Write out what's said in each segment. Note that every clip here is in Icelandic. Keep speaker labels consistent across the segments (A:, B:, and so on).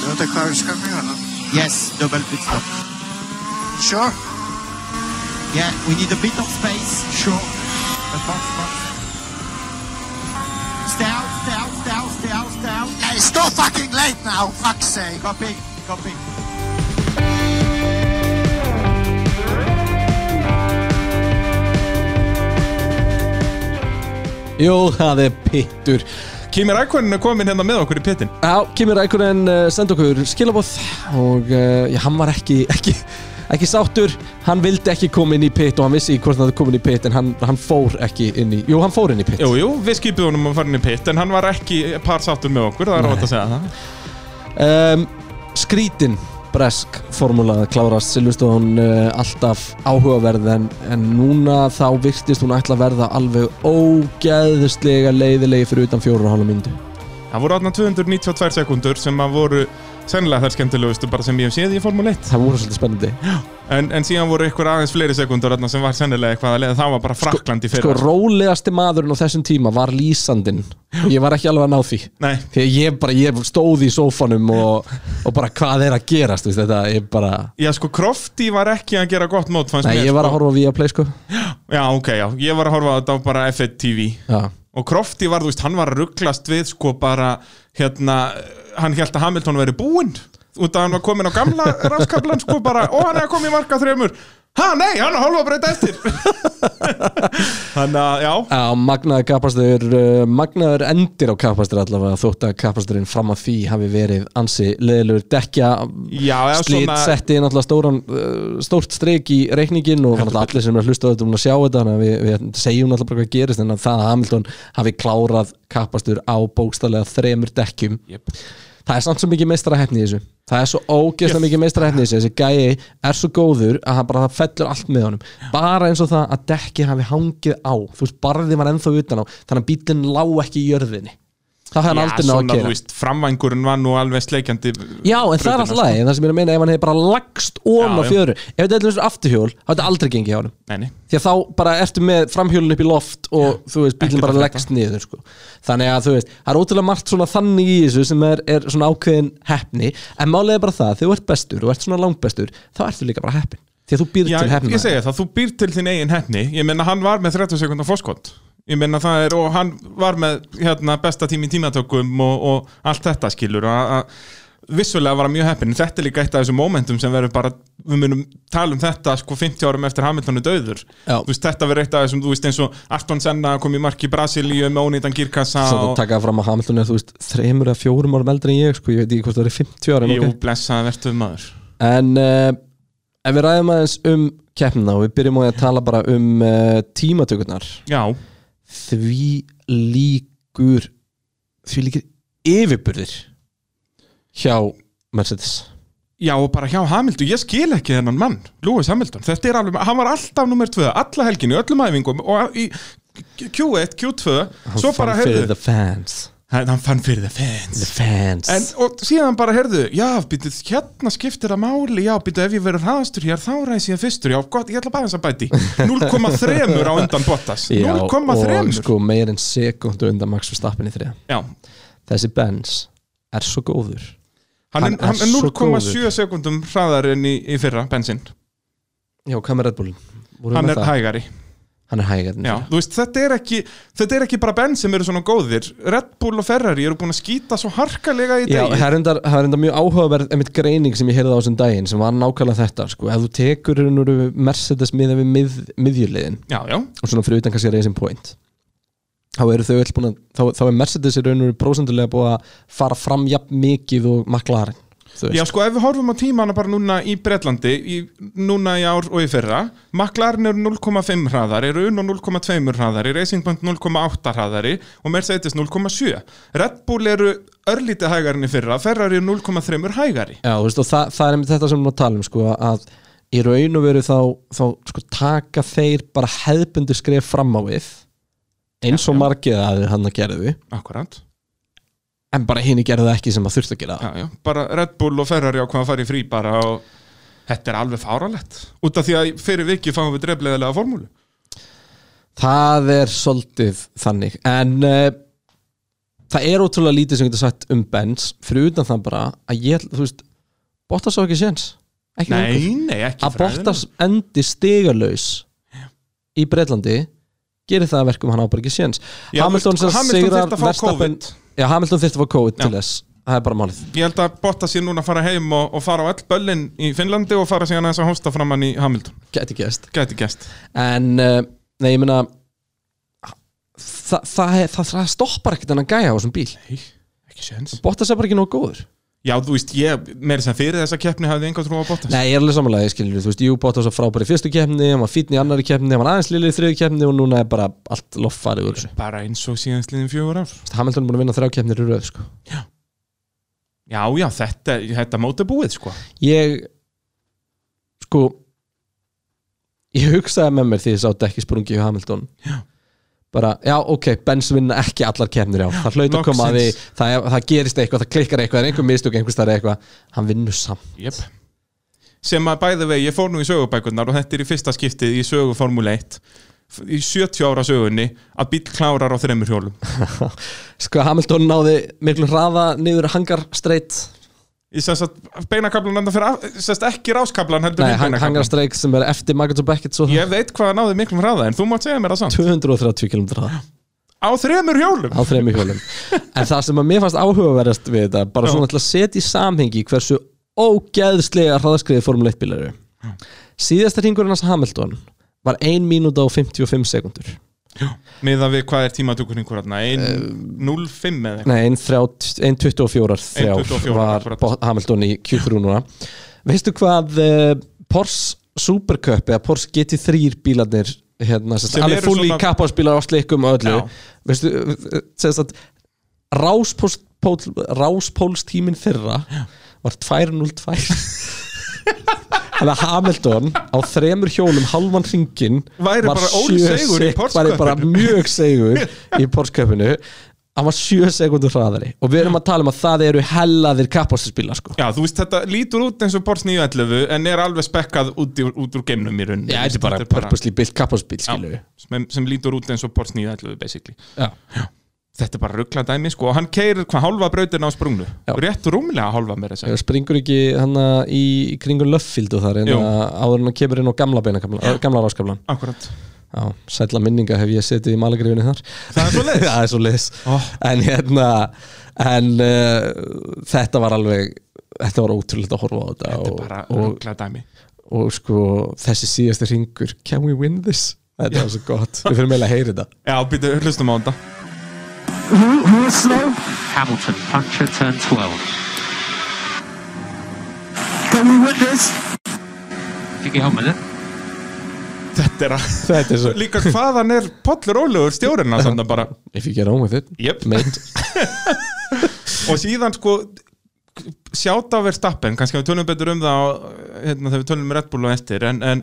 A: do tego kamienia, no.
B: Yes, double pit stop.
A: Sure,
B: Yeah, we need a bit of space.
A: sure. But fast, fast.
B: Stay out, stay out, stay out, stay out, stay out.
A: Yeah, it's so fucking late now, fuck's sake.
B: Copy, copy.
C: Jú, það er pittur
D: Kimi Rækonin er komin hérna með okkur í pittin
C: Já, Kimi Rækunen uh, senda okkur skilabóð og uh, já, hann var ekki, ekki, ekki sáttur hann vildi ekki koma inn í pitt og hann vissi ekki hvort hann hafði komið inn í pitt en hann, hann fór ekki inn í, jú, hann fór inn í pitt
D: Jú, jú, við skipið honum að fara inn í pitt En hann var ekki parsáttur með okkur, það er rátt að segja það
C: um, skrítin bresk formúla klárast Silveston uh, alltaf áhugaverð en, en núna þá virtist hún ætla að verða alveg ógeðslega leiðilegi fyrir utan fjóru og hálfa myndu
D: Það voru átna 292 sekundur sem að voru sennilega þær skemmtilegustu bara sem ég hef séð í Formule 1
C: það voru svolítið spennandi
D: en, en síðan voru ykkur aðeins fleiri sekundur þarna sem var sennilega eitthvað að leiða Það var bara Frakland í
C: sko
D: fyrra
C: rólegasti maðurinn á þessum tíma var lýsandinn ég var ekki alveg að ná því
D: Nei,
C: því að ég bara ég stóð í sófanum og, og bara hvað er að gerast veist, þetta er bara
D: já sko Crofty var ekki að gera gott mót fannst
C: Nei,
D: mér,
C: ég var að
D: sko.
C: horfa á Viaplay sko
D: Já, ok, já, ég var að horfa á þetta á bara F1 TV
C: Já.
D: Og Crofty var, þú veist, hann var að rugglast við sko bara, hérna, hann held að Hamilton veri búinn út að hann var komin á gamla raskablan sko bara, og hann er komin í marka þremur Ha, nei, hann er hálfa að breyta eftir Þannig að, já
C: Já, magnaður kapastur uh, magnaður endir á kapastur allavega þótt að kapasturinn fram að því hafi verið ansi leðilegur dekja
D: Já, já,
C: slít
D: svona-
C: setti inn alltaf stóran uh, stórt streik í reikningin og þannig að allir sem er að hlusta á þetta um að sjá þetta þannig að við, við segjum alltaf bara hvað gerist en að það að Hamilton hafi klárað kapastur á bókstallega þremur dekkjum
D: Jep.
C: það er samt svo mikið meistarahefni í þessu það er svo ógeðslega mikið meistarahefni í þessu þessi gæi er svo góður að hann bara það fellur allt með honum bara eins og það að dekkið hafi hangið á þú veist, barðið var ennþá utan á þannig að bílinn lá ekki í jörðinni það hafði hann aldrei náð að
D: svona, þú
C: gera
D: veist, framvængurinn var nú alveg sleikjandi
C: já, en það er alltaf lagi, en það sem ég er að meina ef hann hefði bara lagst ón á
D: sko. Já, já.
C: fjöru ef þetta er þessu afturhjól, þá hefði aldrei gengið hjá honum
D: sko. Nei, nei,
C: því að þá bara ertu með framhjólun upp í loft og þú veist, bílinn
D: ekkert
C: bara
D: að
C: leggst niður sko. þannig að þú veist, það er ótrúlega margt svona þannig í þessu sem er, er svona ákveðin heppni, en málega bara það, þegar þú ert bestur og ert svona langbestur, þá ertu líka bara heppin því að þú býr
D: já,
C: til heppna
D: ég segi það, þú býr til þinn eigin hefni Ég meina, hann var með 30 sekundar fórskot Ég meina, það er, og hann var með hérna, besta tími í tímatökum og, og allt þetta skilur að að- Vissulega var hann mjög heppin, en þetta er líka eitt af þessum momentum sem verður bara, við munum tala um þetta sko 50 árum eftir Hamilton er döður
C: Já.
D: Þú veist, þetta verður eitt af þessum, þú veist eins og Arton Senna kom í mark í Brasilíu með ónýtan girkassa
C: Svo þú
D: og,
C: taka fram að Hamilton er þú veist þreymur eða fjórum árum eldri en ég sko, ég veit ekki hvort það er 50 árum
D: jú,
C: okay?
D: blessaða verður maður
C: en uh, ef við ræðum aðeins um keppnina og við byrjum á því að tala bara um uh, tímatökurnar
D: Já,
C: því líkur því líkur yfirburðir hjá Mercedes
D: Já og bara hjá Hamilton, ég skil ekki þennan mann Lewis Hamilton, þetta er alveg hann var alltaf nummer 2, alla helginu, öllum æfingum og í Q1, Q2 svo
C: Hann
D: bara
C: fann fyrir
D: heyrðu
C: the fans
D: hann, hann fann fyrir the fans
C: the fans
D: en, og síðan bara heyrðu, já, býttu hérna skiptir það máli, já, býttu ef ég verður hraðastur hér, þá ræs ég fyrstur, já, gott, ég ætla bara þess að bæti 0,3 á undan Bottas
C: Já,
D: 0,3
C: og sko meir en sekundu undan Max Verstappen í þriða
D: Já,
C: þessi Benz er svo góður
D: hann,
C: Hann
D: er- hann
C: er
D: er
C: svo
D: 0,7 sekundum hraðar en í, í fyrra, bensinn
C: já, hvað með Red Bullin? Vorum
D: hann
C: við
D: er
C: með það?
D: hægari
C: hann er hérna. hægar en
D: Já,
C: þriðja.
D: þú veist, þetta er ekki þetta er ekki bara benn sem eru svona góðir Red Bull og Ferrari eru búin að skýta svo harkalega í
C: Já,
D: degi
C: það er enda, það er enda mjög áhugaverð einmitt greining sem ég heyrði á þessum daginn sem var nákvæmlega þetta, sko, ef þú tekur raun og veru Mercedes miða við mið, miðjulegin
D: Já, já,
C: og svona fyrir utan kannski Racing Point þá eru þau öll búin að þá, þá er Mercedes í raun og veru prósendulega búið að fara fram jafn mikið og maklarinn
D: já, sko, ef við horfum á tímana bara núna í Bretlandi í, núna í ár og í fyrra McLaren eru 0,5 hraðari, eru unn og 0,2 hraðari Racing Point 0,8 hraðari og Mercedes 0,7 Red Bull eru örlítið hægari en í fyrra Ferrari eru 0,3 hægari
C: Já, þú veist, og það, það er einmitt þetta sem við erum að tala um sko, að í raun og veru þá, þá sko, taka þeir bara hefbundu skref fram á við eins og margið að þeir hann að gerðu
D: Akkurát,
C: en bara hinn gerðu það ekki sem að þurftu að gera það.
D: já, já, bara Red Bull og Ferrari á hvað að fara í frí bara og Þetta er alveg fáralegt Út af því að fyrir viki fáum við drefleðilega formúlu
C: Það er svolítið þannig en uh, eh, það er ótrúlega lítið sem getur sagt um Benz fyrir utan það bara að ég, þú veist Bottas á ekki séns ekki lengur.
D: Nei, nei, ekki
C: að Bottas endi stigalös í Breitlandi gerir það að verkum að hann á bara ekki séns
D: Já,
C: Hamilton
D: þú veist,
C: sem
D: Hamilton
C: sigrar
D: þyrfti að fá
C: Verstappen-
D: COVID.
C: Já, Hamilton þurfti að fá COVID til
D: Já.
C: þess það er bara málið
D: Ég held að Bottas sé núna að fara heim og, og fara á all böllin í Finnlandi og fara síðan aðeins að hósta framann í Hamilton
C: gæti gæst
D: Gæti gæst
C: en uh, nei, ég meina þa það, það, það, það stoppar ekkert en að gæja á þessum bíl
D: Nei, ekki séns
C: Bottas er bara ekki nóg góður
D: Já, þú veist, ég, meiri sem fyrir þessa keppni hafði enga trú á Bottas
C: Nei, ég er alveg samanlega, ég skilur, þú veist, Jú Bottas var frábæri í fyrstu keppni, hann var fínn í annari keppni hann var aðeins lillið í þriðu keppni og núna er bara allt loffari úr þessu.
D: Bara eins og síðan sliðin fjögur ár
C: Þú veist, Hamilton er búin að vinna þrjá keppnir í röð, sko
D: Já, já, þetta, þetta móti búið, sko
C: Ég sko ég hugsaði með mér því ég sá ekki sprungi hjá Hamilton
D: Já.
C: bara, já, ok, Benz vinna ekki allar keppnir já, það hlaut að koma að því
D: loksins.
C: það, það gerist eitthvað, það klikkar eitthvað, það er einhver mistök einhver starf eitthvað, hann vinnur samt
D: Jep Sem að bæði vegi, ég fór nú í sögubækurnar og þetta er í fyrsta skiptið í sögu Formule 1 f- í 70 ára sögunni að bíl klárar á þreymur hjólum
C: sko, Hamilton náði miklu hraða niður hangar streitt
D: Ég sens að beinakablan enda fyrir af- sem sagt ekki ráskablan heldur
C: Nei, hang,
D: hindbeinakaflann.
C: hangar streitt sem er eftir Magnus og Beckett svo
D: Ég veit hvað náði miklum hraða en þú mátt segja mér það samt
C: 230 km hraða
D: Á þremur hjólum
C: á þremi hjólum en það sem að mér fannst áhugaverðast við þetta bara
D: Já.
C: svona til að setja í samhengi hversu ógeðslega hraðaskriði Formule 1 bílaru síðasta hringurinn hans Hamilton var 1 mínúta og 55 sekundur
D: Miða við hvað er tímatökur einhver hérna 1.05 eða eitthvað
C: nei, 1.24
D: 1.24
C: var
D: akkurat.
C: Bo- Hamilton í Q3 núna veistu hvað eh, Porsche Supercup eða Porsche GT3 bílarnir hérna, sérst,
D: Sem
C: alveg
D: eru
C: fulli
D: svona-
C: svona... kappásbílar á slikum og öllu
D: Já.
C: veistu, eh, sérst að ráspólstímin þeirra var 2.02 Þannig að Hamilton á þremur hjólum halvan hringin
D: Væri bara ólsegur í Porsche
C: var bara
D: Cup-inu.
C: mjög segur í Porsköpunu hann var 7 sekundum hraðari og við erum að tala um að það eru hellaðir kappástaspílar sko
D: Já, þú veist, þetta lítur út eins og Bors 911 en er alveg spekkað út, í, út úr geimnum í rauninni
C: Já, þetta er bara purposely built kappástaspíl skilur
D: já, sem, sem lítur út eins og Bors 911 basically
C: Já.
D: Þetta er bara ruggla dæmi, sko og hann keirir hvað hálfa brautina á sprungnu
C: Já.
D: Rétt rúmlega hálfa meira þess
C: við
D: að segja.
C: Eh, springur ekki hann í í kringum löffíld og þar en
D: Jú.
C: áður en hann kemur inn á gamla beinakamla gamla ráskaflan
D: Akkurat
C: Já, sætla minninga hef ég setið í malagrifinu þar
D: Það er svo leiðis
C: Það er svo leiðis
D: Ó.
C: En hérna En uh, þetta var alveg Þetta var ótrúlega að horfa á þetta
D: Þetta er
C: og,
D: bara
C: og,
D: ruggla dæmi
C: og sko þessi síðasti ringur Can we win this? Þetta var svo gott Við fyrir meila að heyra þetta
D: Já, býttu, hlustum á þetta
A: Who, who is slow?
E: Hamilton puncture turn 12.
A: Can we win this?
E: Kiki Helmet.
D: Þetta er að
C: Þetta er svo
D: Líka hvaðan er Pollur Ólegur stjórinn að senda bara
C: If you get on with it
D: Jöp
C: Mate
D: og síðan sko sjáta verð stappen, kannski að við tölum betur um það á, hérna, þegar við tölum um Red Bull og eftir en, en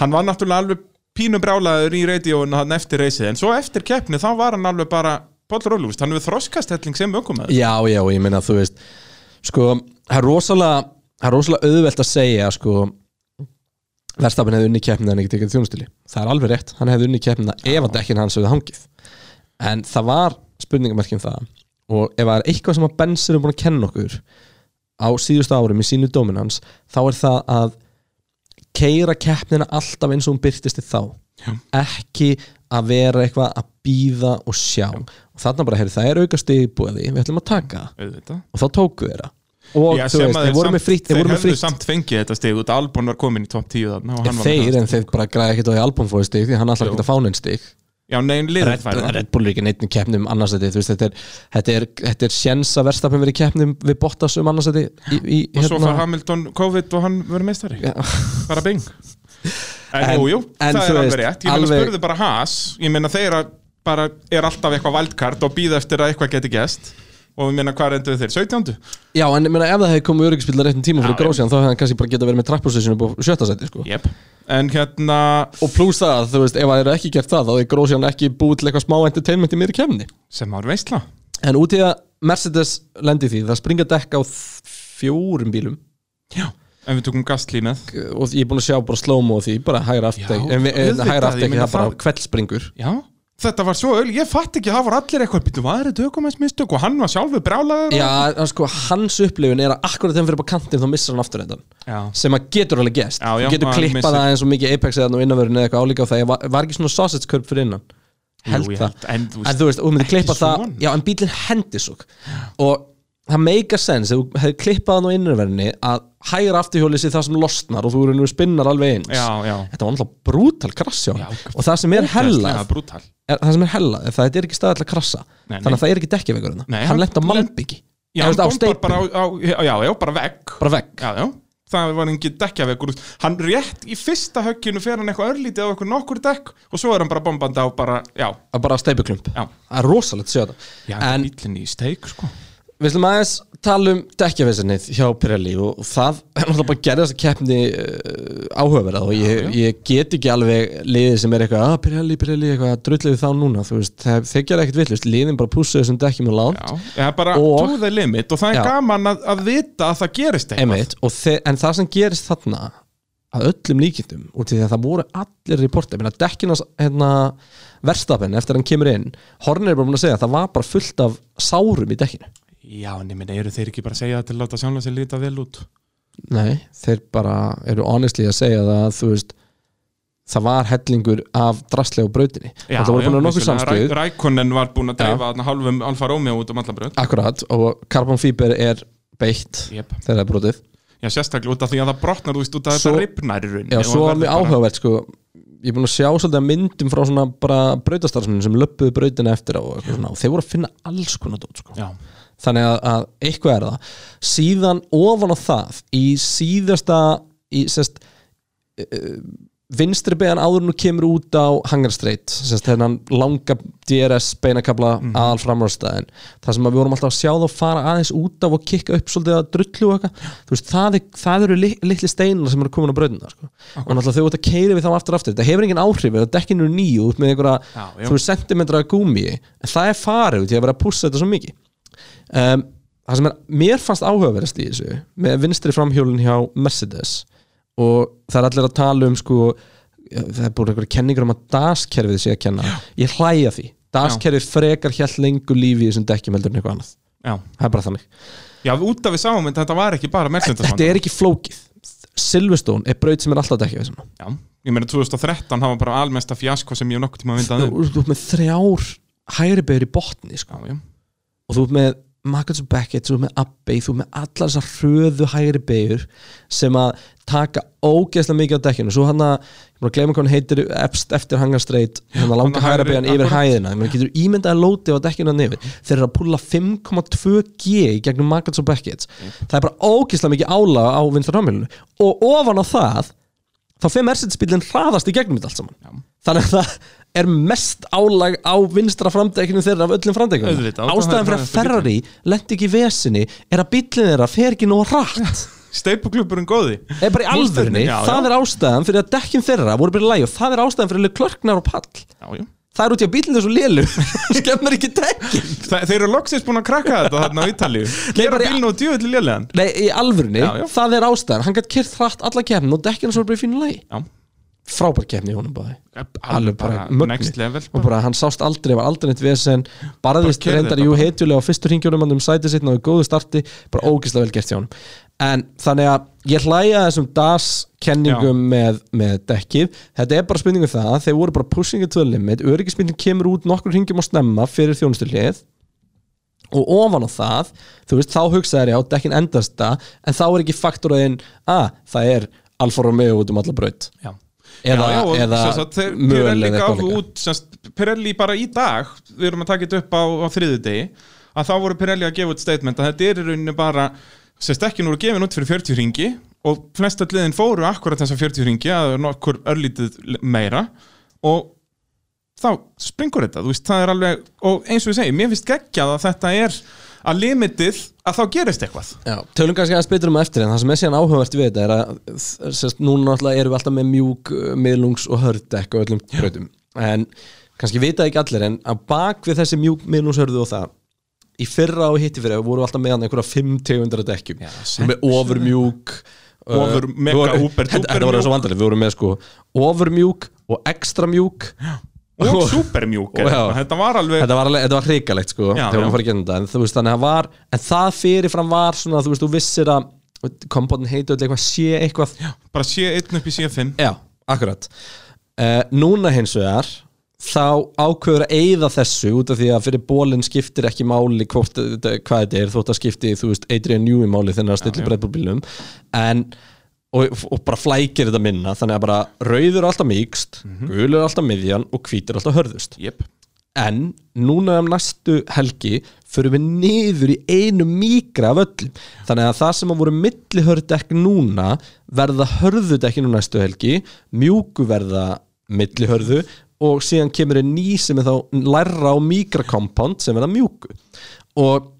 D: hann var náttúrulega alveg pínu brjálaður í radióinu hann eftir reysið en svo eftir keppni þá var hann alveg bara Póllur Ólúst, hann hefur þroskastelling sem ökumæður
C: Já, já, og ég meina þú veist sko, það er rosalega það er rosalega auðvelt að segja sko, verðstafin hefði unni keppnið en ekki tekið þjónustili, það er alveg rétt hann hefði unni keppnið ef að dekkin hans hefði hangið en það var spurningamerkjum það og ef það er eitthvað sem að Benz eru búin að kenna okkur á síðustu árum í sínu dominans þá er það að keira keppnina alltaf eins og hún byrtist í þá Já. ekki að vera eitthvað að býða og sjá og þarna bara, heyrðu, það er auka stigbúiði við ætlum að taka það
D: auðvitað
C: og þá tóku þeirra og
D: Já,
C: þú
D: sem
C: veist,
D: að
C: þeir voru
D: samt-
C: með frítt þeir
D: þeir
C: voru með
D: hefðu
C: frítt
D: samt fengið þetta stig út Albon var komin í top 10 þarna og hann var með
C: þeir
D: það.
C: en þeir bara græði ekkert á því album fóði stig því hann alltaf
D: Jú.
C: ekki að fána einn stig
D: Já, nein, liðið
C: Red, Red Bull er ekki neitt í keppnum annarsæti þú veist, þetta er, þetta er, þetta er sjens að verðstapin verið í keppnum við Bottas um annarsæti í, í, hérna-
D: og svo far Hamilton COVID og hann verið meistari
C: Já.
D: bara bing en,
C: En-
D: jú, jú,
C: en
D: það
C: þú
D: er alveg
C: veist,
D: rétt ég meina
C: alveg-
D: spurðu bara Haas ég meina þeirra bara er alltaf eitthvað valdkart og býða eftir að eitthvað geti gæst og ég meina hvað reyndu þeir, 17.
C: já, en ég meina, ef það hefði komið öryggisbílar réttum tíma fyrir
D: Já,
C: grósjan þá hefði hann kannski bara getað verið með trappposition upp á sjötta sæti sko.
D: Yep. en hérna
C: og pluss það, þú veist, ef það eru ekki gert það þá er grósjan ekki búið til eitthvað smá entertainment í mér í keppni
D: sem ári veistla
C: en út í að Mercedes lendi því það springa dekk á þ- fjórum bílum
D: já. en við tókum gastlí með
C: og ég er búin að sjá bara slow-mo á því bara hægra aftæk
D: Já,
C: en, við- en
D: auðvitað,
C: hægra
D: ég
C: aftæk
D: meina
C: það bara
D: það-
C: kveld springur
D: já, þetta var svo öll, ég fatt ekki, það var allir eitthvað býttu, hvað er þetta ökumænsmistök og hann var sjálfur brálaður
C: Já, en sko, hans upplifun er að akkurat þegar hann fyrir upp á kantinn þá missar hann aftur þetta
D: Já.
C: sem að getur alveg gerst
D: Já, já,
C: Þú getur
D: hann
C: klippað
D: missir.
C: það eins og mikið Apex eða nú innanverðinu eða eitthvað álíka á það Ég var, var ekki svona sausage curb fyrir innan held
D: ég
C: það
D: held, en þú veist,
C: en þú veist, og þú myndir
D: ekki
C: klippa það
D: svona.
C: já, en bílinn hendi svo og það make a sense, ef þú hefði klippað það nú innanverðinu að hægra afturhjólið sér það sem losnar og þú eru nú spinnar alveg eins
D: já, já,
C: þetta var alltaf brútal krass hjá honum. og það sem er hella
D: ógeðslega brútal
C: er, það sem er hella, ef það er ekki staðall að krassa
D: Nei, nei.
C: þannig að það er ekki dekkjavegur
D: Nei,
C: hann,
D: hann
C: hann lent á
D: lent-
C: malbyggi
D: Já, hann bombar bara á, á, já, já, bara vegg
C: bara vegg
D: Já, já, það var engin dekkjavegur Hann rétt í fyrsta högginu fer hann eitthvað örlítið á eitthvað nokkur dekk og svo er hann bara bombandi á bara, já,
C: að bara steipuklump
D: Já.
C: það er rosalegt að sjá
D: já
C: þetta en
D: bíllinn í steik, sko
C: við slum aðeins tala um dekkjavesinið hjá Pirelli og, og það er náttúrulega bara að gera þessa keppni uh, áhugaverða og ég, ég get ekki alveg liðið sem er eitthvað að Pirelli, Pirelli, eitthvað drullið þá núna þú veist, þeir, þeir gera ekkert villust liðin bara pússu þessum dekkjum og lánt
D: Já, eða bara
C: Og-
D: to the limit og það er
C: Já.
D: gaman að, að vita að það gerist eitthvað
C: Einmitt, og þe- en það sem gerist þarna að öllum líkindum út í því að það voru allir reporta, ég meina dekkinas hérna, verstafinn eftir að hann kemur inn Horner er bara búin að segja að það var bara fullt af sárum í dekkinu
D: Já, nema, eru þeir ekki bara að segja það til að láta sjálfan sér líta vel út
C: Nei, þeir bara eru honestly að segja það að þú veist það var hellingur af drastlega brautinni það voru búin að nokkuð samstöð
D: Rækonin var búin að
C: Já.
D: dreifa þarna hálfum Alfa Romeo út um alla bröð
C: akkurat og carbonfiber er beitt
D: Jep.
C: þegar það er brotið
D: Já, sérstaklega út af því að það brotnar út út af
C: Svo-
D: þetta ripnar í rauninni
C: Já,
D: og
C: svo
D: það
C: var mjög
D: verður bara-
C: áhugavert sko Ég er búin að sjá svolítið að myndum frá svona bara brautastarfsmunum sem löppuðu brautina eftir á og, eitthvað svona, og þeir voru að finna alls konar dót sko.
D: Já,
C: þannig að, að eitthvað er það síðan ofan á það í síðasta í, sest, uh, vinstri beðan áður nú kemur út á hangarstreit, sest hennan langa DRS beinakabla
D: Mhm.
C: mm. aðal framröðstæðin, það sem að við vorum alltaf að sjá þá fara aðeins út af og kikka upp svolítið að drullu og eitthvað, þú veist, það, er, það eru lit, litli steinar sem eru komin á bröðina sko. og náttúrulega þau út að keiri við þá aftur og aftur þetta hefur engin áhrif, ef dekkinu er nýju út með einhverja,
D: Já, já.
C: þú veist, sentimentra af gúmi en það er farið út í að vera að pússa þetta svo mikið um, það sem er, mér fannst áhugaverðast í þessu með vinstri framhjólinn hjá Mercedes og það er allir að tala um sko, það er búin einhverja kenningar um að DAS-kerfið sé að kenna ég hlæja því, DAS-kerfið frekar hjælt lengur lífi í þessum dekkjum heldur en eitthvað annað
D: já
C: það er bara þannig,
D: Já, út af við sáum en þetta var ekki bara Mercedes
C: þetta er ekki flókið Silverstone er braut sem er alltaf dekkjafið sem
D: Já, ég meina 2013 hafa bara almesta fjasko sem ég hef nokkuð tíma að vinda
C: þú þú ert með þrjár hægri beigur í botni sko.
D: Já, já,
C: og þú ert með Marcus Beckett, þú ert með Abbey þú ert með allar þessar hröðu hægri beigur sem að taka ógeðslega mikið á dekkinu, svo hann að ég mér að gleyma hvað hann heitir efst, eftir hangarstreit hann að
D: hann
C: langa
D: að
C: hægri
D: hægri,
C: beigan yfir
D: akkurat.
C: hæðina, ég mér getur ímyndað að lóti á dekkinu hann yfir, þeir eru að púla 5,2G í gegnum Marcus Beckett það er bara ógeðslega mikið álaga á vinstra framhjölinu og ofan á það þá fer Mercedes-bílinn hraðast í gegnum þetta allt saman þannig að það er mest álag á vinstra framdækinu þeirra af öllum framdækinu
D: Auðvitað, og það er
C: ástæðan fyrir að
D: hraðasti
C: Ferrari lendi ekki í vesinni er að bíllinn þeirra fer ekki nóg rætt
D: steipuklubburinn góði
C: er bara í alvörni,
D: já,
C: það
D: já.
C: er ástæðan fyrir að dekkin þeirra voru bara í læg og það er ástæðan fyrir að klörknar og pall
D: Já, já
C: það er út í að bíllinn þessu lélu skemmar ekki dekkin
D: Þa, Þeir eru loksins búin að krakka þetta þarna á Ítalíu Gera
C: bara í-
D: bílnum og djöfulli lélegan
C: Nei, í alvörni,
D: Já, já.
C: það er ástæðan hann gætt kyrt hratt alla kefnin og dekkin þessu voru bara í fínu lægi
D: Já,
C: frábær kefni í honum báði alveg
D: alveg
C: bara
D: bara next
C: mögnu
D: level
C: og bara hann sást aldrei, var aldrei neitt vesen barðist
D: keyrði
C: reyndar
D: þetta
C: jú
D: bara.
C: heitjulega á fyrstu ringjónum hann um sætið sitt náðu góðu starti, bara ógislega vel gert hjá hann en þannig að ég hlæja þessum DAS kenningum með, með dekkið, þetta er bara spurningu það þeir voru bara pushing it to the limit öryggismyndin kemur út nokkur ringjum á snemma fyrir þjónustu og ofan á það, þú veist, þá hugsaðir já, dekkin endast það, en þá er ekki faktoraðinn, að það er Alfa Romeo út um alla braut
D: Já
C: eða,
D: já, já, og
C: eða
D: sem sagt, þeir-
C: möl
D: Pirelli
C: eða
D: gaf
C: eitthvað líka.
D: út semst, Pirelli bara í dag við erum að taka þetta upp á, á þriðudegi að þá voru Pirelli að gefa út statement að þetta er í rauninni bara sem stekkin voru gefin út fyrir 40 ringi og flest öll liðin fóru akkurat þessa 40 ringi að það er nokkur örlítið meira og þá springur þetta, þú veist, það er alveg og eins og ég segi, mér finnst geggjað að þetta er að limitið að þá gerist eitthvað
C: Já, tölum kannski aðeins betur um það eftir en það sem er síðan áhugavert við þetta er að sérst, núna náttúrulega erum við alltaf með mjúk, uh, miðlungs og hörðdekk og öllum brautum en kannski vita ekki allir en að bak við þessi mjúk, miðlungs, hörðu og það í fyrra og hitti fyrir voru við alltaf með hann einhverja fimm tegundar dekkjum Já, með ofur mjúk uh,
D: Over mega, uber, duper
C: Þetta var
D: mjúk.
C: svo vandarlega, við vorum með sko ofur mjúk og extra mjúk
D: og
C: Og-
D: supermjúk
C: og já.
D: þetta var alveg
C: Þetta var, alveg, þetta var hrikalegt sko
D: Já,
C: þegar
D: já.
C: hún fór að gera þetta en, þú veist, þannig að það var, en það fyrirfram var svona, þú veist, þú vissir að kompotin heitu öll eitthvað sé eitthvað já,
D: bara sé einn upp í sé fimm
C: akkurat uh, Núna hins vegar þá ákveður að eyða þessu út af því að fyrir bólinn skiptir ekki máli hvort, þetta- hvað þetta er, þótt að skipti þú veist, Adrian Newey máli þennan að stilla breyðbúlbílum en og, og bara flækir þetta minna þannig að bara rauður er alltaf mýkst
D: Mhm.
C: gulur er alltaf miðjan og hvítur er alltaf hörðust
D: yep.
C: en núna um næstu helgi förum við niður í einu mýkra af öllum þannig að það sem að voru millihördekk núna verða hörðudekkin um næstu helgi mjúku verða millihörðu og síðan kemur einn ný sem er þá lærra og mýkra kompánd sem verða mjúku og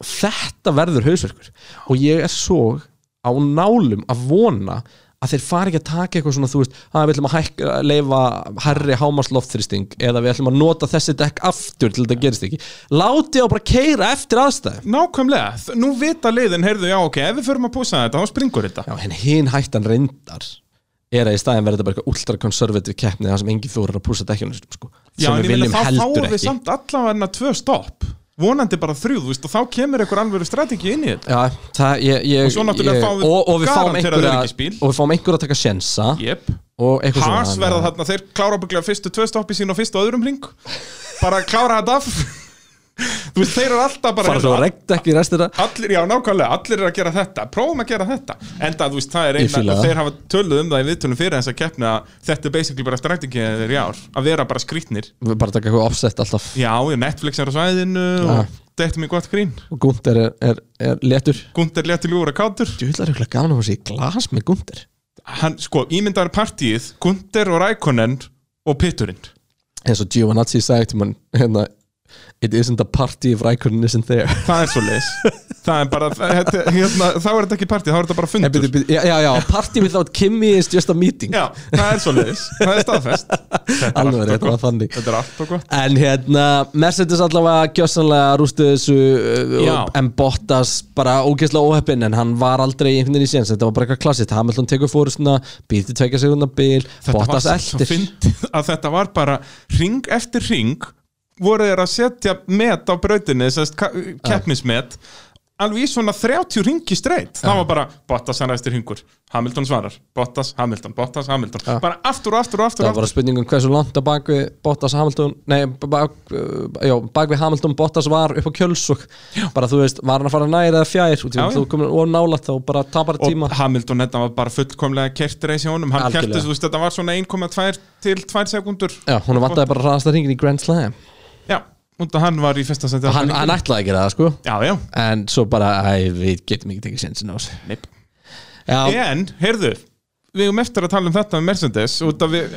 C: þetta verður hausverkur og ég er svo á nálum að vona að þeir fari ekki að taka eitthvað svona þú veist, að við ætlum að hækka, leifa herri hámasloftþrýsting eða við ætlum að nota þessi dekk aftur til þetta gerist ekki láti á bara keira eftir aðstæðum
D: nákvæmlega, Þ- nú vita liðin heyrðu, já ok, ef við förum að púsa þetta þá springur þetta
C: já, en hinn hættan reyndar er að í staðin verður þetta bara eitthvað ultrakonservativ keppni þar sem engin þórar að púsa dekkjunum sínum, sko,
D: já,
C: sem
D: en
C: við
D: ég meina
C: viljum
D: þá
C: heldur
D: fáum við
C: ekki
D: samt allavega tvö stopp vonandi bara þrjú, þú veist, og þá kemur einhver alveg strategi inn í þetta
C: Já, það, ég, ég,
D: Og svo náttúrulega
C: ég,
D: fáum við
C: og, og við fáum
D: garanterað
C: einhverja
D: öryggisbíl.
C: og við fáum einhverja að taka sjensa
D: yep.
C: og eitthvað
D: Haas
C: svona,
D: verða
C: þannig að-
D: þarna, þeir klára bygglega fyrstu tvö stoppi sín og fyrstu og öðrum ring bara klára þetta af þú veist, þeir eru alltaf bara hérna,
C: fara svo að regta ekki í restina
D: Allir, já, nákvæmlega, allir eru að gera þetta Prófum að gera þetta Enda, þú veist, það er
C: Ég fíla
D: eina og
C: það.
D: Þeir hafa töluð um það í viðtölum fyrir þess að keppna að Þetta er basically bara strategið þeir í ár Að vera bara skrýtnir
C: Við bara taka eitthvað offset alltaf
D: Já, já, Netflix er á svæðinu og Þetta er mér gott grín
C: og Gunther er, er, er letur
D: Gunder léttil úr að kátur
C: Djúðlar er eitthvað gaman að fá sér í glas með Gunther
D: Hann, sko, ímyndar partíið Gunder og Rækonen og Pitturinn
C: eins og Giovanazzi sagði til mann hérna, it isn't a party if Raikkonen isn't there
D: Það er svo leis Það er bara, þetta, hérna, þá er þetta ekki partíð Þá er þetta bara
C: Nei,
D: fundur
C: byrju, byrju, já, já, já, party without Kimmy is just a meeting
D: Já, það er svo leis, það er staðfest Þetta er
C: Alveg,
D: allt og
C: þetta var
D: gott.
C: þannig.
D: Þetta er allt og gott
C: En hérna, Mercedes allavega gjössanlega rústu þessu uh,
D: Já.
C: og- en Bottas bara ógeðslega óheppinn en hann var aldrei einhvern veginn í séns þetta var bara eitthvað klassist, Hamilton tekur fórustuna býti tvekja segunda bil,
D: þetta
C: Bottas
D: var svo
C: eldir
D: fyndið að þetta var bara ring eftir ring voru þeir að setja met á brautinni þessast keppnismet alveg í svona 30 ringi streitt það var bara Bottas hann eftir ringur Hamilton svarar, Bottas, Hamilton, Bottas, Hamilton bara aftur og aftur og aftur,
C: Það var
D: og
C: bara
D: aftur.
C: spurning um hversu langt að bak við Bottas Hamilton, nei, bak, uh, já, bak við Hamilton Bottas var upp á kjölsug bara þú veist, var hann að fara næri eða fjær út í
D: Já,
C: hún,
D: já.
C: þú komur og nálætt þá bara tapar
D: og
C: tíma
D: Hamilton þetta var bara fullkomlega kert reis í honum hann
C: Algjörlega.
D: kerti, þú veist, þetta var svona 1,2 til 2 sekundur
C: Já, hún vantaði bara ræðast að ringin í Grand Slam
D: já, og hann var í fyrsta seti
C: og hann, hann ætlaði ekki það, sko
D: já, já,
C: en svo bara, æ, við getum ekki tekið sensin á þessu
D: neip
C: Já,
D: En, heyrðu, við erum eftir að tala um þetta með Mercedes út af við,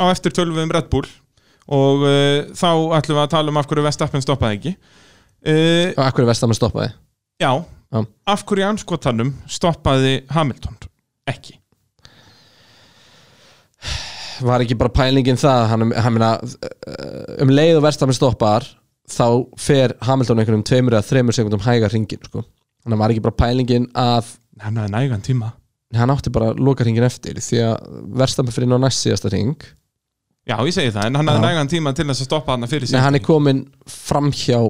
D: á eftir tölum við um Red Bull og uh, þá ætlum við að tala um af hverju Vestappen stoppaði ekki uh,
C: og akkur er vestamenn stoppaði
D: Já,
C: Já.
D: af hverju í anskotanum stoppaði Hamilton ekki
C: Var ekki bara pælingin það hann, hann meina, um leið og verstamenn stoppar þá fer Hamilton einhvernum tveimur eða þreimur sekundum hægar ringin sko. Þannig að var ekki bara pælingin að
D: Hann hafði nægan tíma
C: hann átti bara loka ringin eftir því að verstamenn fyrir ná næst síðasta ring
D: Já, ég segi það, en hann hafði
C: Já.
D: nægan tíma til þess að stoppa hann fyrir sig
C: Nei, hann er komin framhjá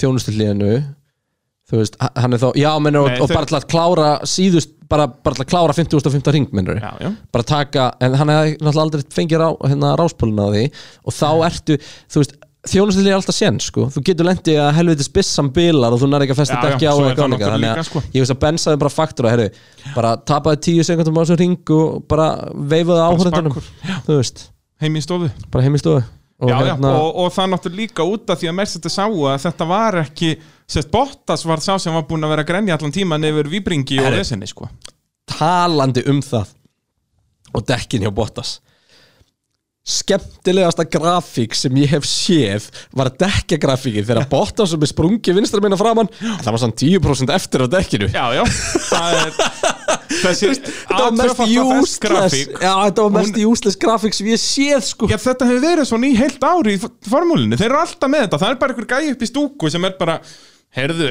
C: þjónustulíðinu þú veist, h- hann er þá já, menur,
D: Nei,
C: og, og
D: þau-
C: bara til að klára síðust, bara, bara til að klára 50.500 ring, menur
D: Já, já,
C: bara taka, en hann hefði náttúrulega aldrei fengið rá, hérna, ráspólun á því og þá ertu, þú veist þjónustillið er alltaf sén, sko, þú getur lendið að helvitis byssam bilar og þú nær ekki að festa
D: Já, já,
C: dekki á
D: svo er
C: eitthvað
D: það
C: annað.
D: náttúrulega líka,
C: að
D: sko.
C: ég veist að bensaði bara faktur að, herru, bara tapaði tíu sekundum á þessum ring og bara veifaði áhörðunum,
D: sparkur,
C: þú veist
D: heim í stofu
C: bara heim í stofu og hérna-
D: já, já, og, og það náttúrulega líka út af því að Mercedes sá að þetta var ekki sérst Bottas var sá sem var búin að vera að grenja allan tíman yfir víbringi og
C: Herri.
D: vesinni sko.
C: talandi um það og dekkin hjá Bottas skemmtilegasta grafík sem ég hef séð var dekkjagrafíkið þegar Bottas sem er sprungið vinstra minna framann en það var sann 10% eftir á dekkinu
D: Já, já, það er þessi
C: þetta var mest
D: aðtröfalda
C: useless
D: grafík
C: já, þetta var mest useless grafík sem ég séð sko
D: Já, þetta hefur verið svona í heilt ári í formúlinni, þeir eru alltaf með þetta það er bara einhver gæi upp í stúku sem er bara heyrðu,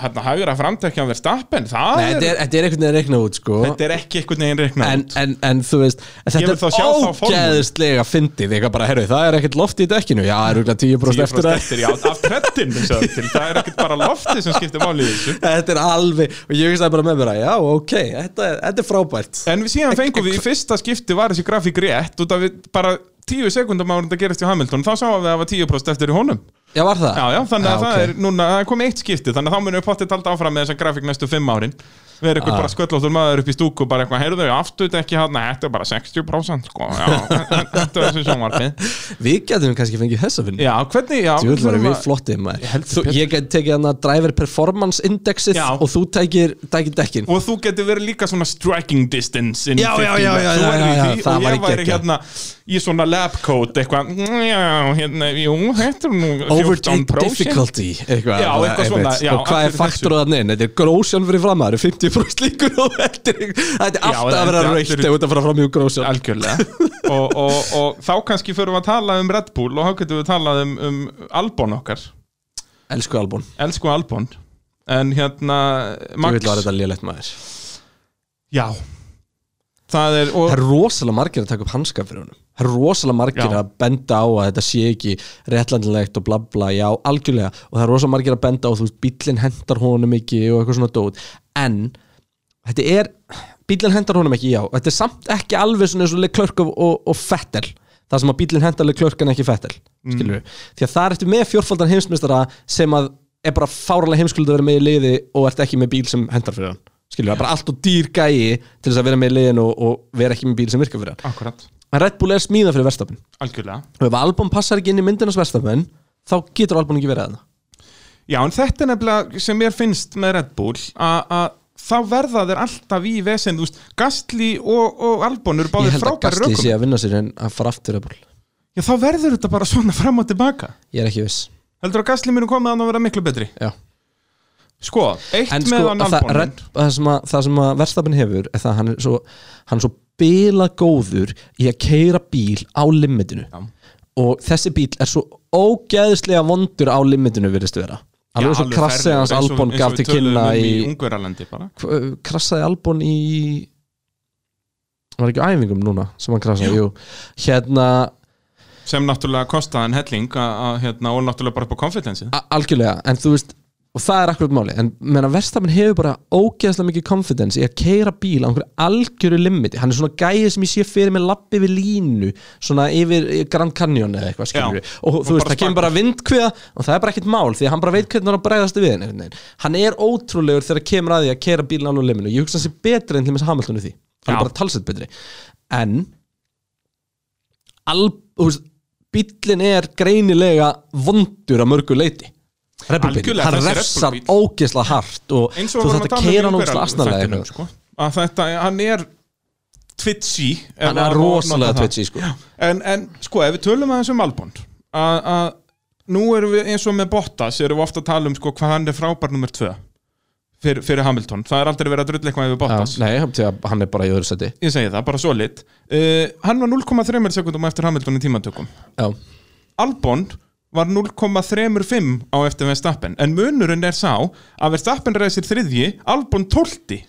D: hérna hægra framtekja á verð stappen, það
C: Nei, þetta
D: er,
C: er, þetta er einhvern veginn reiknað út sko
D: þetta er ekki einhvern veginn reiknað
C: en,
D: út
C: en, en þú veist en
D: Ég vil
C: Þetta
D: þá sjá
C: er
D: þá formúlu.
C: ógeðslega fyndið Eitthvað bara, herru, það er ekkert loft í dekkinu Já, er rúglega 10%
D: 10%
C: eftir það
D: eftir, já, af trettin það er ekkert bara loftið sem skiptir máli í þessu
C: Þetta er alveg, og ég hugsaði bara með mér að já, ok, þetta, er- þetta er frábært
D: En við síðan fengum við í fyrsta skipti var þessi grafík rétt út af við bara tíu sekundum árum þetta gerist í Hamilton þá sáum við að það var 10% eftir í honum
C: Já, var það?
D: Já, já, þannig að
C: ok.
D: það er núna, það er komið eitt skipti þannig að þá munum við pottið talda áfram með þessa grafík næstu fimm árin við erum eitthvað
C: Ah.
D: bara sköllóttur maður upp í stúku og bara eitthvað, heyrðu þau, aftur ekki hann þetta er bara 60% sko, já, þetta er þessi sjónvarpið
C: Við getum kannski fengið þessa vinnu
D: Já, hvernig, já
C: Jú, það er
D: þurfum
C: við
D: að-
C: flottið maður
D: held
C: Þú- Ég get tekið hann að driver performance indexið
D: Já.
C: og þú tekir, tekir dekkin
D: og þú getur verið líka svona striking distance inn í
C: Já, já,
D: 50
C: já, já, já,
D: metr. Þú værir
C: já,
D: í
C: já,
D: því
C: það
D: og
C: væri
D: ég væri
C: geggjað.
D: hérna í svona lab coat eitthvað mm, já, hérna, jú, þetta er nú 14
C: Overtake difficulty eitthvað,
D: Já,
C: bara
D: eitthvað svona,
C: einmitt.
D: já,
C: Og hvað er
D: akkurat þessu.
C: faktorðan inn? Þetta er grósjón fyrir framar 50% líkur og þetta er þetta er alltaf
D: þetta
C: að vera
D: er
C: reykt
D: allir-
C: ef þetta fara fram í grósjón
D: algjörlega og, og, og þá kannski förum við að tala um Red Bull og þá getum við að tala um, um Albon okkar,
C: Elsku Albon,
D: elsku Albon en hérna
C: þú vil
D: Max,
C: var þetta lélegt maður
D: já það er,
C: Það
D: og,
C: er rosalega margir að taka upp hanska fyrir honum Það er rosalega margir
D: Já.
C: að benda á að þetta sé ekki réttlandilegt og bla bla, já, algjörlega og það er rosalega margir að benda á, þú veist, bíllinn hendar honum ekki og eitthvað svona dót en þetta er, bíllinn hendar honum ekki, já, þetta er samt ekki alveg svona eins og Leclerc og, og, og Fettel það sem að bíllinn hendar Leclerc en ekki Fettel skilur við, því að það er eftir með fjórfaldan heimsmyndstara sem að er bara fárlega heimskuld að vera með í liði og ert ekki með bíl sem hendar fyrir hann skilur við, það er bara allt og dýr gæi til þess að vera með í liðin og, og vera ekki með bíl sem virkar fyrir hann
D: akkurat,
C: en Red Bull er smíða fyrir verstafin
D: algjörlega
C: og ef Albon passar ekki inn í myndinans verstafin þá getur Albon ekki verið að það
D: Já, en þetta er nefnilega sem mér finnst með Red Bull að að þá verða þeir alltaf í vesend úst, Gastli og, og Albon eru
C: ég
D: báðir
C: held að
D: frábæri
C: Gastli
D: rökum
C: sé að vinna sér en að fara aftur Red Bull
D: Já, þá verður þetta bara svona fram og tilbaka
C: ég er ekki viss
D: Heldur að Gastli munu komið að að vera miklu betri
C: já.
D: Sko, eitt
C: en
D: með
C: sko
D: hann
C: að það,
D: Albon
C: Red, að það, sem að, það sem að verstafin hefur er það að hann er svo, hann er svo bila góður í að keira bíl á limitinu
D: Já.
C: og þessi bíl er svo ógeðslega vondur á limitinu virðist vera
D: Já,
C: alveg svo
D: alveg
C: krassið
D: ferlegur,
C: hans
D: eins og-
C: Albon
D: eins og
C: gaf
D: við
C: til
D: töluðum
C: kynna
D: um
C: í,
D: í Ungverjalandi bara
C: k- krassaði Albon í hann var ekki á æfingum núna sem hann krassaði, jú, hérna
D: sem náttúrulega kostaði hann helling að- að, hérna, og náttúrulega bara upp á konfidensið
C: a- algjörlega, en þú veist og það er akkurat máli, en menna Verstafinn hefur bara ógeðslega mikið confidence í að keira bíl á einhverju algjöru limiti hann er svona gæið sem ég sé fyrir með lappi við línu svona yfir Grand Canyon eða eitthvað skilur
D: Já.
C: og
D: Og
C: þú veist,
D: bara
C: það kemur bara vindkviða og það er bara ekkert mál, því að hann bara veit hvernig hann á að bregðast við henni, einhvern veginn. hann er ótrúlegur þegar kemur að því að keira bíl á liminu ég hugsa hans er betri enn til með Hamiltonu því hann
D: Já.
C: er bara talsett betri en al, þú veist, bíllinn er greinilega vondur að mörgu leiti Rebelbíll,
D: Algjörlega,
C: hann
D: þessi Red Bull
C: refsar
D: bíll.
C: ógeðslega hart og
D: eins
C: þú
D: og við vorum
C: þarft
D: að
C: að
D: tala um
C: keira
D: í
C: hann ógeðslega
D: umferðarþættinum,
C: asnalega
D: sko. að þetta, hann er twitchy ef
C: Hann er
D: að-
C: rosalega
D: nota það.
C: twitchy, sko.
D: Já, en, en sko, ef við tölum aðeins um Albon að að nú erum við eins og með Bottas erum við ofta að tala um sko, hvað hann er frábær nummer 2 fyrir, fyrir Hamilton, það er aldrei verið að drulla eitthvað yfir Bottas
C: Nei, því að hann er bara í öðru seti
D: ég segi það, bara svo lit uh, hann var 0,3 sekundum eftir Hamilton í tímatökum
C: Já,
D: Albon var 0,35 á eftir Verstappen, en munurinn er sá að Verstappen reisir þriðji Albon 12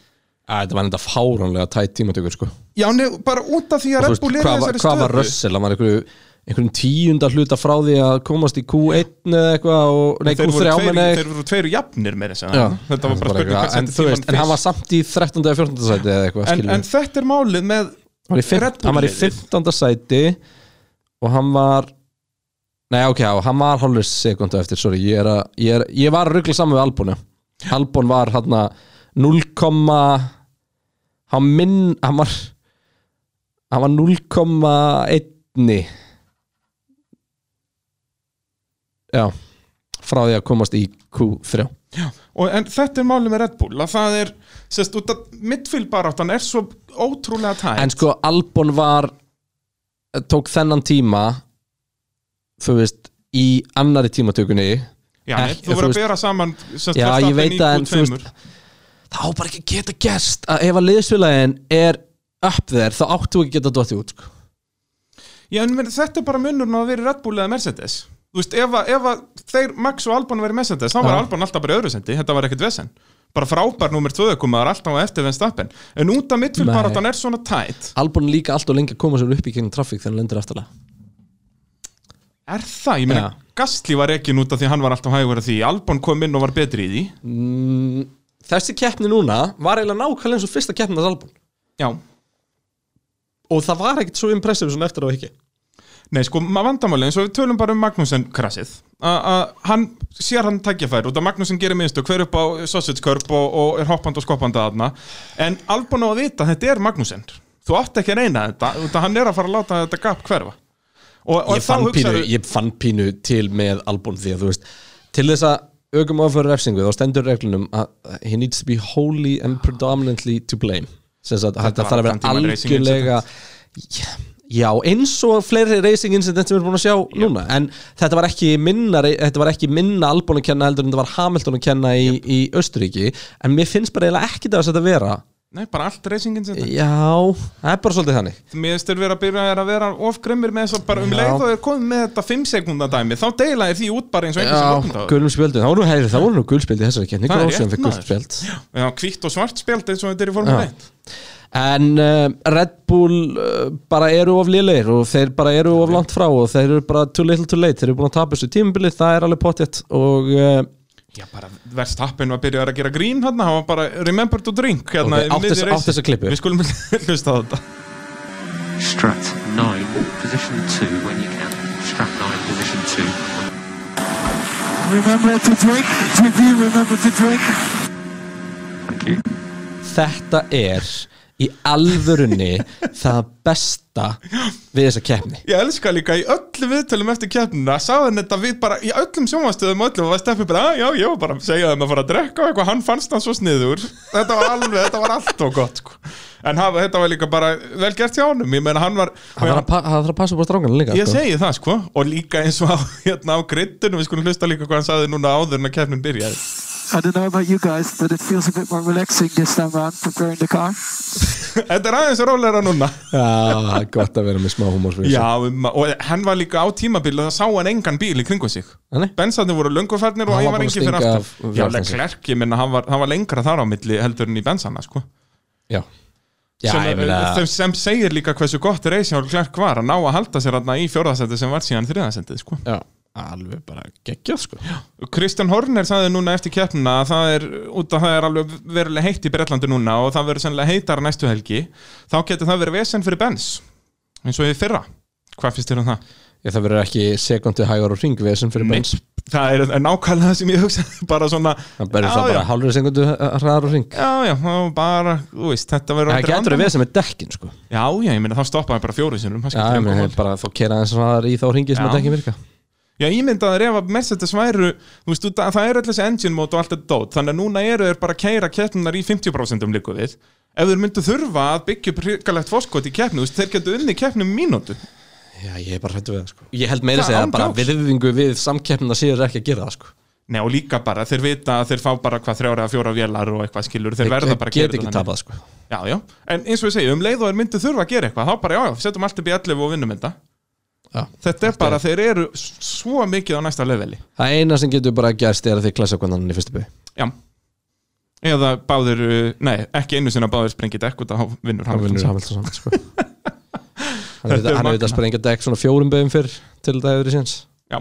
C: Æ, þetta var enda fáránlega tætt tímatökur sko.
D: Já, nef, bara út af því
C: Og
D: að
C: þú
D: Red
C: veist,
D: Bull er í
C: Hvað var,
D: þessari
C: hvað var Russell, hann var einhverju einhverjum tíunda hluta frá því að komast í Q1 eða eitthvað og, nei,
D: þeir, voru
C: Q3
D: tveir,
C: menna
D: þeir voru tveir jafnir með þess að
C: Já,
D: þetta var bara spurning hvað
C: en,
D: setti
C: þú veist, en hann
D: tímann
C: var samt í 13. eða 14. sæti eða eitthvað
D: fyrst en,
C: skilur
D: en þetta er málið með
C: hann var í,
D: Red
C: fimt,
D: Bull
C: hann var í
D: liðið.
C: 15. sæti og hann var nei ok, já, hann var hálfur sekundu eftir, sorry, ég, er að, ég, er, ég var að ruggla saman við Albonu Albon var hann 0, hann minn hann var hann var 0,1 já frá því að komast í Q3
D: og, en þetta er málið með Red Bull að það er, sérst, út af midfield baráttan er svo ótrúlega tæm
C: En sko Albon var eh, tók þennan tíma þú veist í annari tímatökunni
D: Já,
C: ekki-
D: þú
C: þú
D: verður
C: veist-
D: að bera saman sérst,
C: Já, ég
D: Verstappen
C: veit
D: í
C: það, en þú
D: Q2.
C: veist- þá bara ekki að geta gerst að ef að liðsfélagin er upp þér þá áttu ekki að geta dottið út sko.
D: Já, en meni, þetta er bara munurinn á að vera í Red Bull eða Mercedes þú veist, ef, að- ef að þeir Max og Albon verið messendis, þá var
C: Já.
D: Albon alltaf bara í öðru sendi, þetta var ekkert vesen bara frábær númer tvöðu komaðar alltaf á eftir Verstappen, en út af midfylgbaratan er svona tætt,
C: Albon er líka alltaf lengi að koma sér upp í gegnum trafík þegar hann lendir aftalega
D: er það, ég meina
C: Já.
D: Gastli var ekki út af því að hann var alltaf hægur að því, Albon kom inn og var betri í því
C: Þessi keppni núna var eiginlega nákvæmlega eins og fyrsta keppni hans Albon
D: já,
C: og það var ekkert svo impressive svona eftir á ekki
D: nei sko, maður vandamáli eins og við tölum bara um Magnúsen krasið að hann, sér hann tækjafæri út af Magnúsen gerir minnstu, hver upp á sausage curb og, og er hoppandi og skoppandi aðna en Albon á að vita, að þetta er Magnúsen þú átt ekki að reyna þetta út af hann er að fara að láta þetta gap hverfa og, og
C: ég fann, pínu,
D: hugsaðu-
C: ég fann pínu til með Albon því að þú veist til þess að aukum áfæra refsingu þá stendur reglunum að he needs to be wholly and predominantly to blame sem sagt að þetta
D: Ah. var
C: þarf að vera
D: allan tímann racing
C: algjörlega já, eins og fleiri racing incident sem við erum búin að sjá núna en þetta var ekki minna, þetta var ekki minna Albon að kenna heldur en þetta var Hamilton að kenna í, í Östuríki en mér finnst bara eiginlega ekki þess að þetta vera
D: nei, bara allt reysingin sem þetta
C: já, það er bara svolítið þannig
D: mér styrir vera að byrja að vera ofgrimmir með þess að bara um
C: Já.
D: leið og er komið með þetta 5 sekunda dæmi, þá deila er því út bara eins og einhvers sem
C: Já,
D: okkur
C: gulum spjöldum, þá voru nú hægri, þá voru nú gulspjöld í þessari kefni,
D: Það er
C: Grósjón
D: rétt,
C: fekk
D: maður.
C: gulspjöld
D: Já, hvitt og svart spjald eins og þetta er í formule
C: Já.
D: 1
C: En uh, Red Bull uh, bara eru of lélegir og þeir bara eru of langt frá og þeir eru bara too little too late, þeir eru búin að tapa þessu tímabili, það er alveg pottjett og uh,
D: Já, bara verðstappin var byrjað að gera grín hérna, hann var bara remember to drink hérna
C: Ok,
D: í
C: átt
D: miðju
C: þess-
D: reisi.
C: átt þessa klippu.
D: Við skulum hlusta á þetta
E: Strat 9, position 2 when you can. Strat 9, position 2.
A: Remember to drink. TV, remember to drink.
E: Thank you.
C: þetta er í alvörunni það besta við þessa kefni
D: Ég elska líka í öllu viðtölum eftir keppnina sagðan þetta við bara, í öllum sjónvastöðum öllu og var steppi bara, "Ah, já, ég var bara að segja þeim að fara að drekka og eitthvað, hann fannst hann svo sniður Þetta var alveg, þetta var allt og gott sko. En hafa, þetta var líka bara vel gert hjá honum, ég meina hann var
C: Það þarf að, pa það þarf að passa upp á strángana líka
D: Ég segi það sko, og líka eins og á, hérna á grittinu, við skulum hlusta líka hvað hann sagði núna áður en að keppnin byrjaði
A: I don't know about you guys, but it feels a bit more relaxing this time around preparing the car.
D: Þetta er aðeins rólegra núna
C: Já, gott að vera með smá humor fyrir
D: Já, um, og hann var líka á tímabíl og það sá hann engan bíl í kringum sig
C: Nei.
D: Bensarnir voru löngufarnir og
C: Hann
D: ég
C: var búinn
D: var
C: að
D: engin fyrir
C: stinga
D: aftan
C: af- fyrir
D: Já,
C: aftan sig.
D: Leclerc, ég minna, hann, var- hann var lengra þar á milli heldur en í bensana, sko
C: sig Já, já
D: sem, eh,
C: ég meina
D: sem, sem segir líka hversu gott reysi á Leclerc var að ná að halda sér hann í fjórðasendi sem var síðan þriðasendi, sko
C: Já, alveg bara geggjað sko Já
D: Kristján Horner sagði núna eftir keppnina að það er, út að það er alveg verulega heitt í Bretlandi núna og það verður sennilega heitar næstu helgi þá getur það verið vesen fyrir Benz eins og í fyrra, hvað finnst þér um það?
C: Ég, það verður ekki sekundu hægur og ringvesen fyrir
D: Nei,
C: Benz
D: það er nákvæmlega það sem ég hugsaði bara svona
C: Það verður það
D: já,
C: bara hálfur sekundu hraðar og ring
D: já, já, þá bara, þú veist, þetta verður
C: Það
D: aldrei
C: getur
D: vandamál.
C: við sem er dekkin sko Já,
D: Já, já, ég meina, þá stoppaði bara fjóru sinum Já,
C: ég meina, þeir bara þá kera aðeins hraðar í þá ringi sem
D: Já.
C: að dekkin virka
D: já, ég myndi að ef að Mercedes væru þú veist, það, það er öll þessi engine mode og allt þetta dót þannig að núna eru þeir bara að keira keppnunar í 50% líku við ef þeir myndu þurfa að byggja upp hrikalegt foskot í keppnu, þú veist, þeir getur unni keppnum mínútu
C: Já, ég er bara hrættu við það sko Ég held meira að
D: Það
C: segja
D: án
C: að bara
D: gráts.
C: virðingu við samkeppnina séður ekki að gera það sko
D: Nei, og líka bara, þeir vita að þeir fá bara hvað þrjára eða fjóra vélar og eitthvað skilur þeir, verða bara að
C: get
D: keyra
C: ekki
D: þetta þannig.
C: tapað sko
D: Já, já, en eins og ég segi, um leið og er myndið þurfa að gera eitthvað, þá bara, já, já, setjum allt upp í 11 og vinnum þetta.
C: Já.
D: Þetta er bara, þeir eru s- svo mikið á næsta leveli.
C: Það eina sem getur bara gerst er að þið klasa hvernig í fyrstu bygg
D: Já. Eða báður, uh, nei, ekki einu sinna báður sprengið dekk út að vinnur
C: Hann vinnur Hamilton
D: Hamilton.
C: saman sko Hann hefur
D: Þetta er
C: hann hefur
D: magnað.
C: þetta sprengja dekk svona fjórum byggjum fyrr til það hefur í séns
D: Já.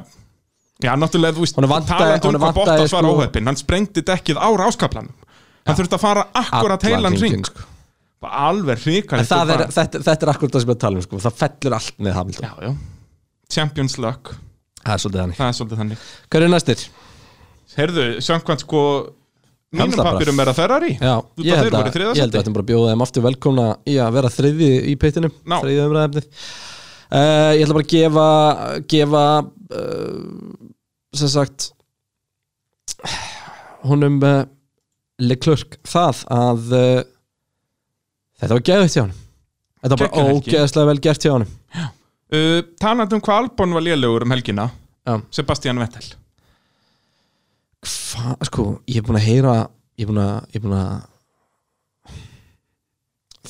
D: Já, náttúrulega, þú veist,
C: Honum vantaði-
D: talandi um
C: honum
D: hvað
C: vantaði,
D: Bottas var
C: sko-
D: óheppin, hann sprengdi dekkið á ráskaplanum. Hann þurfti að fara akkurat
C: Allan
D: heilan
C: hringinn,
D: ring.
C: sko.
D: Bara Alveg
C: En
D: hrikalegt.
C: það
D: og
C: er,
D: bara-
C: þetta, þetta er akkurat það sem ég er að tala um sko. Það fellur allt með Hamilton
D: Já, já. Champions luck.
C: Það er svolítið þannig
D: Það er svolítið þannig.
C: Hver er næstir?
D: Heyrðu, samkvæmt sko, mínum
C: Hamilton bara.
D: pappirum er að Ferrari.
C: Já,
D: Þú
C: ég
D: veist að
C: held
D: þeir
C: að,
D: voru í
C: ég held
D: þriðja
C: að
D: sæti.
C: þetta bara bjóða þeim aftur velkomna í að vera þriði í pittinu
D: Ná.
C: þriði umræðefnið uh, Ég ætla bara að gefa gefa uh, sem sagt honum uh, Leclerc það að uh, þetta var geðvægt hjá honum Þetta var bara
D: Geggjuð helgi.
C: ógeðslega vel gert hjá honum
D: Uh, talandi um hvað Albon var lélugur um helgina
C: Já.
D: Sebastian Vettel
C: Hva, sko, ég er búin að heyra ég er búin að, ég er búin að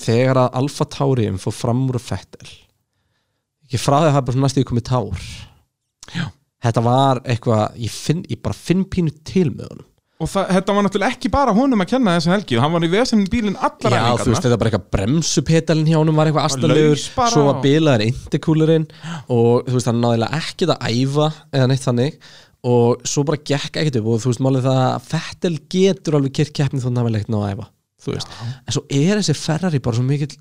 C: þegar að Alfa Taurium fór fram úr Fettel ekki frá því að það er bara svona næstu í komið Taur Já. þetta var eitthvað, ég, finn, ég bara finn pínu til með honum
D: Og það, þetta var náttúrulega ekki bara honum að kenna þessa helgi Hann var í vesinn bílinn allar
C: Já, þú veist, þetta bara eitthvað bremsupetalinn hjá honum var eitthvað astalegur,
D: laus bara
C: svo var
D: og-
C: bilaður intercoolerinn og þú veist, hann náðilega ekkert að æfa eða neitt þannig og svo bara gekk ekkert upp og þú veist, málið það að Fettel getur alveg kyrk keppni þó hann hafi leikt náð að æfa, þú veist en svo er þessi Ferrari bara svo mikill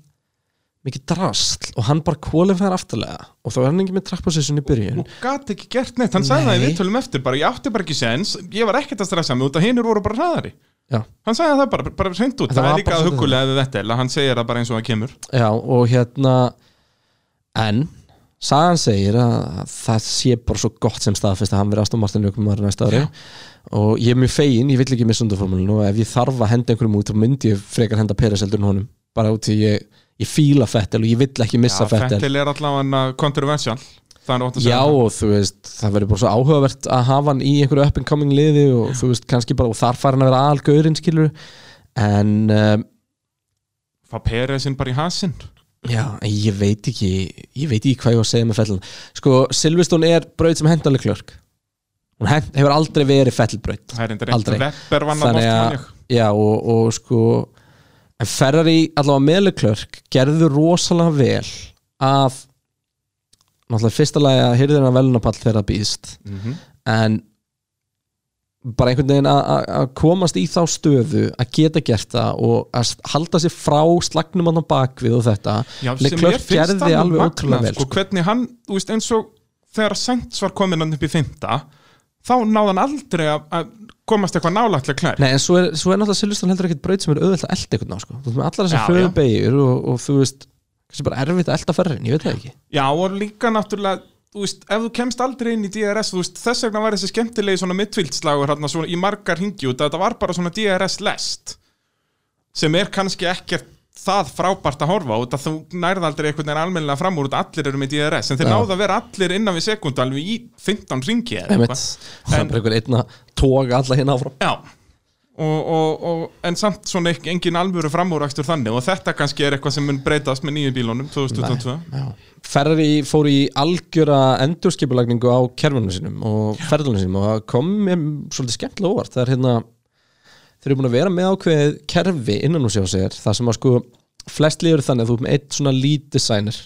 C: mikill drasl og hann bara kvalifæðar aftarlega og þá er hann ekki með trapp position í byrjun
D: Og gat ekki gert neitt, hann sagði það í
C: Nei.
D: viðtölum eftir bara, ég átti bara ekki sens, ég var ekkert að stressa mig út að hinur voru bara hraðari
C: Já.
D: Hann sagði það bara, bara reynd út,
C: Það
D: það
C: var
D: er líka
C: bara svolítið
D: hugulega við þetta að hann segir það bara eins og það kemur
C: Já, og hérna en Sagan segir að það sé bara svo gott sem staðfest að hann verið Aston Martin ljókumar næsta ári og ég er mjög fegin, ég vill ekki missa undarformúlinu og ef ég þarf að henda einhverjum út þá myndi ég frekar henda Peres heldur en honum bara út í ég, ég fíla Fettel og ég vill ekki missa Fettel
D: Fettil er allavega kontroversial Það er ótt að segja
C: Já
D: það.
C: og þú veist, það verður bara svo áhugavert að hafa hann í einhverju up and coming liði og þú veist, kannski bara, og þar fær hann að vera algaurinn skilur en um,
D: Fá Peresin bara í hasinn
C: Já, en ég veit ekki ég veit ekki hvað ég var að segja með fellan sko, Silveston er braut sem hendanleg klörk hún hent, hefur aldrei verið fellbraut
D: Það er endur
C: Aldrei.
D: eitthvað Webber vann að móta hann
C: já, og, og sko en Ferrari allavega meðleg klörk gerðu rosalega vel af náttúrulega í fyrsta lagi að hyrðin að velunapall þegar það býðst en bara einhvern veginn að- að að komast í þá stöðu að geta gert það og að s- halda sér frá slagnum hann á bakvið og þetta
D: Já, sem
C: Leclerc
D: ég finnst
C: gerði
D: alveg
C: alveg ótrúlega
D: magnað,
C: vel,
D: sko,
C: sko.
D: hvernig hann, þú veist, eins og þegar Sainz var komin hann upp í fymta þá náði hann aldrei að- að komast eitthvað nálætlega klær
C: Nei, en svo er, svo er náttúrulega Silveston heldur ekkert braut sem er auðvelt að elda einhvern á sko. Þú veist með allar
D: Já,
C: þessar
D: já.
C: hlöðubegjur og, og þú veist, kannski bara erfitt að elda ferrin, ég veit það ekki
D: Já, og líka náttúrulega þú veist, ef þú kemst aldrei inn í DRS þú veist, þess vegna var þessi skemmtilegi svona mittvíldslagur hérna, svona, í margar hingi út að þetta var bara svona DRS lest sem er kannski ekkert það frábært að horfa út að þú nærða aldrei einhvern veginn almennilega fram úr út að allir eru með DRS en þeir
C: Já.
D: náðu að vera allir innan við sekundu alveg í 15 ringi eða
C: Einmitt,
D: eitthvað.
C: það er bara einhver einn að toga alla hérna áfram
D: Já og, og, og, en samt svona ek- engin alvöru framúrækstur þannig og þetta kannski er eitthvað sem mun breytast með nýju bílunum 2022
C: Ferri fór í algjöra endurskipulagningu á kerfunum sínum og ferðunum sínum og það kom mér svolítið skemmtilega óvart það er hérna þeir eru búin að vera með ákveðið kerfi innan úr sér á sér það sem að sko flest liður þannig að þú ert með eitt svona lead designer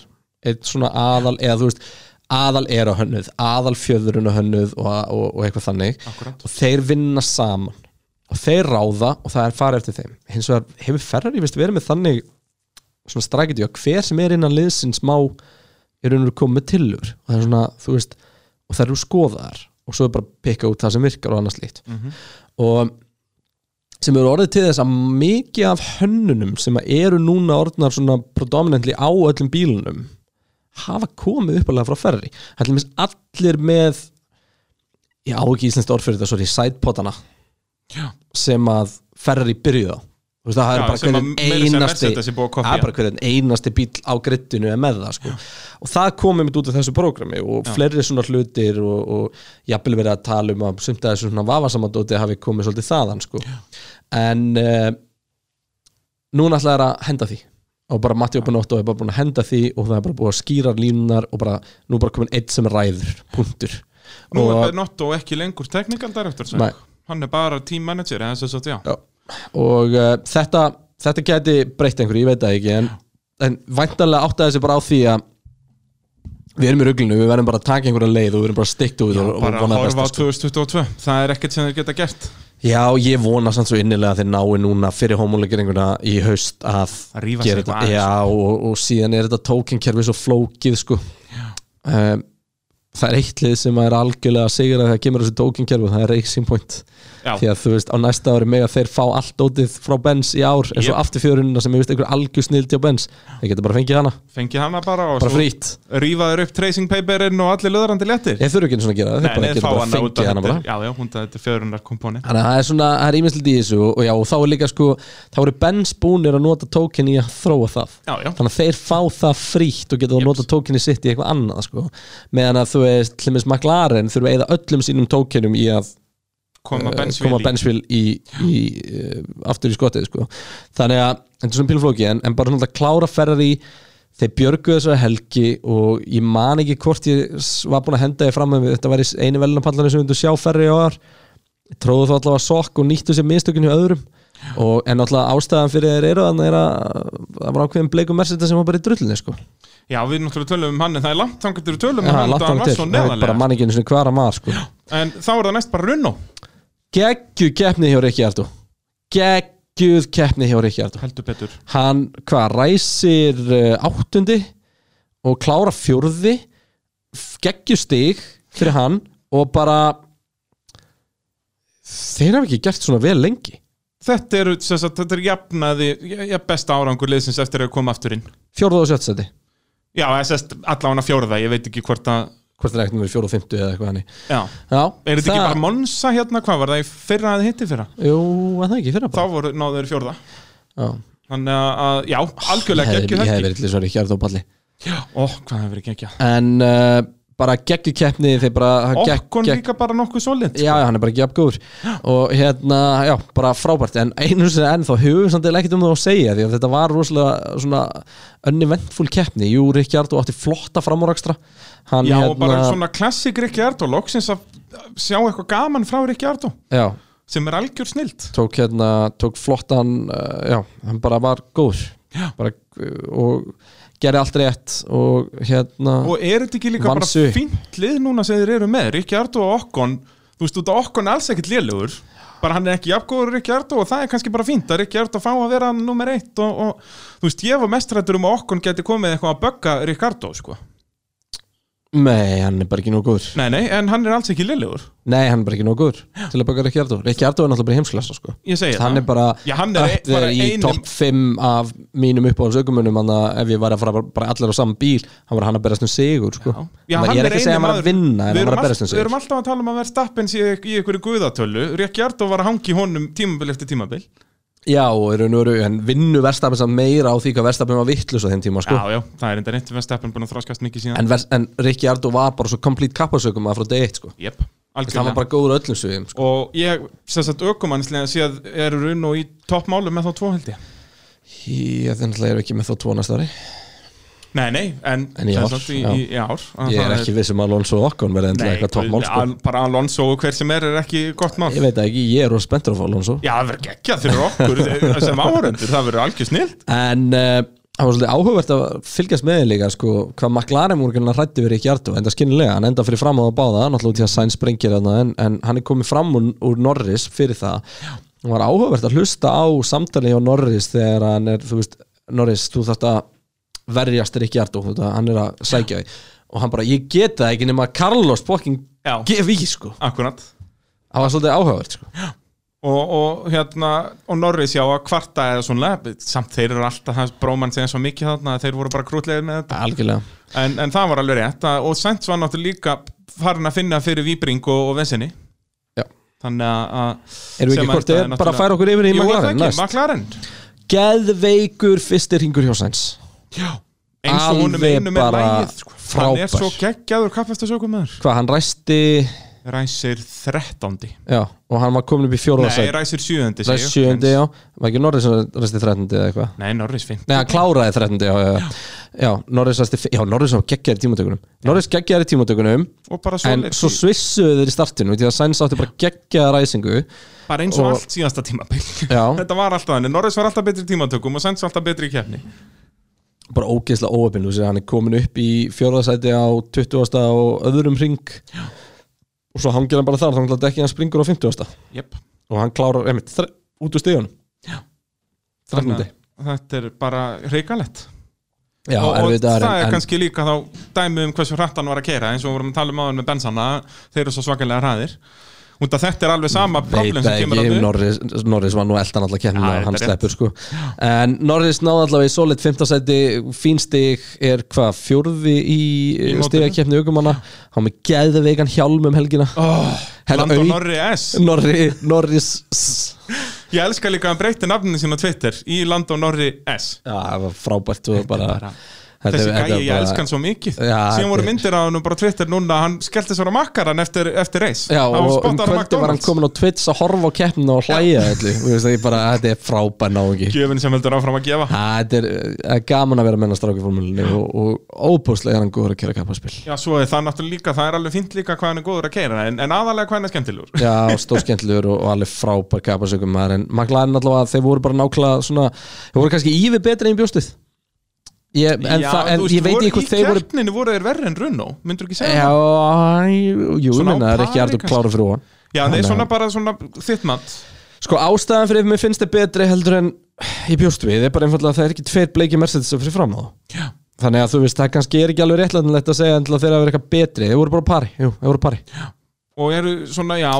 C: eitt svona aðal eða þú veist aðal er á hönnuð, aðal fjöðurinn á hönnuð og, og, og eitthvað þannig
D: Akkúrat.
C: og þeir vinna saman og þeir ráða og það er farið eftir þeim hins vegar hefur Ferrari vist verið með þannig svona strategy að hver sem er innan liðsins má er raunur komið tillur og það er svona, þú veist og það eru skoðaðar og svo er bara að pikka út það sem virkar og annars líkt og sem eru orðið til þess að mikið af hönnunum sem að eru núna orðnar svona predominantly á öllum bílunum hafa komið uppalega frá ferri allir, allir með ég á ekki íslenskt orð fyrir þetta, sorry, sætpotana
D: Já.
C: sem að ferri byrjuða þú veist það er
D: Já,
C: bara
D: sem að meira
C: hverjum
D: að segja
C: einasti
D: Mercedes er búið að kopía.
C: það er bara hverjum einasti bíl á grittinu er með það sko. og það komið mitt út af þessu prógrami og fleiri svona hlutir og, og jafnvel verið að tala um að sumt að þessu svona vafasamandóti hafi komið svolítið þaðan sko. en uh, núna ætlaði það að henda því og bara Matti Opinotto er bara búin að henda því og það er bara búin að skýra línunar og bara, nú er bara komin eitt sem ræður, punktur
D: Nú er
C: og,
D: Benotto ekki lengur technical director sem.
C: Nei.
D: hann er bara team manager eða þess að já.
C: Já. og uh, þetta, þetta geti breytt einhverju, ég veit það ekki en, en væntanlega áttaði sig bara á því að við erum í ruglinu, við verðum bara að taka einhverja leið og við erum bara stikt út og, og
D: bara
C: vona það
D: horfa á
C: besta, sko.
D: 2022 það er ekkert sem þeir geta gert
C: Já, ég vona samt svo innilega að þeir nái núna fyrir homolegeringuna í haust að,
D: Að rífa sig
C: gera
D: eitthvað
C: þetta
D: aðeins.
C: Já, og, og síðan er þetta tokenkerfi svo flókið sko um, Það er eitt lið sem er algjörlega að sigra þegar kemur að þessu tokenkerfi, það er Racing Point því
D: já,
C: að þú veist á næsta ári mega þeir fá allt dótið frá Benz í ár eins og
D: Jep.
C: aftur fjörunina sem ég veist einhver algjör snildi á Benz þeir geta bara fengið hana,
D: fengi hana bara og
C: bara frýtt
D: rífaður upp tracing paperinn og allir löðrandi léttir
C: ég þurfi ekki einu svona að gera það, þeir bara
D: þeir
C: geta
D: fá
C: bara
D: út af
C: fengið hana bara
D: þetta- já, já, hún þetta er fjörunar komponent
C: Þannig að það er svona, það er ímislegt í þessu og, og já, og þá er líka sko, þá eru Benz búnir að nota tókin í að þróa það
D: já, já,
C: þannig að þeir fá það frítt og geta þá
D: Jeps.
C: nota tókinni sitt í eitthvað annað sko. meðan að þú veist, hlimis McLaren þurfa að eyða öllum sínum tókinum í að
D: koma
C: Eh,
D: Benz
C: koma
D: Willi.
C: bensvíl í, í e, uh, aftur í skotið sko. þannig að, þetta er svona pílflóki en, en bara náttúrulega klára ferðar í þeir björguðu þessari helgi og ég man ekki hvort ég s- var búin að henda þið fram með þetta var í s- einu velunapallarinn sem við sjá færri á þar tróðu þá allavega sokk og nýttu sér mistökinn hjá öðrum og, en allavega ástæðan fyrir þeir eru þannig er að það var ákveðin bleikum mersita sem var bara í drullinni sko
D: Já, við náttúrulega tölum um hann en það er langt þangar til við tölum um
C: Já,
D: hann
C: langt
D: þetta hann
C: þangað
D: var
C: til.
D: svo
C: Það er bara
D: neðalega
C: manninginu sinni hvar að maður sko
D: En þá er það næst bara Runó
C: geggjuð keppni hjá Rikki Ardó geggjuð keppni hjá Rikki Ardó
D: Heldur betur
C: hann hvað ræsir uh, áttundi og klára fjórði geggjuð stig fyrir hann og bara þeir hafa ekki gert svona vel lengi
D: Þetta er, sagt, þetta er jafnaði, ja, besta árangur liðsins eftir að koma aftur inn
C: fjórða og sjötsæti
D: Já, sest, allan að fjórða, ég veit ekki hvort að
C: hvort er ekkert með fjóra og fymtu eða eitthvað hann
D: Já,
C: Já,
D: er þetta ekki
C: það-
D: bara Monsa hérna, hvað var það í fyrra að hitti fyrra?
C: Jú, að það ekki fyrir
D: Þá
C: bara
D: voru náður fjórða
C: Já.
D: Þannig að- að, já,
C: Ég
D: algjörlega
C: hefði
D: geggju
C: ég hefði
D: helgi
C: verið til þess að Rikki Ardó balli
D: Ó, hvað hefur verið geggja
C: en uh, bara geggjuð keppni þeir bara það gekk-
D: Okkon
C: gekk-
D: líka bara nokkuð solid
C: Já, já, hann er bara gefgúr og hérna, já, bara frábært en einu sinni enn þá höfum við samt eða ekkert um það að segja því að þetta var rosalega svona önnivenntfúl keppni, jú, Ríkjard og átti flotta framúrakstra hann,
D: Já,
C: hérna,
D: og bara svona klassik Rikki Ardó Loksins að sjá eitthvað gaman frá Rikki Ardó
C: já,
D: sem er algjör snilt
C: tók hérna, tók flottan uh, já, hann bara var góður
D: Já.
C: bara, uh, og gerði allt rétt og hérna
D: og er þetta ekki líka
C: Vann
D: bara
C: sig upp.
D: fínt lið núna sem þeir eru með Rikki Ardó og Okkon þú veist, út af Okkon er alls ekkert liðlegur bara hann er ekki jafngóður Rikki Ardó og það er kannski bara fínt að Rikki Ardó fá að vera nummer eitt og, og þú veist, ég var mestrættur um að Okkon geti komið eitthvað að bögga Rikki Ardó sko.
C: nei, hann er bara ekki nóg góður
D: nei, nei, en hann er alls ekki liðlegur
C: nei, hann er bara ekki nóg góður til að baka Ríkjard og Ríkjard er náttúrulega bara heimsklassa, sko
D: ég segi
C: hann
D: það
C: er bara
D: Já, hann er
C: upp
D: ein- bara
C: þegar í
D: einum-
C: topp 5 af mínum uppáhalds ökumunum hann að ef ég var að fara bara- bara allir á saman bíl hann var hann að berast um sigur sko.
D: Já,
C: Hann var-
D: hann
C: ég er ekki að segja
D: eini
C: að hann var að
D: maður-
C: vinna en
D: Við
C: hann var
D: erum
C: að berast um
D: all- Við
C: sigur
D: erum alltaf að tala um að vera stappin í, í einhverju guðatölu Rikki Ardó var að hangi honum tímabil eftir tímabil
C: já, og í raun og veru, en vinnu verstafin samt meira á því hvað verstafin var vittlus á þeim tíma sko.
D: Já, já, það er enda neitt við stappin búin að þráskast mikið síðan
C: en, vers, en Rikki Ardó var bara svo komplít kappasökum að frá day 1 sko.
D: Jep,
C: Þess, hann
D: algjörlega
C: var bara góður á öllum sviðum sko.
D: og ég, sem sagt, ökumannslega séð eru runn og í toppmálum með þá tvo held ég
C: ég þannig er ekki með þá tónast ári
D: Nei, nei, en,
C: En í
D: sem
C: ár,
D: sagt, í,
C: já.
D: í, í ár að
C: ég
D: það
C: er ekki vissum að Alonso og Okkon verði endilega
D: Nei,
C: eitthvað toppmál sko.
D: Al- bara Alonso og hver sem er er ekki gott mál
C: ég veit það ekki, ég er rosa spenntur á að fá Alonso
D: Já, það verður geggjað fyrir okkur eh, sem áhörendur, það verður algjör snilt
C: En eh, það var svolítið áhugavert að fylgjast með þeim líka sko, hvað McLaren voru gæmlega hrætti verið ekki Ardó enda skinnilega, hann enda fyrir fram á það báða náttúrulega út í að Sainz sprengir þarna en, en hann er komið fram úr, úr Norris fyrir það og var áhugavert að hlusta á samtali hjá Norris þegar hann er þú veist, Norris, þú þarft að verjast er ekki Ardó, þú veist að hann er að sækja því og hann bara, ég get það ekki nema Carlos Bokking
D: Já.
C: gef í sko
D: Akkurat
C: það var svolítið áhugavert sko
D: og, og hérna, og Norris já að kvarta eða svona samt þeir eru alltaf, það bróman segja svo mikið þarna að þeir voru bara krútlegir með þetta
C: algjörlega
D: en, en það var alveg rétt að, og Sainz var náttúrulega líka farin að finna fyrir Víbring og, og Vesenni
C: Já.
D: þannig að- að
C: Erum við
D: sem
C: ekki hvort eð
D: endaði
C: er bara að
D: náttúrulega-
C: færa okkur yfir í
D: Jú, er það
C: McLaren
D: ekki,
C: næst?
D: McLaren
C: Geðveikur fyrstir hingur hjá Sainz
D: eins og honum
C: Alveg
D: einu með
C: bara
D: lægið sko. hann er
C: frábær.
D: svo geggjaður kappastasökum maður
C: hvað hann ræsti
D: ræsir 13.
C: já, og hann var komin upp í fjóruða
D: nei,
C: sæt
D: ræsir 7.
C: ræsti sjöndi, já, var ekki Norris sem ræsti þrettandi eða eitthvað,
D: nei, Norris 5.
C: nei hann kláraði þrettandi já, já, já. já, Norris ræsti f- já, Norris var geggjaður í tímatökunum Norris geggjaður í tímatökunum
D: og bara svo,
C: en svo svissuðu þeir í startinu því að Sainz átti bara geggjaða ræsingu
D: bara eins og,
C: og-
D: allt síðasta tímabil
C: Já.
D: þetta var alltaf þannig, Norris var alltaf betri í tímatökum og Sainz var alltaf betri í keppni
C: bara ógeðslega óöpinn, þú sér hann er komin upp í fjóruða sæti á 20. og öðrum ring já. og svo hangir hann bara þar, þannig að ekki hann springur á 50.
D: yep.
C: og hann klárar, einmitt, þre- út úr stíðunum þrettandi
D: þetta er bara hreikalett
C: Já,
D: og, og
C: erfitt
D: það
C: að
D: er
C: en,
D: kannski líka þá dæmi um hversu hrætt hann var að keira eins og við vorum að tala um áður með bensana þeir eru svo svakalega hræðir út að þetta er alveg sama problem
C: veit
D: sem
C: ekki,
D: kemur að þau
C: Norris, Norris var nú eldan alltaf kemna
D: Já,
C: ja, hann
D: þetta er rétt.
C: sleppur sko en Norris náði allavega í solid 15 seti fínstig er hvað fjórði í, eh,
D: Í
C: í
D: mótinu.
C: stigakefni aukumanna hann með geðveikan hjálm um helgina
D: oh,
C: Herra,
D: Lando
C: au-
D: Norri S
C: Norri, Norris s-
D: ég elska líka að hann breyti nafninu sín á Twitter í Lando Norri S
C: Já, það var frábært og bara
D: bara-
C: Þetta-
D: þessi
C: þetta
D: gæi, ég
C: bara-
D: elska hann svo mikið
C: Já,
D: síðan voru
C: þetta-
D: myndir á hann og bara Twitter núna hann skellti sér á makkaran eftir, eftir reis
C: Já,
D: Hann var
C: og um
D: spottaður á
C: kvöldi var hann
D: McDonald's.
C: komin á Twitch að horfa á keppnina og hlæja öllu Þú veist, ég bara, þetta er frábær náungi
D: gjöfin sem heldur áfram að gefa
C: Ha, Þetta er, það er gaman að vera menna stráki formúlinni og, og óbúslega er hann góður að kera kappaspil
D: Já, svo er það náttúrulega líka, það er alveg fint líka hvað hann er góður að keira, en, en aðalega hvað hann er skemmtilegur.
C: Já, stóðskendlur og, og alveg frábær kapparsökum maður en McLaren allavega, þeir voru bara nákvæmlega svona, þeir voru kannski ívið betri en bjóstið ég, en,
D: Já,
C: já, en
D: þú veist,
C: ég veit
D: voru
C: ekki hvort þeir
D: Í
C: voru
D: kjarninni voru þeir verri en Runó, myndur ekki segja það?
C: Já, jú, jú,
D: Svona á
C: minna, það er ekki
D: pari
C: alveg
D: kannski.
C: klára fyrir hún
D: Já, þeir
C: Þannig
D: svona
C: að-
D: bara svona þitt mat.
C: Sko ástæðan fyrir ef mér finnst þið betri heldur en ég bjóst við er bara einfallega að það er ekki tveir bleiki Mercedes fyrir fram á þá
D: Já.
C: Þannig að þú veist, það kannski er ekki alveg réttlætanlegt að segja endilega þeirra að vera eitthvað betri Þeir voru bara á pari, jú, þeir voru á pari
D: Og eru svona, já,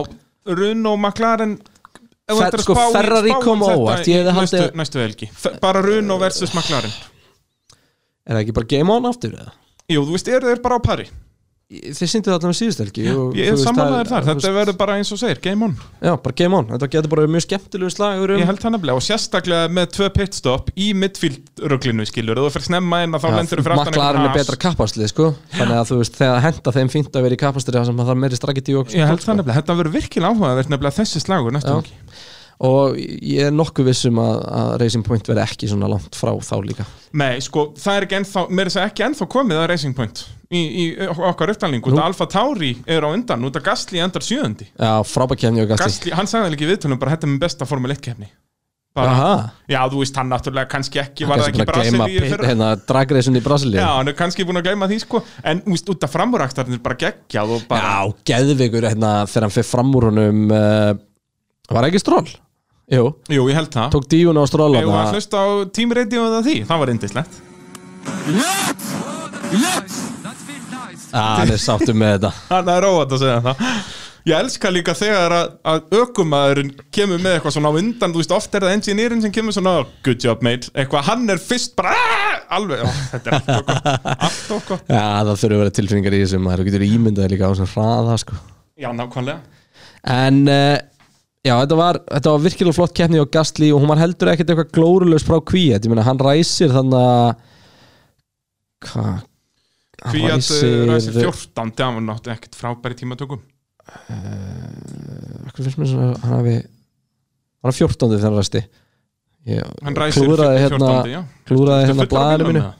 D: Runó, McLaren, ef þú
C: Fer-
D: ættir að
C: sko,
D: spá í-
C: Ferrari
D: spá í
C: kom á
D: þetta
C: óvart,
D: í
C: ég hefði
D: næstu,
C: haldið-
D: næstu helgi. Fe- Bara Runó versus McLaren.
C: Er það ekki bara game on aftur eða?
D: Jú, þú veist, eru þeir bara á pari.
C: Þeir sýndu það allavega síðust helgi og þú
D: Ég er
C: veist, það
D: samanlegaður þar,
C: þú
D: þetta
C: veist-
D: verður bara eins og segir, game on.
C: Já, bara game on, þetta getur bara verið mjög skemmtilegu slagur um
D: Ég held það nefnilega og sérstaklega með tvö pitstop í midfield-ruglinu skilur og þú fyrir snemma inn að þá lendur þú fyrir aftan
C: Maklarinn er
D: einhvern has.
C: betra kappaslið, sko Þannig að þú veist, þegar það henda þeim fínt að vera í kappaslið þar sem það er meiri strakkiti og
D: Ég held það nefnilega, þetta verður virkilega áhugavert nefnilega þessi slagur næstu
C: Já.
D: helgi.
C: Og ég er nokkuð vissum að, að Racing Point verði ekki svona langt frá þá líka
D: Nei, sko, það er ekki ennþá, mér er þess að segja ekki ennþá komið að Racing Point í, í okkar upptalningu, út að Alfa Tauri er á undan, út að Gastli endar sjöðundi.
C: Já, frábækjæfni og gasti
D: Gastli, hann sagði líka í viðtölum bara, þetta er minn besta Formule 1 kefni. Bara,
C: Aha,
D: já, þú veist, hann náttúrulega kannski ekki, var
C: kannski
D: það ekki
C: bara að gleyma
D: Brasilíu í
C: pit-
D: fyrra?
C: hérna, dragreisun í Brasilíu
D: Já, hann er kannski búin að gleyma því sko En úst, út af framúraktarnir bara geggjað og bara
C: Já, geðvigur hérna, þegar hann fyrir fram úr honum uh, Var ekki stról? Jú,
D: Jú, ég held það
C: tók díun á stról
D: Ég var
C: þarna.
D: að hlusta á tímreitið og það því Það var indislegt
C: Já, hann er sáttum með þetta
D: Það er óvænt að segja það Ég elska líka þegar að, að ökumæðurinn kemur með eitthvað svona á undan Þú veist, oft er það engineerin sem kemur svona "Oh, Good job, mate Eitthvað, hann er fyrst bara "Ah!" Alveg, ó, þetta er allt okkur Allt okkur
C: Já, það þurfa að vera tilfinningar í þessum maður getur ímyndað líka á þessum hraða sko.
D: Já, nákvæmlega
C: en uh, já, þetta var, þetta var virkilega flott keppni á Gastli og hún var heldur ekkert eitthvað glórulegs frá Kvíat ég meina, hann ræsir þannig að hvað hann
D: Kvíat eh,
C: ræsir-
D: uh, ræsir 14 Það var náttúrulega ekkert frábæri tímatökum
C: Akkur finnst mér svona, hann hafi hann var 14. þegar hann ræsti ég,
D: Hann ræsir
C: klúðraði
D: 14,
C: hérna,
D: já
C: klúraði hérna
D: Þetta er fullur á
C: blæðinu mínu
D: bílnum,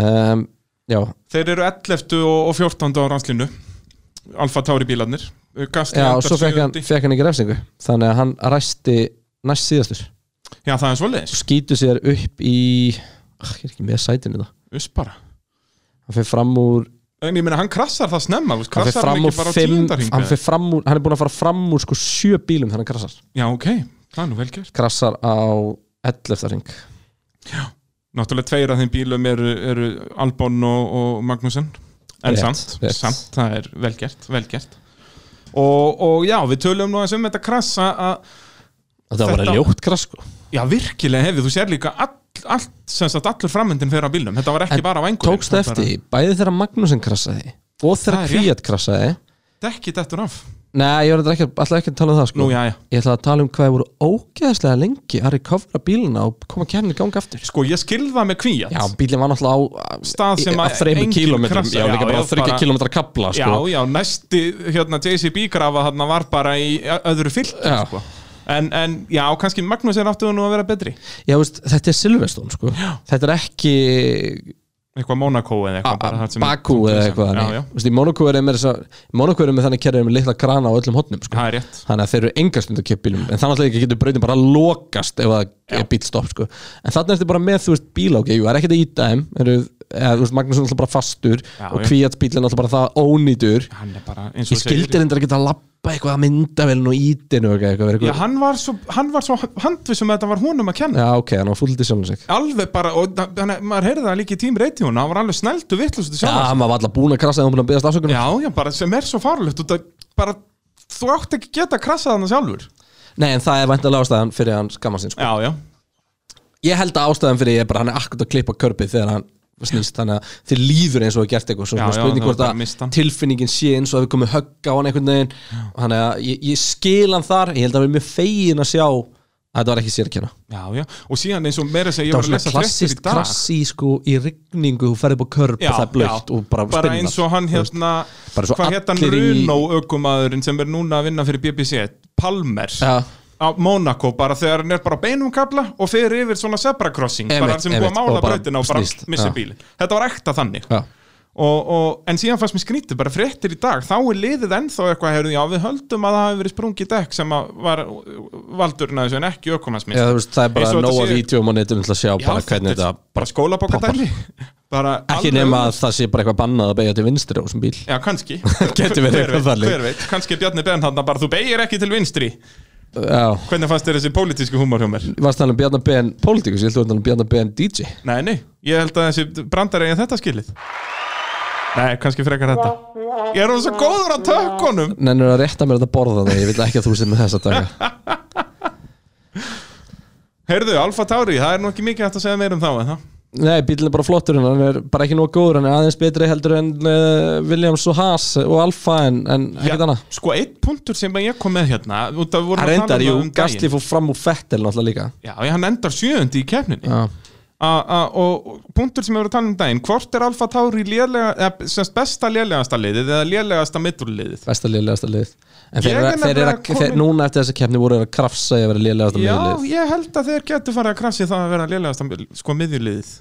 D: eða?
C: um, já,
D: Þeir eru 11 og og 14 á ranslinu Alfa Tauri bílarnir Gastli
C: já og
D: endar
C: svo fekk hann,
D: sjöundi.
C: fekk hann ekki refsingu þannig að hann ræsti næst síðastur
D: Já, það er svoleiðis,
C: skýtu sér upp í Ach, ég er ekki með sætinu það
D: us bara
C: hann fyrir fram úr
D: En ég meina, hann krassar það snemma, þú veist,
C: hann fyrir
D: krassar
C: fram
D: hann
C: úr,
D: ekki bara á
C: fimm,
D: tíundarhingu?
C: hann, fyrir fram úr hann er búin að fara fram úr sko sjö bílum þannig að hann krassar
D: Já, ok, það er nú vel gert.
C: krassar á 11. ring
D: Náttúrulega tveir af þeim bílum eru, eru Albon og, og Magnussen, en
C: Rétt,
D: samt,
C: rétt.
D: samt, það er vel gert, vel gert. Og, og já, við tölum nú aðeins um þetta krassa að,
C: þetta var bara
D: Þetta-
C: ljótt krass sko
D: já, virkilega hefði, þú sér líka all, allt, sem sagt, allur framöndin fyrir að bílum, þetta var ekki
C: En
D: bara á engurinn.
C: tókst það eftir, því, bæði þegar Magnúsin krassaði og
D: Það
C: þegar
D: er rétt.
C: Kvíat krassaði
D: Þetta ekki dettur af.
C: nei, ég var reyndar ekki, alltaf ekki að tala um það sko
D: Nú, já, já.
C: ég ætla að tala um hvað þeir voru ógeðslega lengi að recovera bíluna og koma kemni í gang aftur
D: Sko, ég skilða með kvíat.
C: já, bílinn var náttúrulega á
D: Stað sem
C: að
D: að
C: þreymur
D: enginn
C: kílómetrum
D: krassa-
C: já, líka
D: já,
C: bara
D: já, bara-
C: þryggja kílómetra kabla sko.
D: Já, já, næsti hérna, JCB grafa þarna var bara í ö- öðru fyllt
C: Já.
D: sko. en, en já, kannski Magnús er áttuðu nú að vera betri
C: Já, veist, þetta er Silveston sko. þetta er ekki
D: eitthvað Monaco eða eitthvað bara það sem-
C: Bakú eða eitthvað
D: já,
C: þannig.
D: já,
C: Þú veist, í Monaco er með, þessa, Monaco er með þannig kerfið með litla krana á öllum hotnum sko.
D: það er rétt
C: þannig að þeir eru engast undir keppbílum en þannig að getur brautin bara lokast ef það er bílstopp sko. en þannig er þetta bara með þú veist bíl ákveð það er ekkert að íta þeim eru, eða, þú veist, Magnússon er alltaf bara fastur
D: Já,
C: og
D: já.
C: kvíats bílinn er alltaf bara það ónýtur
D: hann er bara eins og
C: ég skildi reyndar ekki að lappa eitthvað að mynda vel nú ítinu eitthvað, eitthvað,
D: já,
C: eitthvað.
D: hann var svo, hann var svo handvissum að þetta var honum að kenna
C: Já, ok, hann var fúldið sjálfum sig
D: alveg bara, og hann, maður heyrði það líka í tím reytjónu, hann var alveg snældu vittlust
C: Já,
D: já,
C: maður var alltaf búin að krasa þegar hann búin að beðast afsökunar
D: já, já, bara sem er svo farlegt út að bara, þú átt ekki geta að krassa þarna sjálfur
C: Nei, en það er væntalega ástæðan fyrir hann skamma sín sko.
D: já, já,
C: Ég held að ástæðan fyrir ég er bara hann er akkurat að klippa körpið þegar hann snýst þannig að þið líður eins og að gert eitthvað svo
D: Já,
C: svona
D: já,
C: spurning
D: það var
C: hvort
D: bara
C: að
D: mist hann.
C: tilfinningin sé eins og að við komum högg á hann einhvern veginn þannig að ég, ég skil hann þar ég held að við erum mjög fegin að sjá þetta var ekki sérkenna
D: já, já, og síðan eins og meira að segja ég
C: það
D: var
C: var
D: að
C: svona
D: lesa fréttir í
C: klassist
D: dag
C: krassi sko í rigningu þú ferði upp á körp
D: Já,
C: og það er blöitt
D: já.
C: og bara,
D: bara
C: spinnar.
D: eins og hann
C: Þú veist,
D: hérna
C: bara svo
D: hvað hérna
C: allir í-
D: Runo aukumæðurinn sem er núna að vinna fyrir BBC Palmer
C: Já.
D: á Monaco bara þegar hann er bara á beinum kabla og fer yfir svona zebra crossing bara
C: Einmitt,
D: sem búið að
C: einmitt,
D: mála
C: og bara
D: brautina og bara
C: snýst,
D: missa
C: já.
D: bílinn þetta var ekta þannig
C: Já.
D: og, og, en síðan fannst mér skrítið bara fréttir í dag þá er liðið ennþá eitthvað heyrðu, já, við höldum að það hafi verið sprungið dekk sem að var valdurinn að þessu en ekki
C: Já,
D: ökumannsmist
C: þú veist, það er
D: Eins
C: bara
D: og þetta
C: nóga
D: sé-
C: vídjum og netum til að sjá bara hvernig þetta
D: bara skólabokadæmi bara
C: ekki
D: alveg
C: nema
D: augljóst.
C: að það sé bara eitthvað bannað að beigja til vinstri á þessum bíl
D: Já, kannski
C: Gæti verið
D: Hver
C: eitthvað
D: veit,
C: þannig.
D: Hver veit, kannski er Bjarni Benhanna bara þú beigir ekki til vinstri
C: já,
D: Hvernig fannst þér þessi pólitísku húmor hjá mér?
C: varst um það alveg Bjarnar BN Politikus, ég held að um það alveg Bjarnar BN DJ
D: Nei, nei, ég held að þessi brandar eiga þetta skilið Nei, kannski frekar þetta Ég er hún svo góður á tökkunum
C: Nennir að rétta mér þetta borða þannig, ég vil ekki að þú sér með þessa daga
D: Heyrðu, Alfa Tauri, það er nú ekki mikið hægt að segja meir um þá en það
C: Nei, bílinn er bara flottur en hann er bara ekki nóg góður hann er aðeins betri heldur en uh, Williams og Haas og Alfa en, en ekkert annað
D: Sko, einn punktur sem ég kom með hérna út af við vorum
C: Það
D: að tala
C: reyndar,
D: um
C: jú,
D: það um daginn.
C: Gastli fór fram úr Fettel náttúrulega líka
D: Já, hann endar sjöundi í keppninni
C: Já.
D: A- a- og og punktur sem ég voru að tala um daginn hvort er Alfa Tauri lélega, eða, semst besta lélegasta liðið eða lélegasta middurliðið
C: besta liðlegasta lið En
D: Ég
C: þeir,
D: er
C: þeir, þeir,
D: nefnilega
C: komin... þeir
D: komin-
C: núna eftir þessa keppni voru þeir að krafsa í að vera liðlegasta
D: Já,
C: miðlið
D: ég held að þeir getur farið að krasja það að vera lélegasta mið- sko miðjurliðið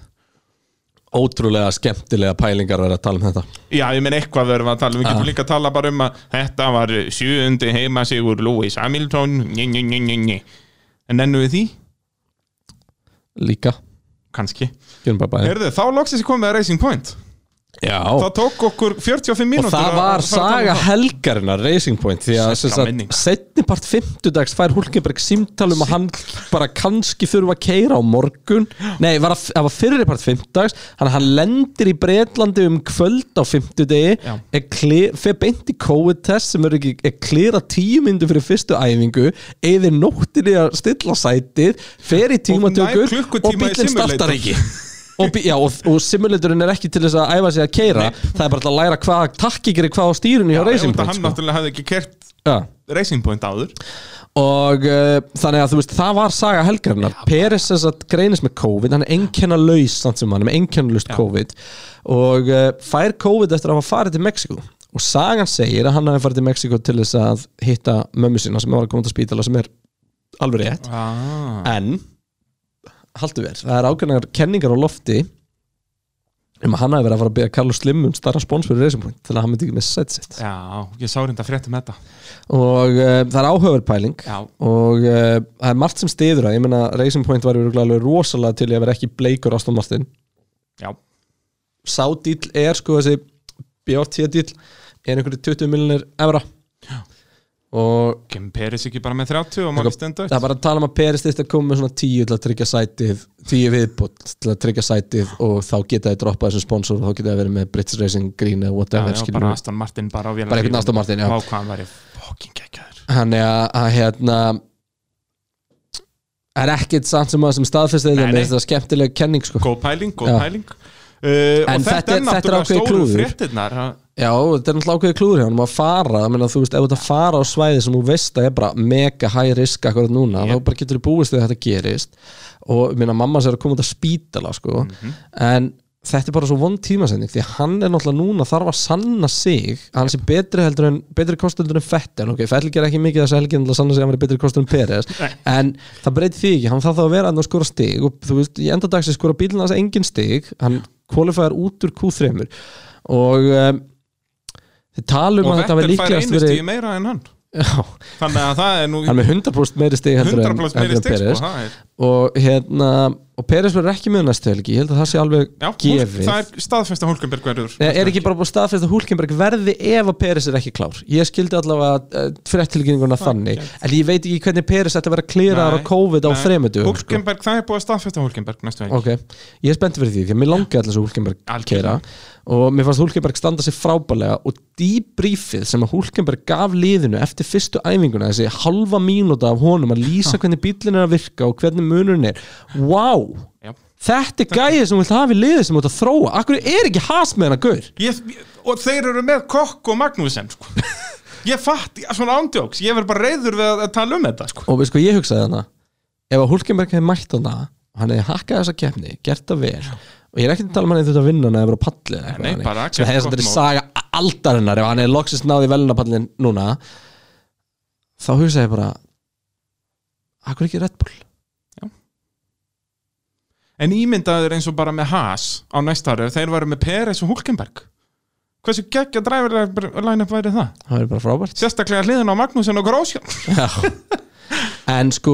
C: Ótrúlega skemmtilega pælingar verið að tala um þetta
D: Já, ég menn eitthvað verðum að tala, við
C: Ah.
D: getum líka að tala bara um að þetta var sjöundi heimasigur Lewis Hamilton nj, nj, nj, nj, nj. en ennum við því,
C: Líka,
D: kannski
C: gjörum bara bæði
D: Herðu, þá loksins ég komið að Racing Point
C: Já,
D: Það tók okkur 45
C: og
D: mínútur
C: það
D: að-
C: var
D: að fara að tala
C: saga
D: um það.
C: helgarinnar Racing Point því að
D: Sælla
C: sem sagt,
D: minning.
C: setni part 50 dags fær Hulkenberg símtal um að hann bara kannski þurfa að keira á morgun nei, var að, það var fyrri part 50 dags hann, hann lendir í Breitlandi um kvöld á 50 degi
D: Já.
C: er kli- fer beint í COVID-test sem er ekki er klera tíu myndu fyrir fyrstu æfingu eðir nóttinni að stilla sætið fer í tímatökur
D: nær klukkutíma
C: og
D: í
C: bílinn
D: simulator.
C: startar ekki og, bí- já, og, og simulatorinn er ekki til þess að æfa sig að keira það er bara til að læra hvað takki gerir hvað á stýrunni hjá
D: Já,
C: Racing
D: ég veit að
C: Point
D: Hann
C: sko.
D: náttúrulega hafði ekki kert
C: Já.
D: Racing Point áður
C: og uh, þannig að þú veist það var saga helgarinnar Peres þess að greinist með COVID hann er einkennalaus samt sem hann er með einkennalaust COVID og uh, fær COVID eftir að hafa farið til Mexiko og sagan segir að hann hafi farið til Mexiko til þess að hitta mömmu sína sem var að koma til spítala sem er alveg rétt
D: ah.
C: en haldu verð, það er ákveðnar kenningar á lofti um að hann hafi verið að fara að byrja Carlos Slim um starra spons fyrir Racing Point þannig að hann myndi ekki með sætt sitt
D: Já, ég sá reynda fréttum þetta
C: og uh, það er áhugaverð pæling
D: Já.
C: og uh, það er margt sem stiður að ég meina Racing Point var örugglega alveg rosalega til ég að vera ekki bleikur Aston Martin
D: Já,
C: sá dýl er sko þessi BRT dýl er einhverju 20 miljonir evra og
D: Kim Peris ekki bara með 30 og maður stendur
C: það er bara að tala um að Peris þyrfti að koma með svona tíu til að tryggja sætið tíu viðbútt til að tryggja sætið og þá geta þið droppa þessum sponsor og þá geta þið verið með British Racing Green eða
D: Já,
C: whatever
D: já,
C: skilur
D: bara
C: við.
D: Aston Martin bara á vélarhjólinu.
C: Bara einhvern Aston Martin, já.
D: Vá, hvað hann væri fucking geggjaður
C: þannig að, að hérna það er ekkit samt sem að sem staðfestið
D: Nei,
C: það
D: nei.
C: með þetta skemmtileg kenning sko.
D: Góð pæling, góð
C: Já.
D: pæling uh,
C: En
D: Og
C: þetta
D: þetta
C: er- þetta er
D: er náttúrulega
C: ákveðið
D: stóru
C: klúður.
D: fréttinnar ha?
C: Já, þetta er náttúrulega ákveðið klúður hjá hann að fara, ég meina, þú veist, ef þú ert að fara á svæði sem þú veist að er bara mega high risk akkurat núna, þá bara getur þú búist þegar þetta gerist og ég meina, mamma sér að koma út að spítala, sko
D: Mhm.
C: en þetta er bara svo vond tímasending því að hann er náttúrulega núna þarf að sanna sig að hann sé betri heldur en betri kostendur en Fettel, ok, Fettel ger ekki mikið þess að helgin til að sanna sig að hann er betri kostendur en Peres en það breyti því ekki, hann þarf þá að vera að skora stig og þú veist, í endadags skora bílinn hans engin stig, hann kvalifæðar út úr Q3 og um, Þið tala um
D: Og
C: að þetta
D: Vettel
C: verði
D: fær
C: líklegast
D: einu
C: verið
D: stíði meira en hann
C: Já,
D: Þannig að það er nú
C: hann er með 100% meiri stig heldur en,
D: 100% meiri
C: heldur en Peres
D: stík sko, það er,
C: og hérna og Peres verður ekki með næstu helgi ég held að það sé alveg
D: já, húl,
C: gefið
D: það er staðfesta Hulkenberg verður
C: Nei, er ekki bara búið staðfæst að Hulkenberg verði ef að Peres er ekki klár ég skildi allavega uh, fréttilkynninguna þannig en ég veit ekki hvernig Peres ætti að vera klýraðar á
D: Nei,
C: COVID á
D: nei.
C: þremudugum sko.
D: Hulkenberg, það er búið að staðfesta Hulkenberg næstu veginn
C: ok, ég er spennt fyrir því því að mér langi allir svo Hulkenberg keira
D: Algjörlega.
C: og mér fannst Hulkenberg standa sér frábælega og dýbrífið sem að Hulkenberg gaf liðinu eftir fyrstu æfinguna þessi halva mínúta af honum að lýsa hvernig bílinn er að virka og hvernig munurinn er wow,
D: Já.
C: þetta er gæðið sem þú vilt hafa í liðið sem þú ert að þróa akkur er ekki has með hennar gaur
D: ég, Og þeir eru með Kokk og Magnúsen sko. Ég fatt, svona ándjóks Ég verð bara reyður við að, að tala um þetta sko.
C: og við sko ég hugsaði hana ef að Hulkenberg hefði mætt hana hann hefði hakkað þessa keppni, gert það vel og ég er ekki að tala um hann hefði þetta að vinna hann hefði verið á palli eða eitthvað
D: Nei,
C: þannig.
D: bara
C: sem
D: gert
C: hefði
D: gott
C: samt verið
D: mót.
C: saga aldarinnar ef hann hefði loksist náði velunapallin núna þá hugsa ég bara akkur ekki Red Bull
D: En ímyndaður eins og bara með Haas á næsta ári, ef þeir varu með Peres og Hulkenberg Hversu geggja driverline-up væri það?
C: það verið bara frábært
D: Sérstaklega hliðin á Magnúsin og Grósjón
C: en sko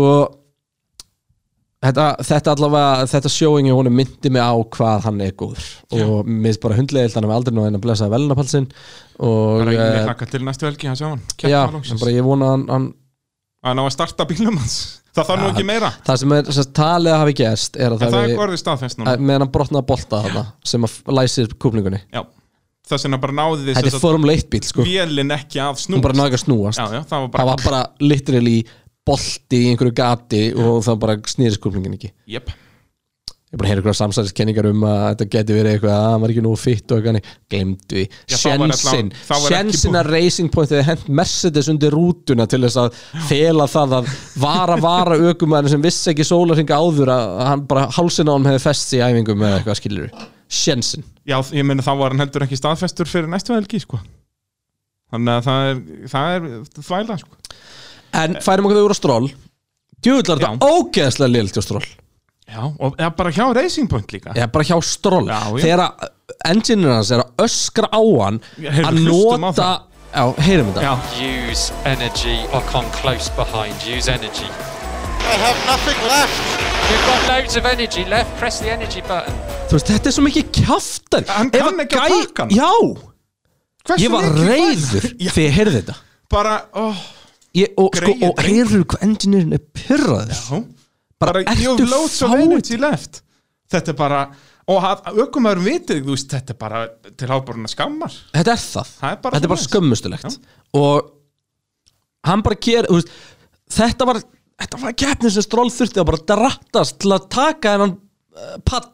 C: þetta, þetta allavega þetta sjóingi honum myndi mig á hvað hann er góður og mér finnst bara hundlegið hann hefði aldrei náði að blessa velunapallsin og
D: Það er
C: eh,
D: ekki hlaka til næstu helgi, hann sjá hann
C: já,
D: Keppna
C: en
D: loksins.
C: bara ég vona að hann, hann
D: Að ná að starta bílum hans Það þarf nú
C: Já,
D: ekki meira
C: það sem er sem sagt, talið að hafi gerst er að
D: En
C: það,
D: það er
C: hafi-
D: orðið staðfest núna
C: að- meðan hann brotnaði bolta þarna sem að f- læsir kúplingunni
D: Já, þess vegna bara náði þið
C: þetta
D: sem
C: er
D: sagt
C: formule 1 bíl sko
D: vélin ekki að
C: hún
D: snúast
C: bara náði ekki að snúast
D: Já, já, það var bara,
C: það var bara literally bolti í einhverju gati og það bara snýri kúplingin ekki
D: jöp
C: ég bara heyri eitthvað samsæðiskenningar um að þetta geti verið eitthvað að hann var ekki nú fitt og eitthvað hannig glemdu því,
D: Já, þá var
C: sjensin
D: allavega- þá var ekki
C: sjensin
D: búið.
C: að Racing Point hefði hent Mercedes undir rútuna til þess að fela það að vara vara ökumæðin sem vissi ekki sólarhinga áður að að hann bara hálsinn á hann hefði fest í æfingum eða eitthvað skilur sjensin,
D: Já, ég meina þá var hann heldur ekki staðfestur fyrir næstu helgi, sko Þannig að það er, það er þvæla, sko
C: en færum okkur þau úr á stról djúvillar
D: Já.
C: þetta ógeðslega liðlt á stról,
D: Já, og eða bara hjá Racing Point líka
C: eða bara hjá stról
D: Já, já.
C: þegar að engineer hans er að öskra á hann
D: Já, heyrðu,
C: að
D: hlustum á
C: nota
D: það.
C: já, heyrum þetta
D: Já.
F: Use energy or come close behind. Use energy.
G: I have nothing left.
F: You've got loads of energy left. Press the energy button.
C: Þú veist, þetta er svo mikið kjaftar
D: Hann
C: Ef
D: kann ekki að taka hann.
C: Já,
D: Hversu
C: ég var
D: mikið
C: reyður
D: fæ- Já,
C: þegar ég heyrði þetta
D: bara, óh,
C: ég, og, sko,
D: Greyið
C: og
D: drengir.
C: heyrðu hvað engineerin er pyrraður
D: já
C: Bara
D: Bara, you have
C: ertu
D: loads of
C: fáið?
D: energy left Þetta er bara, og að ökumæður vitið, þú veist, þetta er bara til háboruna skammar
C: Þetta er það,
D: Það er bara
C: þetta er bara
D: svoleiðis.
C: skömmustulegt Og hann bara ger veist, Þetta var Þetta var keppnið sem stról þurfti að bara drattast til að taka hennan uh, pall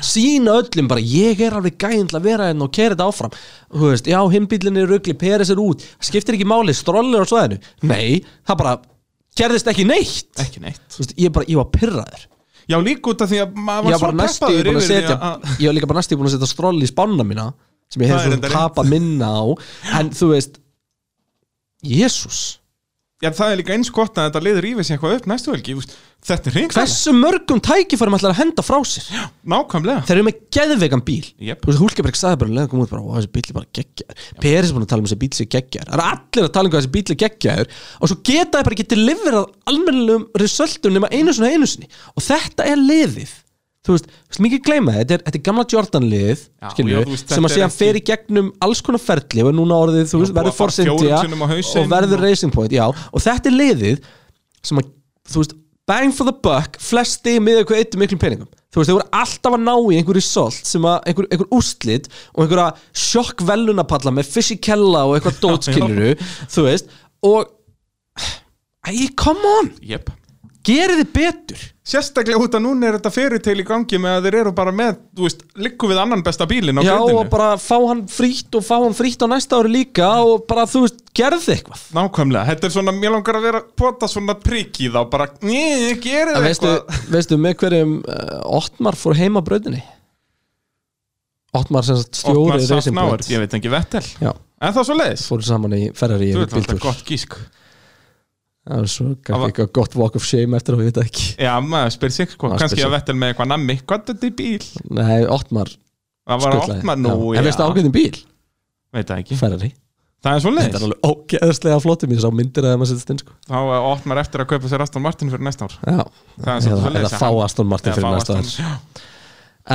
C: sína öllum bara ég er alveg gæðin til að vera henn og kera þetta áfram þú veist, já, himbílinn er rugli Peres er út, það skiptir ekki máli strólir á svæðinu, nei, það bara gerðist ekki neitt
D: Ekki neitt
C: Þú veist, ég, bara, ég var pyrraður
D: Já, líka út af því að maður
C: ég
D: var
C: var, bara
D: svo
C: næstu
D: peppaður
C: búin að
D: yfir því
C: setja
D: að-
C: ég var líka bara næstu búin að setja stról í spána mína sem ég
D: Það er
C: hefði
D: enda
C: svona tapa minna á en þú veist Jésús,
D: Já, það er líka eins gott að þetta liður yfir sig eitthvað upp næstu helgi, þú veist, þetta er hringar
C: hversu mörgum tækifærum ætlar að henda frá sér
D: Nákvæmlega
C: þeir eru með geðveikan bíl
D: Jep.
C: þú veist, Hulkeberg sagði bara um leið að koma út bara, "Ó, þessi bíl er bara geggjaður Peris er búin að tala um þessi bíl sé geggjaður það er allir að tala um hvað þessi bíl er geggjaður og svo geta þeir bara ekki deliverað almennilegum resultum nema einu sinni og einu sinni og þetta er liðið þú veist, þú veist mikið gleyma þetta, þetta er, þetta er gamla Jordan liðið
D: Já,
C: skilur,
D: já, þú veist,
C: sem
D: þetta
C: að
D: er
C: síðan fer í gegnum alls konar ferli og er núna orðið, þú veist,
D: búið að
C: verður
D: fara
C: Force
D: fjórum
C: India
D: sinnum á hausinn
C: og verður
D: og-
C: Racing Point, já, og þetta er liðið sem að, þú veist, bang for the buck flest stig með eitthvað eittu miklum peningum þú veist, þau voru alltaf að ná í einhver result sem að, einhver, einhver úslit og einhverja sjokk velunapalla með fishy kella og eitthvað dótskiluru þú veist, og æ, come on,
D: Jep
C: gerið þið betur
D: Sérstaklega út að núna er þetta fyrirtil í gangi með að þeir eru bara með, þú veist, likku við annan besta bílinn á
C: já,
D: grindinu
C: og bara fá hann frítt og fá hann frítt á næsta ári líka og bara, þú veist, gerð þið eitthvað
D: Nákvæmlega, þetta er svona, mér langar að vera pota svona prikk í þá, bara, ný, gerir
C: En
D: það
C: veistu,
D: eitthvað
C: veistu með hverjum uh, Ottmar fór heim á brautinni Ottmar sem sagt stjóri
D: Opnar
C: Racing
D: Safnáert,
C: Point
D: ég veit ekki vettel
C: Já,
D: En það er svo leiðis,
C: fóru saman í Ferrari yfir
D: þú veit alltaf
C: bíltúr
D: gott gísk
C: Það var svo
D: Það
C: gaf
D: var-
C: eitthvað gott walk of shame eftir að við þetta ekki
D: Já, maður spyr sig, sko,
C: Maður spyr
D: kannski
C: sig.
D: að vettel með eitthvað nammi, hvað er þetta í bíl?
C: Nei, Ottmar
D: Það var að opna nú,
C: En veistu ágæðin bíl,
D: veit það ekki
C: Ferrari
D: Það er svo
C: Þetta er
D: leiðis,
C: alveg ógeðslega flottum Ég sá myndir að það maður setjast inn sko
D: þá eh, opnar eftir að kaupa sér Aston Martin fyrir næsta ár
C: Já,
D: Það er
C: eða,
D: svolítið svoleiðis
C: eða
D: að
C: fá
D: hann-
C: Aston Martin
D: Eða
C: fyrir
D: fá
C: næsta
D: Aston-
C: árs
D: Já.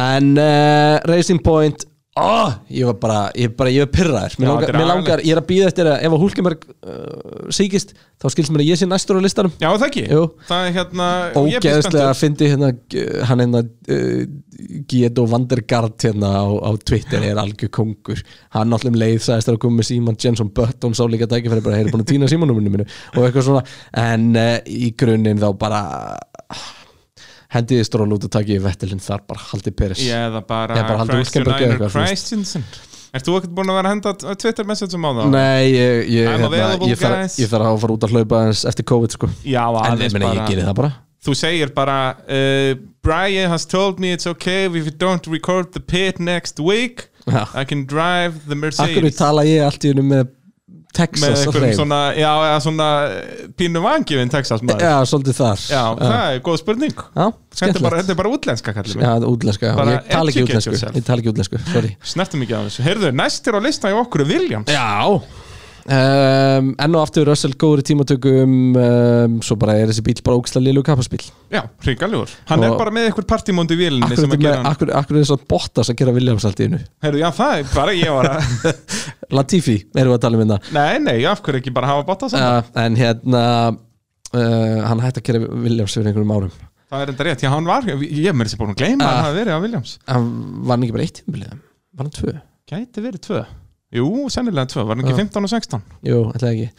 C: En uh, Racing Point oh, Ég var bara, ég, bara, ég var pyrraður Mér
D: Já,
C: langar,
D: þetta er
C: mér langar ég er að býða eftir að ef að Hulkenberg uh, síkist þá skilst mér að ég sé næstur á listanum
D: Já, það ekki
C: Jú.
D: Það er hérna og ég er
C: Ógeðslega
D: spenntur.
C: að fyndi hérna uh, hann hérna uh, Giedo Vandergaard hérna á, á Twitter er algjör kongur hann allum leið sagðist þar að koma með síman Jenson Button sá líka tækifæri bara hefur búin að týna símanuminu minu og eitthvað svona en uh, í grunninn þá bara hendiði stról út og takið vettilinn þar bara haldið Peres
D: Ég eða bara
C: Ég er bara að halda
D: Christian
C: Hulkenberg eða
D: Einar
C: eitthvað, þú veist.
D: Christensen Ert þú ekkert búin að vera að henda Twitter messageum á það?
C: Nei, ég, ég,
D: I'm
C: hérna,
D: available,
C: ég, þarf,
D: guys.
C: ég þarf að fara út að hlaupa aðeins eftir COVID sko.
D: Já,
C: En ég,
D: aðeins
C: meni, ég
D: bara
C: geri það bara
D: þú segir bara uh, Brian has told me it's okay if you don't record the pit next week
C: Já.
D: I can drive the
C: Akkur
D: Mercedes
C: tala ég allt í unum með
D: með
C: Texas að
D: einhverjum
C: hreim
D: svona, já, eða svona eh, pínu vangifin Texas maður
C: Já, svolítið þar
D: Já, það er góð spurning
C: Já,
D: Þetta er bara,
C: skemmtilegt
D: þetta er bara útlenska kallum
C: Já, það er útlensku, já,
D: Bara
C: ég tala ekki
D: educate
C: útlensku
D: yourself.
C: Ég tala ekki útlensku, sorry
D: Snertum ekki að þessu Heyrðu, næstir á lista í okkur er Williams
C: Já um, Enn og aftur Russell góður í tímatökum um, Svo bara er þessi bíl bara ógislega lilu kappaspíl
D: Já, hringaljúr Hann er
C: Og-
D: bara með eitthvað partímónd í vélinni
C: Akkur
D: sem
C: er
D: að gera
C: með-
D: hann
C: akkur- akkur er þess að Bottas að gera Williams allt í innu
D: Heyrðu, já, það er bara ég var að
C: Latifi erum við að tala um þetta
D: Nei, nei, af hverju ekki bara hafa botta saman
C: uh, En hérna uh, Hann hætti að gera Williams fyrir einhverjum árum
D: Það er enda rétt, já, hann var Ég er mér þessi búin að gleyma að
C: Ah.
D: hann hafi verið á Williams
C: Hann var hann ekki bara eitt tímabilið Var hann tvö?
D: Gæti verið tvö Jú, sennilega tvö, var hann ekki
C: Já.
D: 15 og 16
C: Jú, ætla ekki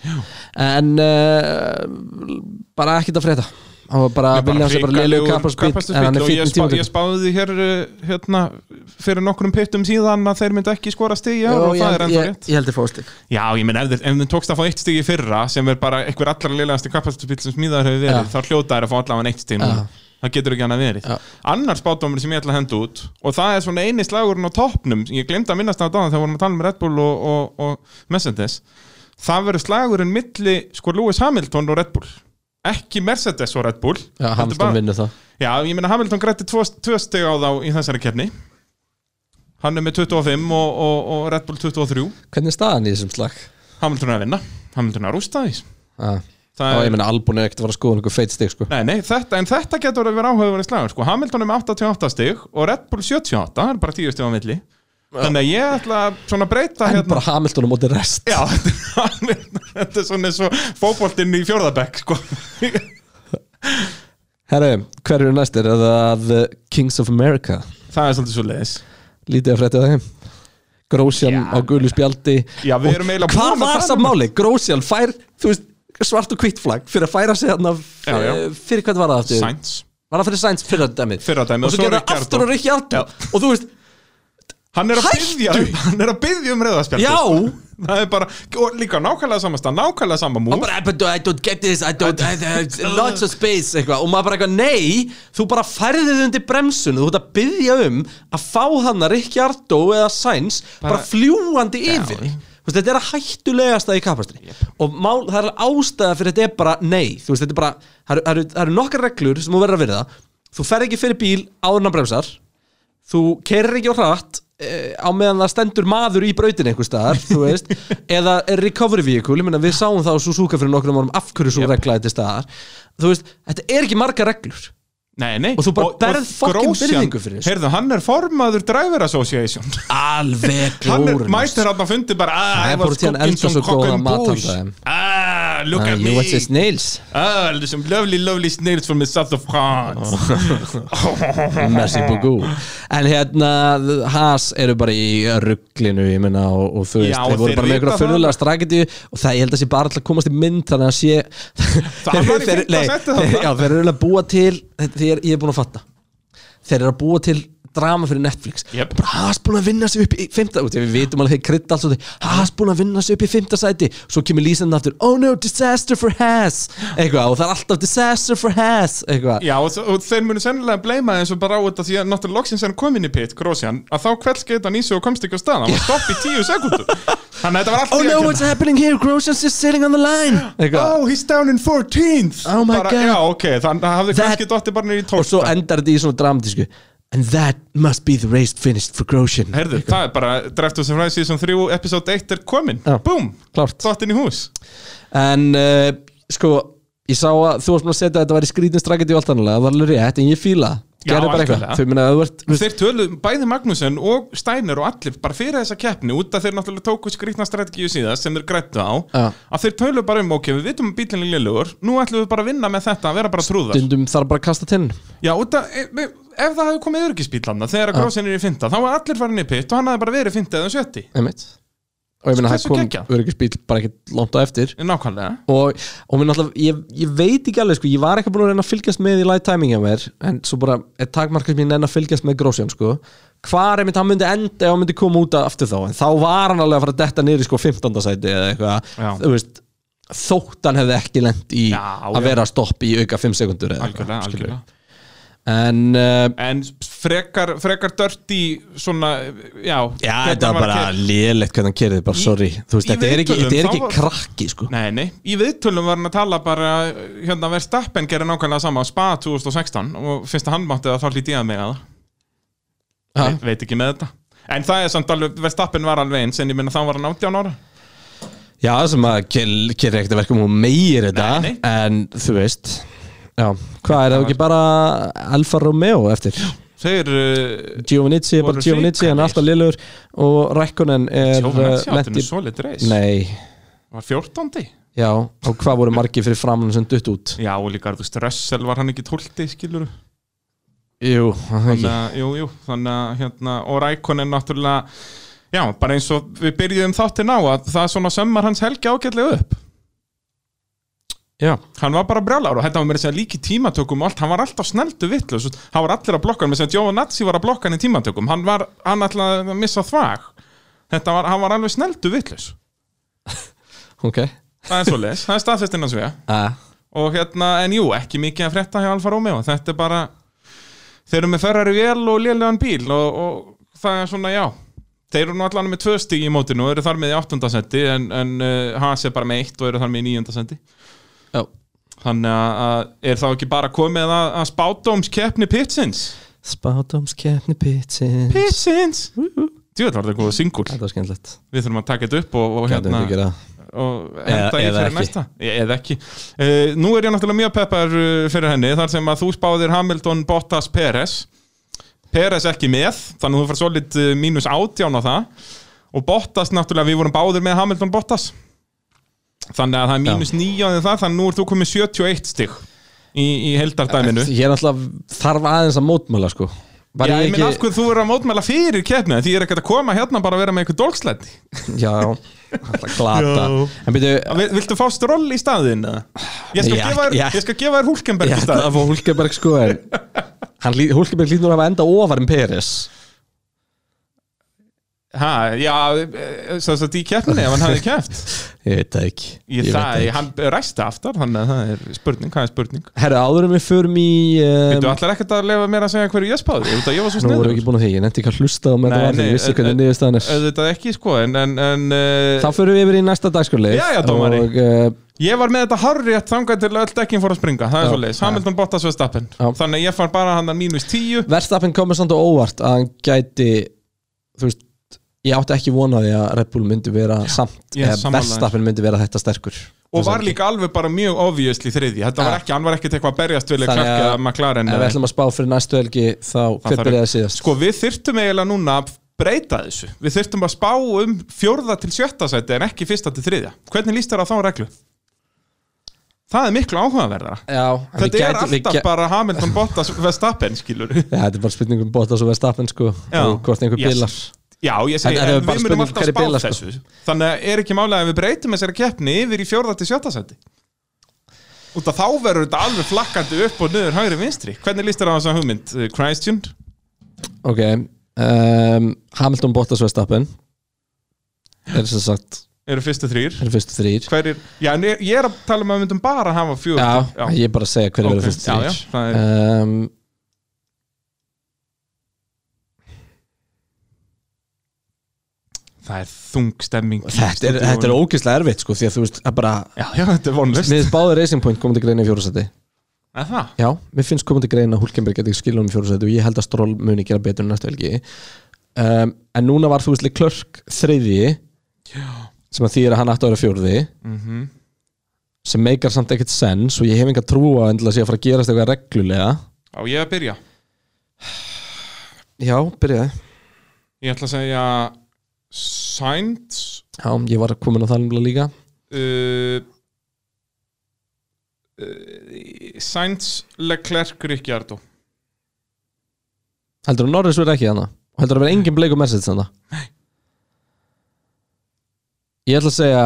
C: En uh, bara ekkert að frétta Hann var bara,
D: Ég bara
C: Williams er bara lilu
D: hrikalegur
C: kappaspíl
D: kappaksturspíll
C: En hann er
D: og ég,
C: fyrir
D: spá, ég
C: tímatökum
D: spáði hér uh, hérna, fyrir nokkrum pittum síðan að þeir myndu ekki skora stig í ár
C: Jú,
D: og það
C: ég,
D: er enda
C: ég,
D: rétt
C: ég heldur fóðstík
D: Já, ég menn ef, þeir- ef þeim tókst að fá eitt stig í fyrra sem er bara einhver allra liðlegasti kapasturspill sem smíðar hefur verið,
C: Já.
D: þá hljóta er að fá allavega eitt stig núna.
C: Já.
D: Það getur ekki annað verið
C: Já.
D: Annar spátumur sem ég ætla að henda út og það er svona eini slagurinn á toppnum ég glemd að minnast á þetta áðan þegar vorum að tala með Red Bull og, og, og Mercedes það verður slagurinn milli sko Lewis Hamilton og Red Bull ekki Mercedes og Red Bull
C: Já,
D: Heldur bara-
C: Hamilton vinnur það
D: Já, ég meina Hamilton grætti tvo, tvö steg á þá í þessari kefni Hann er með 25 og, og, og Red Bull 23
C: Hvernig er staðan í þessum slag?
D: Hamilton er að vinna, Hamilton er að rústa því
C: Ah.
D: Það
C: Og
D: er,
C: ég meina Albon er ekkert að fara að skoða einhver feit stig sko.
D: Nei, nei, þetta, en þetta getur að vera áhugaverið slagur sko. Hamilton er með 88 stig og Red Bull 78, það er bara 10 stig á milli Þannig að ég ætla að svona breyta
C: En
D: hérna
C: bara Hamilton á móti rest
D: Já, þetta er svona eins og fótboltinn í fjórðabekk sko.
C: Herru, hver eru næstir? Er það uh, Kings of America?
D: Það er svolítið svo leiðis
C: Lítið að frétta þeim Grósjan á gulu spjaldi
D: Já, við
C: Og
D: erum eiginlega
C: Hvað
D: búin að
C: var
D: tala
C: það
D: um
C: máli? Grósjan fær, þú veist, svart og hvitt flagg fyrir að færa sig þarna
D: Já, já.
C: eh, fyrir hvað var það aftur?
D: Sainz
C: Var það fyrir Sainz fyrir að dæmið?
D: Fyrra dæmið
C: Og svo gerði það
D: Ricciardo.
C: aftur og Rikki aftur Og þú veist,
D: Hann er að
C: Hættu!
D: byggja Hann er að byggja um reyðaspjaldi
C: Já!
D: Það er bara Og líka nákvæmlega samasta Nákvæmlega sama múl
C: hann bara, "But I don't get this, I don't, I, there's lots of space eitthvað, og maður bara eitthvað, nei þú bara færðið þið undir bremsun þú ert að byggja um að fá hann að Ricciardo eða Sainz bara, fljúandi yfir Þú veist, þetta er að hættulegasta í kapastri og mál, það er ástæða fyrir þetta er bara nei, þú veist, þetta er bara það eru- það eru- það eru nokkar reglur sem þú verður að virða þú ferð ekki fyrir bíl áður en að bremsar þú kerir ekki á hratt eh, á meðan það stendur maður í brautin einhver staðar, þú veist eða er recovery vehicle, ég meina við sáum það á Suzuka fyrir nokkrum árum af hverju svo yep. regla þetta staðar þú veist, þetta er ekki marga reglur
D: Nei, nei
C: Og þú bara berð fucking
D: Grosjean-
C: virðingu fyrir þessu.
D: Heyrðu, hann er formaður Driver Association
C: alveg
D: Hann er
C: glórulaust.
D: mætir hann að fundi bara
C: Það
D: "Ah, I
C: er bara
D: was
C: til hann
D: cooking
C: elskar
D: some
C: svo
D: cock
C: góðan
D: and
C: mat
D: bush
C: handa þeim.
D: Ah, look
C: Ah,
D: at
C: you
D: me
C: watch his nails
D: Ah, there's some lovely, lovely snails from the south of France
C: Oh. Merci beaucoup En hérna, Haas eru bara í rugglinu, ég meina og, og þú veist,
D: Já,
C: þeir voru bara með
D: þeir vita
C: einhverja
D: það.
C: fyrrulega straketíu og það ég held að sé bara alltaf að komast í mynd þannig að sé
D: Það var í fimmta
C: nei,
D: sæti þarna.
C: þeir- Já, þeir eru að búa til þeir, ég er búin að fatta þeir eru að búa til drama fyrir Netflix
D: Jep.
C: bara Haas búin að vinna sig upp í fymta út, við vitum alveg þeir krydd alls og þeir Haas búin að vinna sig upp í fymta sæti svo kemur lýsandi aftur, oh no, disaster for Haas eitthvað, og það er alltaf disaster for Haas eitthvað,
D: Já, og, þ- og þeir munu sennilega bleima eins og bara á þetta því að náttúrulega loksins er hann komin í pit, Grósjan, að þá kveldskeitt hann í sig og komst ekki á stað, hann var stopp í tíu sekundur Þannig að þetta var allt
C: oh
D: í
C: no,
D: að
C: what's happening here Grosjean's just sitting on the line eitthvað,
D: Oh, he's down in 14th
C: Oh my
D: bara,
C: God.
D: Já, ok, þannig að hafði
C: That-
D: kannski dotti bara niður í
C: Oh. og svo
D: 12
C: endar þetta í svona dramatísku and that must be the race finished for Grosjean
D: Herðu, það er bara Draft of Surprise Season 3 Episode 1 er komin
C: Já.
D: Búm,
C: Klárt.
D: dottin í hús
C: En uh, sko Ég sá að þú varst maður að setja að þetta var í skrítin strakandi og allt annarlega, það var alveg rétt, en ég fíla það
D: Já,
C: Gerðu bara eitthvað,
D: algjörlega.
C: þau minna að þú ert
D: Þeir töluðu, bæði Magnúsen og Steiner og allir bara fyrir þessa keppni út að þeir náttúrulega tóku skrýtna strategíu síðast sem þeir grættu á
C: Já.
D: að þeir töluðu bara um ok, við vitum að bílinn er lélugur nú ætlum við bara að vinna með þetta, að vera bara trúðar
C: stundum þar bara að kasta tinn
D: Já, út að, e, e, ef það hefði komið örgisbílanna þegar að grósin er í fynda, þá var allir farin í pitt og hann hefði bara verið fynda eða sjötti
C: einmitt. og ég minna að
D: Hversu
C: það
D: geggjað?
C: kom öryggisbíl bara ekkert langt á eftir
D: Nákvæmlega
C: og, og mér náttúrulega, ég, ég veit ekki alveg sko, ég var eitthvað búin að reyna að fylgjast með í light timing hjá mér, en svo bara er takmarkast mín enn að fylgjast með grósján sko hvar einmitt hann myndi enda ef hann myndi koma út aftur þá, en þá var hann alveg að fara að detta niður í sko 15. sæti eða
D: Já.
C: eitthvað, þú veist þótt hann hefði ekki lent í
D: Já,
C: að
D: já.
C: vera að stoppa í auka 5 sekundur eða eitthvað,
D: algjörlega,
C: skilur.
D: algjörlega
C: en uh,
D: En frekar, frekar dörti svona, já
C: já,
D: hvernig
C: þetta
D: hann
C: var
D: að
C: bara
D: keyra.
C: lélegt hvernig hann kerði bara,
D: Í-
C: sorry, þú veist,
D: í
C: þetta er ekki,
D: viðtölum,
C: þetta er
D: þá
C: ekki
D: var-
C: krakki, sko
D: Nei, nei, í viðtölum var hann að tala bara hérna Verstappen gerir nákvæmlega sama á Spa 2016 og fyrst að hann mátti það þá hlýt ég að mig að
C: Ha?
D: það Ve veit ekki með þetta En það er samt alveg, Verstappen var alveg eins en ég minna þá var hann 18 ára
C: já, sem að kerði ekkert að verka um og meir þetta,
D: Nei, nei.
C: en þú veist já, hvað er það ekki bara Alfa Romeo eftir
D: Þeir uh,
C: Giovinici er bara
D: Voru
C: Giovinici, hann er alltaf liðlegur og Rækkonen er
D: Jóhannes
C: uh, lenti-
D: Játtin er svolít reis
C: Nei,
D: Var 14.
C: já, og hvað voru margir fyrir framann sem dutt út?
D: Já, og líka, þú veist, Russell var hann ekki 12. skilur
C: Jú, var það
D: þannig
C: ekki
D: að, jú, jú, þannig að hérna, og Rækon er náttúrulega já, bara eins og við byrjuðum þáttinn á að það svona sömmar hans helgi ágætlega upp
C: Já,
D: hann var bara brjálar og þetta var með þess að segja líka í tímatökum og allt, hann var alltaf sneldu vitlu hann var allir að blokka hann, með þess að Jóa Natsi var að blokka hann í tímatökum, hann var, hann ætlaði að missa þvag, þetta var, hann var alveg sneldu vitlu,
C: ok
D: það er svo leis það er staðfest innan svega
C: ah.
D: og hérna, en jú, ekki mikið að frétta hjá Alfa Romeo, þetta er bara þeir eru með ferrari vél og lélegan bíl og, og það er svona, já þeir eru nú allan með tvö stíg í mótinu og eru þar með í áttundasendi en, en uh, Haas er bara með eitt og eru þar með í níundasendi
C: Já,
D: þannig að- að er þá ekki bara komið að, að spátdóms keppni Pitsins
C: spátumskeppni pitsins
D: Pitsins djúvel var þetta góða singul
C: Þetta var skemmtilegt
D: við þurfum að taka þetta upp og, og
C: Gætum
D: hérna
C: við gera
D: og
C: Eða-
D: henda í
C: eða
D: fyrir
C: ekki.
D: næsta E- eða ekki uh, nú er ég náttúrulega mjög peppar uh, fyrir henni þar sem að þú spáðir Hamilton Bottas Peres Peres ekki með þannig að þú fær svolít uh, mínus átján á það og Bottas náttúrulega við vorum báðir með Hamilton Bottas þannig að það er mínus nýjan það þannig að nú ert þú komið 71 stig í, í heldardæminu
C: Ég er alltaf þarf aðeins að mótmála sko Var
D: Já, ég minn af
C: ekki
D: hverju þú er að mótmæla fyrir keppni því ég er ekkert að koma hérna bara að vera með einhver dolgslætti
C: Já, alltaf glata
D: Já.
C: En byrju
D: Vil- Viltu fá stról í staðin? eða? Ég skal
C: Ég-
D: gefa þér-
C: ég-
D: ég skal gefa þér Hulkenberg
C: Ég
D: í
C: ætla
D: staðin
C: að fá Hulkeberg sko en hann lí- Hulkeberg lítur að hafa enda ofar en Peres
D: Ha, já, e, sem sagt í keppni ef hann hafði keppt
C: Ég veit það ekki
D: Ég,
C: veit
D: það,
C: ekki.
D: hann ræsti aftar, þannig að það er spurning, hvað er spurning?
C: Herra, áður en við förum í
D: Um, Þú
C: um,
D: ætlar ekkert að lefa mér að segja hverju ég spáði, ég veit að ég var
C: Nú
D: svo
C: vorum
D: sniður
C: við ekki búin að því, ég nefndi ekki að hlusta á meðan það
D: Nei,
C: var því,
D: nei,
C: ég vissi hvernig
D: en-
C: niðurstaðan er
D: Auðvitað ekki, sko, en, en, en
C: Þá
D: uh,
C: förum við yfir í næsta dagskurleif
D: Jæja, dómari.
C: Og uh,
D: ég var með þetta harrétt þangað til öll dekkin fór að springa, það er
C: Já,
D: svo leiðis, Hamilton Bottas Vestappen,
C: Já.
D: þannig að ég fann bara hann að mínus tíu,
C: Verstappen komið samt á óvart að hann gæti þú veist, ég átti ekki vona því að Red Bull myndi vera samt
D: ég er
C: eða
D: sammála þér.
C: Verstappen myndi vera þetta sterkur
D: og var líka alveg bara mjög obviously þriðji, þetta var
C: Já.
D: ekki, hann var ekkert eitthvað að berjast vilja
C: Ah. Þannig
D: krakka
C: að-
D: McLaren
C: en ef
D: eða
C: við ætlum að spá fyrir næstu helgi þá hver
D: þarf-
C: byrjaði síðast
D: Sko við þyrftum eiginlega núna að breyta þessu Við þyrftum að spá um fjórða til sjötta sæti en ekki fyrsta til þriðja Hvernig líst þér á þá reglu? Það er miklu áhugaverðara
C: Já, en við
D: Þetta er
C: gætum- við
D: alltaf
C: gæ-
D: bara Hamilton Bottas Verstappen skilur
C: Já, þetta er bara spurning um Bottas og Verstappen sko
D: Já.
C: og hvort einhver
D: Yes.
C: bilar
D: Já, ég segi,
C: Þetta er
D: en
C: bara
D: við
C: spurning
D: munum alltaf
C: hverjir
D: spá
C: bila, sko.
D: þessu Þannig að er ekki málega að við breytum þessari keppni yfir í fjórða til sjötta sæti Út að þá verður þetta alveg flakkandi upp og niður hægri vinstri Hvernig líst þér á þessa hugmynd? eh, Christian?
C: Ok, um, Hamilton, Bottas, Verstappen er sem sagt,
D: Eru fyrstu þrýr?
C: er fyrstu þrýr
D: Hverjir? Já, en ég ég er að tala um að við myndum bara að hafa fjögur
C: Já, ég er bara að segja hverju okay.
D: Ok,
C: eru fyrstu
D: já, já,
C: þrýr
D: það er-
C: um,
D: Það er þung stemming í
C: þetta, er,
D: stúdíóinu.
C: þetta er ógeðslega erfitt sko því að þú veist, það bara
D: Já, já, þetta er vonlust
C: Mér finnst báði Racing Point komandi greina í fjórasæti
D: Er það?
C: Já, mér finnst komandi greina að Hulkenberg geti skilur um fjórasæti og ég held að Stroll muni gera betur en næstu helgi um, En núna var þú veist Leclerc þriðji sem að því er að hann átti að vera fjórði sem meikar samt ekkert sens og ég hef enga trúa endilega sé að fara að gerast eitthvað reglulega
D: Á ég að byrja
C: Já, byrjaði
D: Ég ætla að segja Sainz
C: Já, ég var komin á það nefnilega líka
D: uh, uh, Sainz Leclerc Ricciardo
C: Heldur að Norris verið ekki þannig og heldur að verið engin bleikur message þannig Ég ætla að segja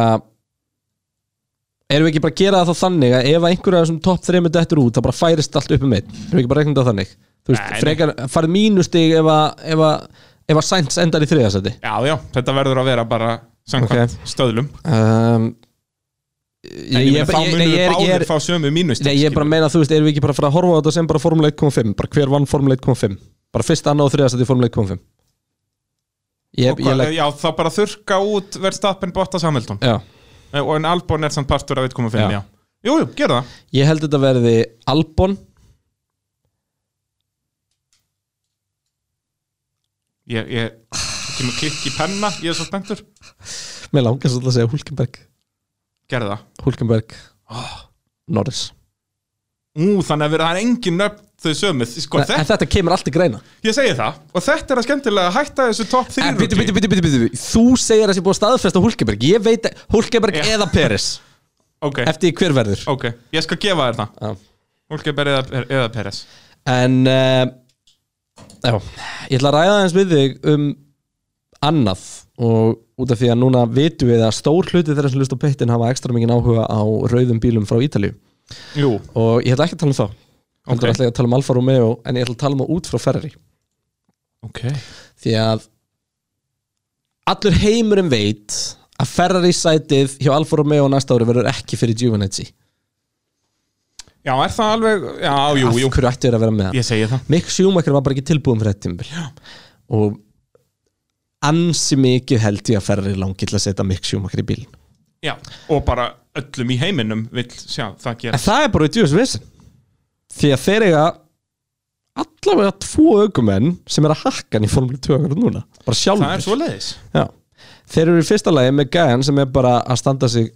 C: erum við ekki bara að gera það þá þannig að ef einhverja af þessum topp þreymur dettur út þá bara færist allt upp um einn erum við ekki bara að reikna þetta þannig þú veist,
D: Nei, nei.
C: frekar farið mínustig ef að, ef að, ef að Sainz endar í þriðasæti
D: Já, já, þetta verður að vera bara samkvæmt stöðlum
C: um, ég, ég,
D: meina,
C: ég,
D: þá
C: ég,
D: munum
C: nei, ég, er-
D: við
C: ég,
D: báðir
C: er-
D: fá sömu mínust
C: nei, ég er bara að meina þú veist, erum við ekki bara að fara að horfa á þetta sem bara Formule 1.5 bara hver vann Formule 1.5 bara fyrst, annað og þriðast þetta í Formule 1.5 ég, ég legg
D: Já, þá bara þurka út Verstappen Bottas Hamilton
C: já.
D: Eh, og en Albon er samt partur af 1.5
C: Já.
D: já. Jú, jú, gera það
C: ég held þetta verði Albon
D: ég, ég kemur klikk í penna, ég er svo spenntur
C: mér langar svolítið að segja Hulkenberg
D: gera það
C: Hulkenberg Ah, Norris
D: Ú, þannig að vera það er engin nöfn þau sömu sko,
C: en, en
D: þetta,
C: þetta kemur allt í greina Eh,
D: ég segi það, og þetta er að skemmtilega að hætta þessu topp 3
C: en bíti, bíti, bíti, bíti, bíti þú segir að þessi búið að staðfesta Hulkenberg ég veit að Hulkenberg
D: Já.
C: eða Peres
D: ok,
C: eftir því hver verður
D: ok, ég skal gefa þér það
C: Já.
D: Hulkeberg eða, eða Peres
C: En uh, já, Ég ætla að ræða aðeins við þig um annað og út af því að núna vitum við að stór hluti þeirra sem lust á pittin hafa ekstra mikið áhuga á rauðum bílum frá Ítalíu
D: Jú,
C: og ég ætla ekki að tala um þá heldur
D: Ok.
C: ætla ég að tala um Alfa Romeo en ég ætla að tala um það út frá Ferrari
D: ok
C: því að allur heimurinn veit að Ferrari sætið hjá Alfa Romeo næsta ári verður ekki fyrir Giovinazzi
D: Já, er það alveg, já, jú,
C: af
D: jú
C: hverju ættu þeir að vera með hann
D: Ég segi það
C: Mick Schumacher var bara ekki tilbúin fyrir þetta tímabil og ansi mikið held ég að ferri langi til að setja Mick Schumacher í bílinn
D: Já, og bara öllum í heiminum vill sjá það gera
C: en það er bara djúðis vissin því að þeir eiga allavega tvo aukumenn sem er að hakka hann í formule 2 akkurat núna bara
D: Það er
C: sjálfur
D: svoleiðis
C: Já. þeir eru í fyrsta lagi með gæjan sem er bara að standa sig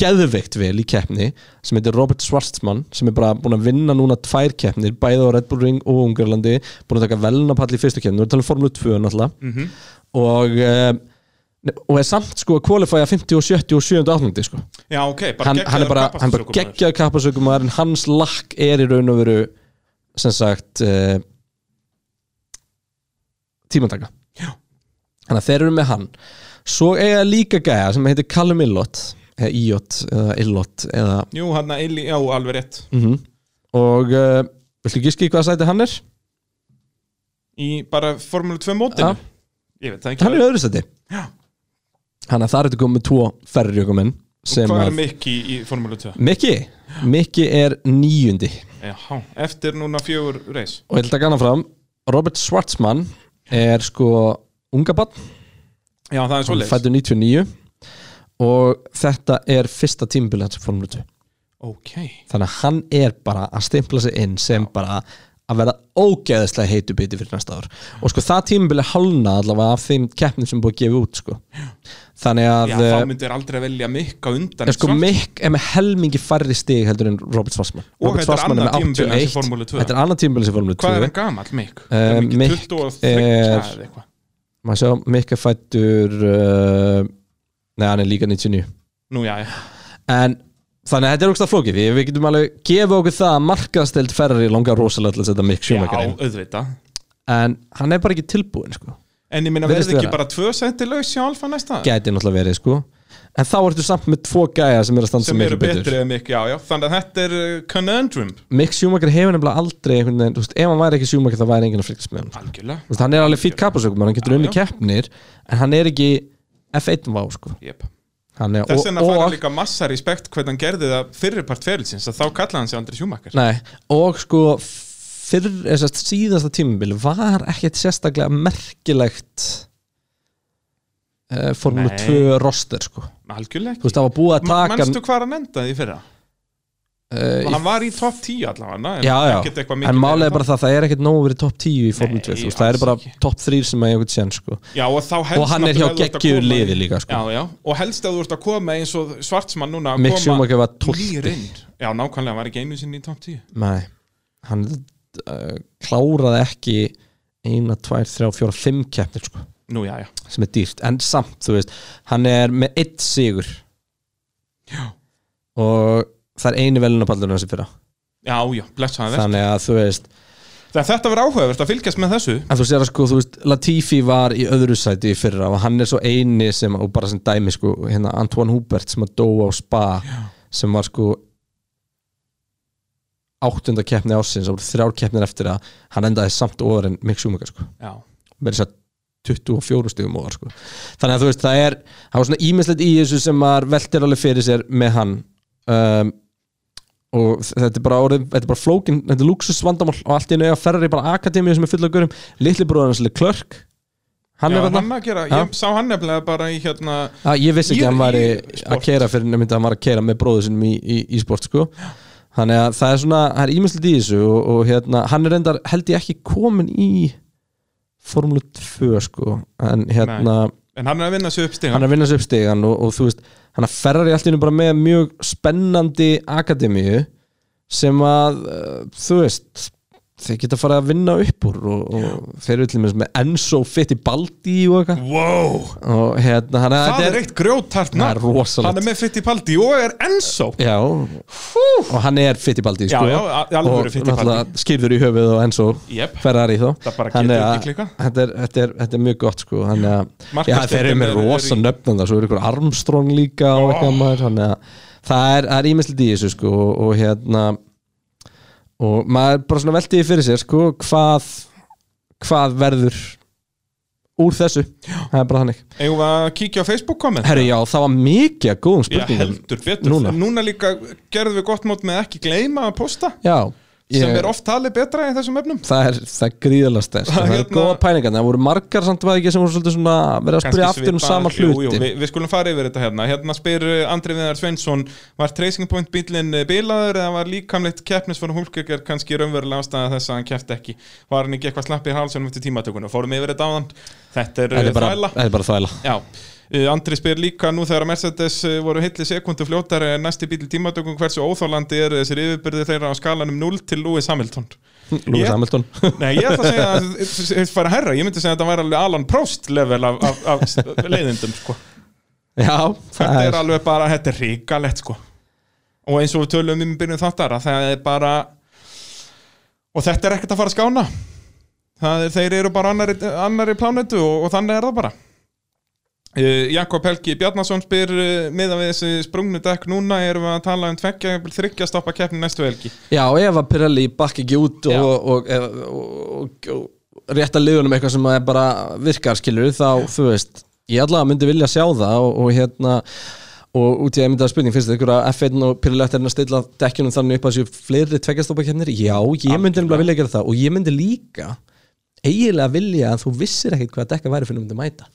C: geðveikt vel í keppni sem heitir Robert Schwarzman sem er bara búin að vinna núna tvær keppnir bæði á Red Bull Ring og Ungarlandi búin að taka velnapall í fyrstu keppni, við erum talað um formule 2 náttúrulega og eh, og er samt sko að kvalifæja 50 og 70 og 70 og 80 sko.
D: Já, ok, bara
C: hann, hann er bara, hann er bara
D: kappakstökum
C: geggjað kappasökum en hans lakk er í raun og veru sem sagt uh, tímantaka þannig að þeir eru með hann svo eiga líka gæja sem heitir Callum Illot eða Iot eða Illot eða,
D: Jú, hann er, já, alveg rétt
C: Mm. og uh, viltu gíski hvað sæti hann er?
D: Í bara Formule 2 mótinu
C: Já.
D: Ég veit það ekki
C: hann er í öðru sæti
D: Já.
C: þannig að það eru komið tvo ferriökumenn sem
D: Hvað
C: að
D: er Mikki í Formule 2?
C: Mikki, Mikki er níundi
D: Já, eftir núna fjögur reis
C: og ég ætla að gana fram Robert Schwarzman er sko unga barn,
D: Já, það er
C: hann
D: svoleiðis
C: fættu 99 og þetta er fyrsta tímabil hans í Formule 2
D: Ok
C: þannig að hann er bara að stimpla sig inn sem bara að vera ógeðislega heitu biti fyrir næsta ár og sko það tímabil er hálna allavega af þeim keppnum sem er búið að gefa út sko. þannig að
D: Já,
C: eh,
D: þá myndir aldrei velja Mikka undan
C: er sko
D: Schwarz-
C: Mick er með helmingi færri stig heldur en Robert Schwarzman
D: Og
C: Robert
D: þetta er
C: Schwarzman
D: annað tímabil hans
C: 81.
D: í Formúlu 2.
C: þetta er annað tímabil sem Formule 2
D: Hvað er hann gamall, Mikk?
C: Eh,
D: er hann ekki
C: Mick
D: 23
C: er-
D: eða eitthvað
C: maður sjá Mikk er fættur uh, neða hann er líka 99
D: Nú, já, já
C: en þannig að þetta er ógstað flókið því við getum alveg gefa okkur það að markaðstelt ferri langar rosalega til að setja Mikk
D: Já,
C: Schumacher inn
D: auðvitað
C: en hann er bara ekki tilbúin sko.
D: En ég minna,
C: Virðist
D: verði ekki
C: vera.
D: bara tvö senti laus hjá Alfa næsta?
C: gæti náttúrulega verið sko. en þá ertu samt með tvo gæja sem er að standa
D: sem
C: sem
D: eru
C: miklu betur
D: betri eða mikið, já, já Þannig að þetta er uh, conundrum
C: Mikk Schumacher hefur nefnilega aldrei einhvern veginn, þú veist, ef hann væri ekki Schumacher þá væri enginn að flyggast með hann Þú
D: Algjörlega
C: veist, hann er alveg fýtt kapasökum hann getur
D: Já,
C: unni
D: já.
C: keppnir en hann er ekki F1-vá sko.
D: yep.
C: Hann er-
D: Þess vegna
C: og-
D: fara
C: og-
D: líka massa respekt hvernig hann gerði það fyrirpart ferilsins að þá kallaði hann sig Andri Sjúmakar
C: Nei, og sko fyrr, eða sérst, síðasta tímabili var ekkert sérstaklega merkilegt uh, Formule
D: Nei.
C: 2 roster sko. þú
D: Algjörlega
C: veist,
D: ekki
C: það var búið að
D: Ma-
C: taka
D: Manstu hvað hann endaði í fyrra?
C: uh,
D: Hann var í top 10 allavega en
C: já, já,
D: ekkert eitthvað mikið
C: en
D: meira
C: málega
D: en
C: er bara það það er ekkert nógu verið topp 10 í Formule
D: Nei,
C: 2 þú veist, það
D: alls
C: er bara
D: ekki.
C: topp 3 sem að ég einhvern sér sko.
D: Já, og þá helst
C: og hann er hjá
D: náttúrulega ef þú ert að
C: geggjur
D: koma í-
C: liði líka sko.
D: Já, já, og helst að þú ert að koma eins og svartsmann núna að
C: Mick
D: koma
C: Schumacher var 12.
D: nýr inn. Já, nákvæmlega, hann var ekki einu sinni í top 10
C: Nei, hann uh, kláraði ekki eina, tvær, þrjá, fjóra, fimm keppnir sko,
D: Nú, já, já
C: sem er dýrt en samt, þú veist, hann er með eitt sigur
D: Já.
C: og það er einu velunapallur hans í fyrra,
D: Já, já, blessaði verð
C: þannig að þú veist
D: Þannig að þetta verður áhugavert að fylgjast með þessu
C: en þú sér að sko, þú veist, Latifi var í öðru sæti í fyrra og hann er svo eini sem, og bara sem dæmi sko, hérna Antoine Hubert sem að dóa á spa Já. sem var sko áttunda keppni ásins og þrjár keppnir eftir að hann endaði samt ofar en Mick Schumacher sko
D: Já,
C: verið sér 24 stigum og sko. þannig að þú veist það er það var svona ímislegt í þessu sem maður veltir alveg fyrir sér með hann um, og þetta er bara, orðið, þetta er bara flókin þetta er luxusvandamál og allt í nöga ferri bara akademíu sem er fulla af gurum litli bróður hans er klörk hann
D: Já,
C: er
D: hann
C: þarna
D: að gera,
C: Ha?
D: ég sá hann nefnilega bara í hérna
C: Ah, ég vissi ekki
D: Ég-
C: að hann væri
D: ég-
C: að
D: sport.
C: keira fyrir nefndi að hann var að keira með bróður sinum í, í, í sport sko. þannig að það er svona, það er ímjömslega í þessu og, og hérna, hann er endar held ég ekki komin í Formule 2 sko en hérna,
D: En hann er að vinna sig upp
C: hann
D: stigan
C: er að vinna sér upp stegan og, og þú veist, hann er ferrar í allt í hennu bara með mjög spennandi akademíu sem að uh, þú veist þeir geta farið að vinna upp úr og, og þeir eru til dæmis með Enzo Fittibaldi og eitthvað
D: Wow,
C: og hérna, hann
D: það er eitt grjótart
C: Það er rosalegt.
D: Hann er með Fittipaldi og er Enzo
C: Já, og hann er Fittipaldi
D: Já,
C: sko.
D: já, a- alvöru Fittipaldi.
C: skýrður í höfuð og Enzo
D: Jep.
C: Ferrari þá
D: Það bara
C: Þannig
D: getur
C: að
D: ekki klikkað.
C: þetta er, þetta, er, þetta er mjög gott sko. Þannig að já,
D: Markaðsdeildin
C: þeir eru með
D: er- er
C: rosa
D: í-
C: nöfnum það Svo eru ykkur Armstrong líka og eitthvað maður Þannig að það er, það er ímislið í þessu sko, og, og hérna og maður bara svona velti því fyrir sér sko, hvað, hvað verður úr þessu það er bara þannig
D: Eigum við að kíkja á Facebook komment
C: Herru já, það var mikið af góðum
D: Já,
C: spurningum
D: heldur betur
C: Núna.
D: um- núna. líka gerðum við gott mót með ekki gleyma að posta
C: Já,
D: sem
C: ég-
D: er oft talið betra í þessum efnum
C: það er, það er gríðalega stærst
D: Það
C: það er
D: er hérna-
C: góða pælingar, það voru margar samt að ekki sem voru svolítið svona verið að spyrja
D: Kannski
C: aftur um
D: svipað-
C: sama
D: jú,
C: hluti
D: jú, við, við skulum fara yfir þetta hérna Hérna spyr uh, Andri Viðar Sveinsson Var Tracing Point bílinn uh, bilaður eða var líkamleitt keppnis fyrir Hulkerger kannski raunverulega ástæða þess að hann kefti ekki Var hann ekki eitthvað slappið í hálsunum eftir tímatökuna Fórum yfir þetta áðan Þetta er,
C: þetta
D: er
C: er bara
D: þvæla
C: þetta er bara þvæla
D: Já, uh, Andri spyr líka nú þegar að Mercedes uh, voru hilli sekundu fljótari en næsti bíl í tímatökum hversu óþálandi eru þessir yfirbyrði þeirra á skalanum 0 til Lewis Hamilton
C: Lúi
D: Ég-
C: Samhildun
D: Nei, ég ætla að segja að þetta fara herra, ég myndi segja að þetta væri alveg Alan Prost level af, af, af leiðindum sko.
C: já,
D: Þetta
C: það
D: er
C: er
D: alveg bara, þetta er ríkalett sko. og eins og við tölum um í byrjun þáttar að það er bara og þetta er ekkert að fara að skána það er, þeir eru bara annari, annari plánetu og, og þannig er það bara Uh, Jakob Helgi Bjarnason spyr uh, miðan við þessi sprungnu dekk núna erum við að tala um tveggja, jafnvel þriggja stoppa keppni næstu helgi
C: já, ef að Pirelli bakk ekki út
D: Já.
C: og, og, og, og, og rétta liðunum eitthvað sem er bara virkar skilur þá, þú veist, ég allavega myndi vilja sjá það og, og hérna og út í að mynda spurning, finnst þið ykkur að F1 og Pirelli ætti að stilla dekkjunum þannig upp að séu fleiri tveggjastopakennir, já, ég myndi nefnilega vilja gera það og ég myndi líka eiginlega vilja að þú vissir ekkert hvað dekka væri fyrir myndi mæta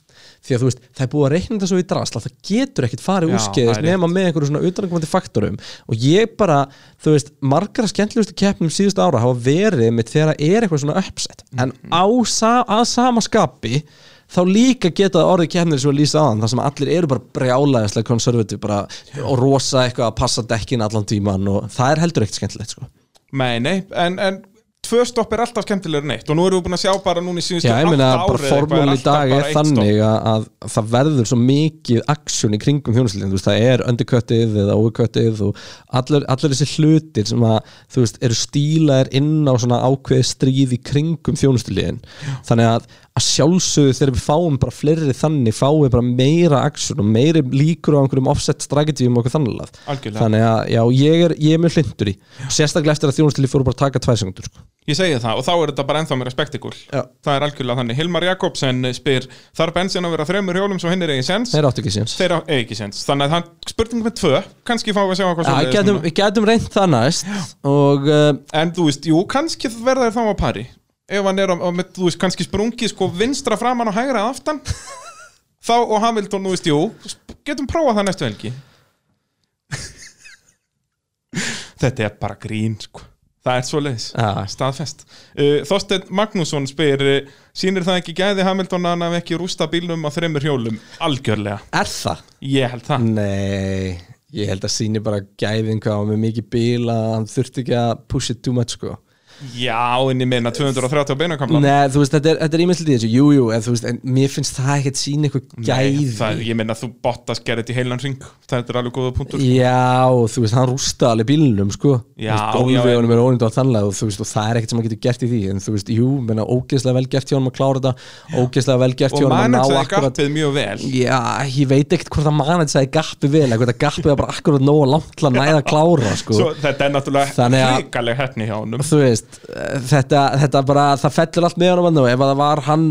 C: því að þú veist, það er búið að reikna þetta svo í drasla það getur ekkert farið
D: Já,
C: úrskeiðis
D: það er
C: nema með einhverju svona utanangvandi faktorum og ég bara, þú veist, margar af skemmtlustu keppnum síðust ára hafa verið mitt þegar það er eitthvað svona uppsett
D: Mhm.
C: en á, sa- að sama skapi þá líka geta orðið keppnir svo að lýsa aðan þar sem allir eru bara brjálæðislega konservativ bara og rosa eitthvað að passa dekkin allan tíman og það er heldur ekkert skemmtilegt sko.
D: Nei, nei, en, en tvö stopp er alltaf skemmtilegur en eitt og nú erum við búin að sjá bara núna í síðustu
C: Já, ég meina
D: átta
C: að bara
D: árið eitthvað,
C: formúlan í
D: alltaf
C: dag
D: bara
C: er
D: eitt stopp.
C: þannig að, að það verður svo mikið aksjón í kringum hjónusliðin, þú veist, það er undercuttið eða overcuttið og allir, allir þessi hlutir sem að, þú veist, eru stílaðir inn á svona ákveði stríð í kringum þjónustiliðin, þannig að að sjálfsögðu þegar við fáum bara fleiri þannig, fáum við bara meira aksjón og meiri líkur á einhverjum offset strategjum og okkur þannig að,
D: Algjörlega.
C: þannig að já, ég er, ég er mjög hlindur í, sérstaklega eftir að þjónustilið fóru bara að taka tvær sekundur, sko.
D: Ég segi það og þá er þetta bara ennþá meira spektikul
C: Já.
D: Það er algjörlega þannig Hilmar Jakobsen spyr Þarf bensin að vera þremur hjólum svo hinn er eigin sens
C: Þeir áttu ekki síðan.
D: Þeirra er ekki sens Þannig að hann spurning með tvö Kanski fáum við að sjá hvað
C: Já, við getum, við getum reynt það næst og uh,
D: En þú veist, jú, kannski verða þér þá á pari Ef hann er á, á með, þú veist, kannski sprungi sko vinstra framan og hægra aftan Þá og Hamilton, þú veist, jú sp- Getum prófað það næstu helgi Þetta er bara grín, sko Það er svo leiðis
C: Já.
D: staðfest uh, Þorsteinn Magnússon spyr uh, sýnir það ekki gæði Hamilton að hann hafi ekki rústa bílnum á þreymur hjólum algjörlega,
C: er það?
D: ég held
C: Mm.
D: það
C: Nei, ég held að síni bara gæðin hvað hann var með mikið bíl að hann þurfti ekki að push it too much sko
D: Já, en ég meina 230 á beinakamlan
C: Nei, þú veist, þetta er, þetta er ímyndslið í þessu, jú, jú, en þú veist, en mér finnst það ekkert síni eitthvað gæði
D: það, ég meina þú bóttast gerðið í heilan ring þetta er alveg góða
C: sko.
D: punktur
C: Já, þú veist, hann rústa alveg bílnum, sko
D: Já, já,
C: Gólfi
D: en-
C: honum er ónýnd á þannlega og þú veist, og það er ekkert sem hann getur gert í því En þú veist, jú, menna, ógeðslega vel gert hjá hann að klára þetta Ógeðslega vel gert hjá hann
D: og
C: að ná
D: managerði
C: akkurat
D: gappið mjög vel
C: Já, ég veit ekkert hvort að manið sagði gappi vel, eða hvort að gappið var bara akkurat nógu langt til að næða að klára, sko
D: Svo, þetta er náttúrulega
C: Þannig að-
D: hrikaleg hefni hjá honum
C: þú veist, veist, eh, þetta, þetta bara, það fellur allt með honum hann og ef að það var hann,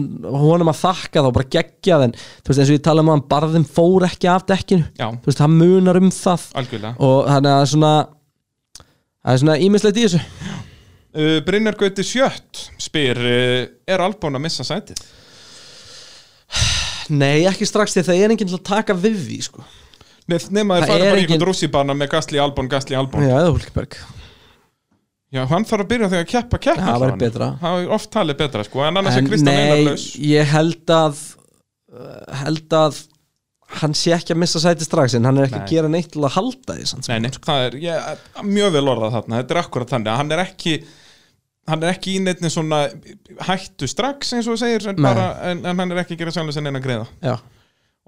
C: honum að þakka þá bara geggja þenn, þú veist, eins og ég tala um að hann barðin fór ekki af dekkinu
D: Já.
C: þú veist, hann munar um það
D: algjörlega
C: og þannig að það er svona það er svona ímislegt í þessu
D: uh, Brynjar Gauti Sjött spyr uh, er Albon að missa sætið?
C: Nei, ekki strax því að það er enginn til að taka við því, sko
D: Nei, nema þeir
C: Það
D: fara
C: er
D: bara í
C: engin-
D: einhvern rússibana með Gasli Albon, Gasli Albon Já.
C: Já, eða Hulkberg
D: hann þarf að byrja þegar að keppa keppa
C: Það væri
D: allavega.
C: betra.
D: Það er oft talið betra, sko, en annars
C: En
D: er Kristján Einar laus
C: ég held að uh, held að hann sé ekki að missa sæti strax en hann er ekki
D: Nei.
C: að gera neitt til að halda því sko. sann,
D: Nei, nei, það er ég, mjög vel orðað þarna, þetta er akkurat þannig að hann er ekki hann er ekki í neittni svona hættu strax eins og þú segir en,
C: Nei.
D: bara, en, en hann er ekki að gera sjálfum sinni en að greiða
C: Já,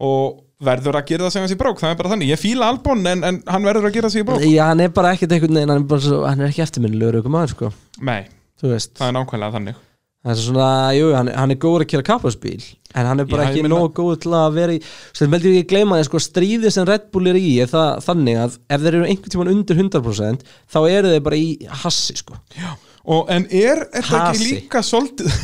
D: og verður að gera það sem hans í brók, það er bara þannig ég fíla Albon en, en hann verður að gera sig í brók
C: Já, hann er bara ekkert einhvern veginn hann er, bara, svo- hann er ekki eftirminnilegur ykkur maður sko.
D: Nei,
C: þú veist,
D: það er nákvæmlega þannig
C: það er svona jú, hann, hann er góður að kera kapparsbíl en hann er bara
D: Já, ég
C: ekki
D: meina-
C: nógu góður til að vera í sem veldur ég ekki gleyma því sko, stríðið sem Red Bull er í er það, þannig að ef þeir eru einhvern tímann undir 100% þá eru þeir bara í hassi sko.
D: og, En er þetta ekki
C: Hasi.
D: líka svolítið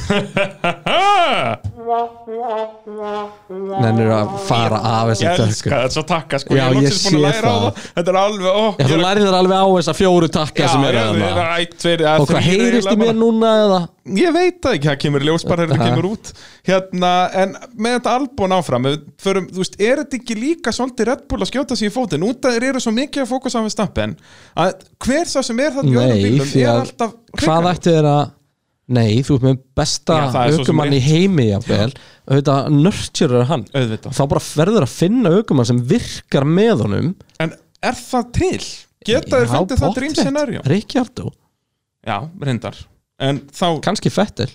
C: menn eru að fara af
D: Ég
C: þessum tökum
D: elska þetta svo takka sko,
C: Já,
D: ég er
C: ég
D: loksins búin
C: sé
D: að læra á
C: það.
D: það Þetta er alveg, ó,
C: Já, þú lærið þér alveg á þessa fjóru takka sem eru
D: ég
C: þarna.
D: er ætt fyrir
C: Og hvað heyrist í mér núna eða?
D: Ég veit það ekki, það kemur í ljós bara þegar það kemur út hérna, en með þetta albún áfram ef við förum, þú veist, er þetta ekki líka svolítið Red Bull að skjóta sig í fótinn út að þeir eru svo mikið að fókusa á við stappen að hver sá sem er þannig
C: Nei, því
D: er
C: að
D: alltaf
C: hvað
D: hrikalegt.
C: ætti þér að Nei, þú ert með besta
D: Já, það er svo sem
C: aukumann í
D: rétt.
C: heimi jafnvel auðvitað nörtjurar hann
D: Auðvitað.
C: þá bara verður að finna aukumann sem virkar með honum
D: En er það til? Geta þeir fundið það dream scenario?
C: Ríkjardó,
D: Já, reyndar En þá,
C: kannski Fettel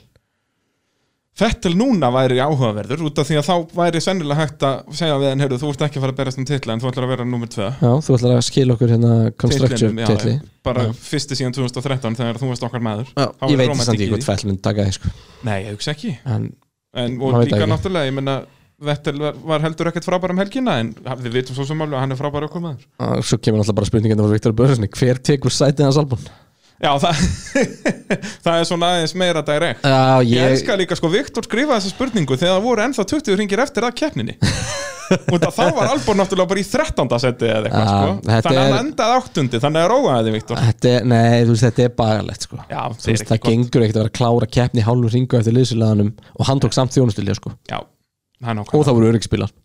D: Fettel núna væri áhugaverður út af því að þá væri sennilega hægt að segja við en heyrðu, þú ert ekki að fara að berast um titla en þú ætlar að vera nummer 2
C: Já, þú ætlar að skila okkur hérna Constructure
D: Titlinum, já,
C: titli
D: já. bara fyrsti síðan 2013 þegar þú varst okkar maður
C: Já,
D: Þá
C: Ég
D: er
C: veit þess
D: rómantík
C: að
D: í
C: ég hvort
D: því.
C: Fettel minn taka þig sko
D: Nei, ég hugsa ekki
C: En
D: en,
C: Maður veit
D: og
C: það
D: líka
C: ekki.
D: náttúrulega, ég menna Vettel var, var heldur ekkert frábær um helgina en við vitum svo sem alveg að hann er frábær okkur maður
C: og svo kemur náttúrulega bara spurningin frá Viktor Börðsni Hver tekur sætið hans albún?
D: Já, það, það er svona aðeins meira direkt
C: Já,
D: Ég
C: ég,
D: elska líka, sko, Viktor skrifaði þessa spurningu þegar það voru ennþá 20 ringir eftir að keppninni og það þá var Albon náttúrulega bara í 13. seti eða eitthvað,
C: Já,
D: sko
C: þetta
D: þannig að hann
C: er-
D: endaði áttundi, þannig að róaði þið, Viktor
C: Þetta er, nei, þú veist, þetta er bagalegt sko.
D: sko. Já,
C: Þú
D: það er
C: veist,
D: ekki
C: það
D: gott.
C: gengur ekkert að vera að klára keppni í hálfum ringu eftir liðsulaganum og hann tók samt þjónustilja sko.
D: Já, það er
C: og
D: nákvæmlega
C: það voru öryggspilar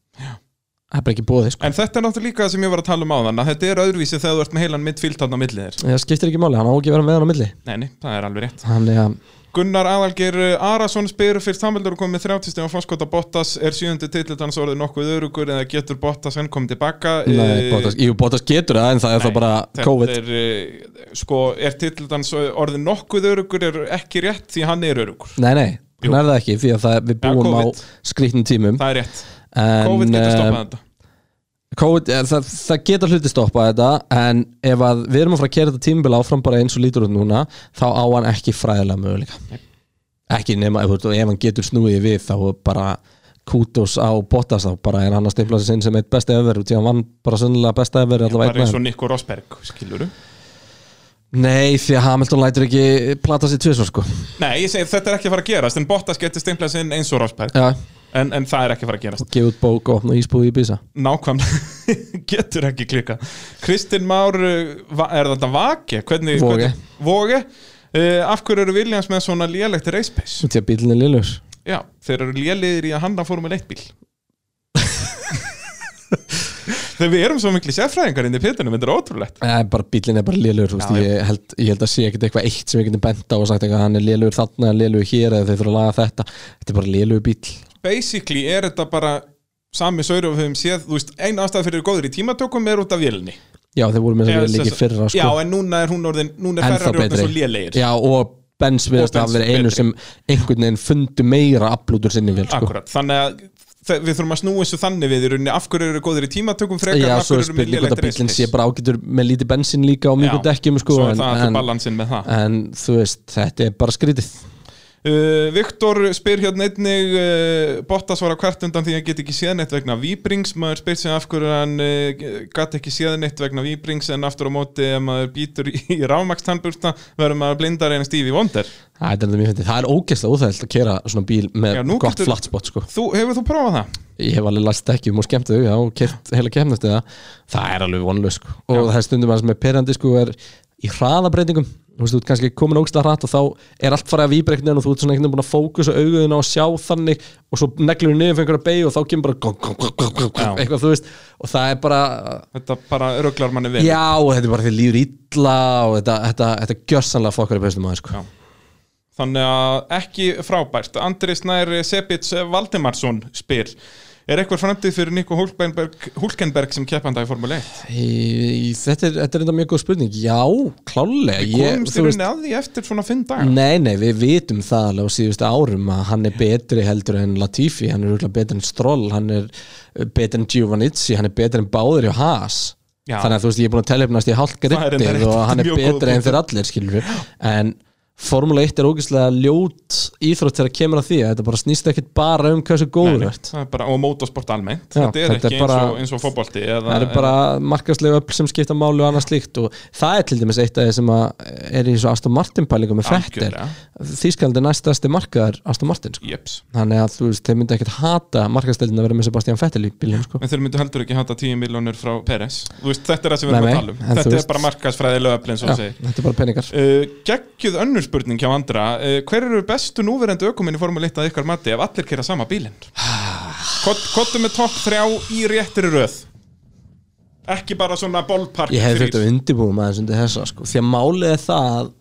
C: það er bara ekki bóðið sko.
D: En þetta er náttúrulega líka það sem ég var að tala um áðan að þetta er öðruvísi þegar þú ert með heilan mittfíld þarna á milli þér.
C: það skiptir ekki máli, hann á ekki að vera með hann á milli
D: Nei, nei, það er alveg rétt.
C: þannig að,
D: Gunnar Aðalgeir eh, Arason spyr fyrst Hamildur er komið með 30 stegum fórskota Bottas er sjöndi titill hans orðið nokkuð örugur eða getur Bottas enn komið tilbaka Eh,
C: nei, Bottas, jú, Bottas getur það en það er þá bara COVID
D: er, eh, sko, er titill hans orðið nokkuð örugur er ekki rétt því hann er örugur
C: nei, nei,
D: Jú.
C: hann er það ekki því að það, við
D: Ja,
C: búum á
D: COVID.
C: skrýtnum tímum
D: það er rétt,
C: en,
D: COVID getur
C: eh,
D: stoppað þetta
C: COVID, eh, það, það geta hluti stoppa þetta en ef að við erum að fara að kera þetta tímbil áfram bara eins og lítur út núna þá á hann ekki fræðilega möguleika ekki nema, ef, þú- ef hann getur snúið við þá er bara kútos á Bottas þá bara er hann að stimpla sig sinn sem eitt besti öfver því hann vann bara sönnilega besta öfver
D: bara
C: allavega
D: eins
C: einn
D: og
C: með
D: Nico Rosberg, skiluru
C: Nei, því að Hamilton lætur ekki plata sér tvisvar sko
D: nei, ég segi þetta er ekki að fara að gerast en Bottas getur stimplað sinn eins og Rosberg
C: Já,
D: en, en það er ekki að fara að gerast
C: gefa út bók og opna ísbúi í Bisa
D: nákvæmlega getur ekki klika Kristinn Már, uh, va- er þetta Vake? Hvernig,
C: Voge.
D: hvernig, Voge. Uh, af hverju eru Williams með svona lélegt race pace?
C: Því að bílinni liljus
D: Já, þeir eru lélegir í að handa formule 1 bíl Þegar við erum svo miklu sérfræðingar inn í pittunum, þetta er ótrúlegt
C: Nei, Eh, bara bílinn er bara lélugur
D: Já, já.
C: ég, held, ég held að sé ekkert eitthvað eitt sem ég geti bent á og sagt eitthvað hann er lélugur þarna, hann er lélugur hér eða þeir þurfa að laga þetta Þetta er bara lélugur bíl
D: Basically er þetta bara sami sauri og við höfum séð, þú veist, eina ástæð fyrir þeir eru góður í tímatökum er út af vélni
C: Já, þeir voru með þess að vera líki fyrra sko,
D: Já, en núna er hún orðin, núna er
C: ennþá
D: ferrar orðin svo lélegir
C: Já, og Benz viðast
D: Og
C: að
D: Benz
C: vera einu
D: betri.
C: sem einhvern veginn fundu meira aflútur sinni vel sko.
D: Akkurat, þannig að þe- við þurfum að snúa þessu þannig við í rauninni af hverju eru góðir í tímatökum frekar en
C: Já,
D: af
C: svo
D: hverju
C: er
D: eru með
C: spurning hvort
D: lélegt
C: að bílinn sé
D: racepace.
C: bara ágætur með lítið bensin líka og mjög
D: Já,
C: dekkjum sko,
D: svo er
C: en,
D: það allur
C: en,
D: balansinn með það
C: en þú veist, þetta er bara skrítið
D: Uh, Viktor spyr hérna einnig uh, Bottas var á hvert undan því að hann get ekki séð neitt vegna Víbrings maður spyr sig af hverju hann uh, gat ekki séð neitt vegna Víbrings en aftur á móti ef maður býtur í, í rámakstannbursta verður maður blindar en stífi vondar
C: Það er, mjög fyndið. það er ógeðslega óþægilt að kera svona bíl með
D: Já, nú
C: gott
D: getur-
C: getur... flatspot sko.
D: Þú, hefur þú prófað það?
C: Ég hef alveg læst ekki um og skemmt þau já, og kert heila kemnast eða það er alveg vonlaus sko. og það er stundum aðeins með perandi sko, er í hraðabreytingum þú veist, þú ert kannski komin ógeðslega hratt og þá er allt farið að víbra einhvern veginn og þú ert svona einhvern veginn búin að fókusa auguðina og sjá þannig og svo neglur niður fyrir einhverja beig og þá kemur bara gong, gong, gong, gong, gong,
D: Já.
C: eitthvað, þú veist, og það er bara
D: Þetta bara röglar manni vel
C: Já, og þetta er bara því líður illa og þetta, þetta, þetta gjörsanlega fokkar í bestum aðeins sko.
D: Já. Þannig að ekki frábært Andri Snær Sebits Valdimarsson spyr Er eitthvað framtíð fyrir Nico Hulkenberg, Hulkenberg sem keppanda í Formule 1?
C: Í- í- Þetta er, þetta er enda mjög góð spurning Já, klálega
D: Ég, Komumst í rauninni að því eftir svona fimm dagar?
C: Nei, nei, við vitum það alveg á síðustu árum að hann er betri heldur en Latifi hann er örugglega betri en Stroll hann er uh, betri en Giovannizzi, hann er betri en Báður og Haas
D: Já.
C: þannig að þú veist, ég er búin að tella upp næst í hálft
D: er enda
C: grittið
D: rétt,
C: og hann er
D: mjög góð
C: betri en
D: punktur.
C: þeir allir skilur við en Formule 1 er ógeðslega ljót íþrótt þegar kemur að því að þetta bara snýst ekkit bara um hversu góður þú
D: Nei, nei,
C: ert
D: það er bara, og mótorsport almennt
C: Já,
D: þetta er
C: þetta er
D: ekki
C: bara-
D: eins, og, eins og fótbolti eða,
C: það eru bara markaslega öll sem skipta máli og annað slíkt og það er til dæmis eitt af því sem að er í þessu Aston Martin pælingu með Fettel
D: Algjörlega.
C: Þískaldi næstasti markaðar Aston Martin sko.
D: jeps
C: þannig að þú veist, þeir myndi ekkert hata markaðstelin að vera með Sebastian Fettel í bílum sko.
D: en þeir myndu heldur ekki hata 10 miljónir frá Peres veist, þetta er það sem við
C: Nei,
D: erum að
C: nei,
D: tala um
C: en þú
D: þetta er
C: veist-
D: bara markaðsfræðilega öfl eins og
C: Já,
D: þú segir
C: þetta er bara peningar
D: Uh, geggjuð önnur spurning hjá andra uh, hver eru bestu núverandi ökuminn í Formule 1 að ykkar mati ef allir kera sama bílinn kottu með topp 3 í réttir röð ekki bara svona ballpark
C: ég hefði
D: þrír.
C: þurft að undirbúið maður undir þessa sko. því að málið er það að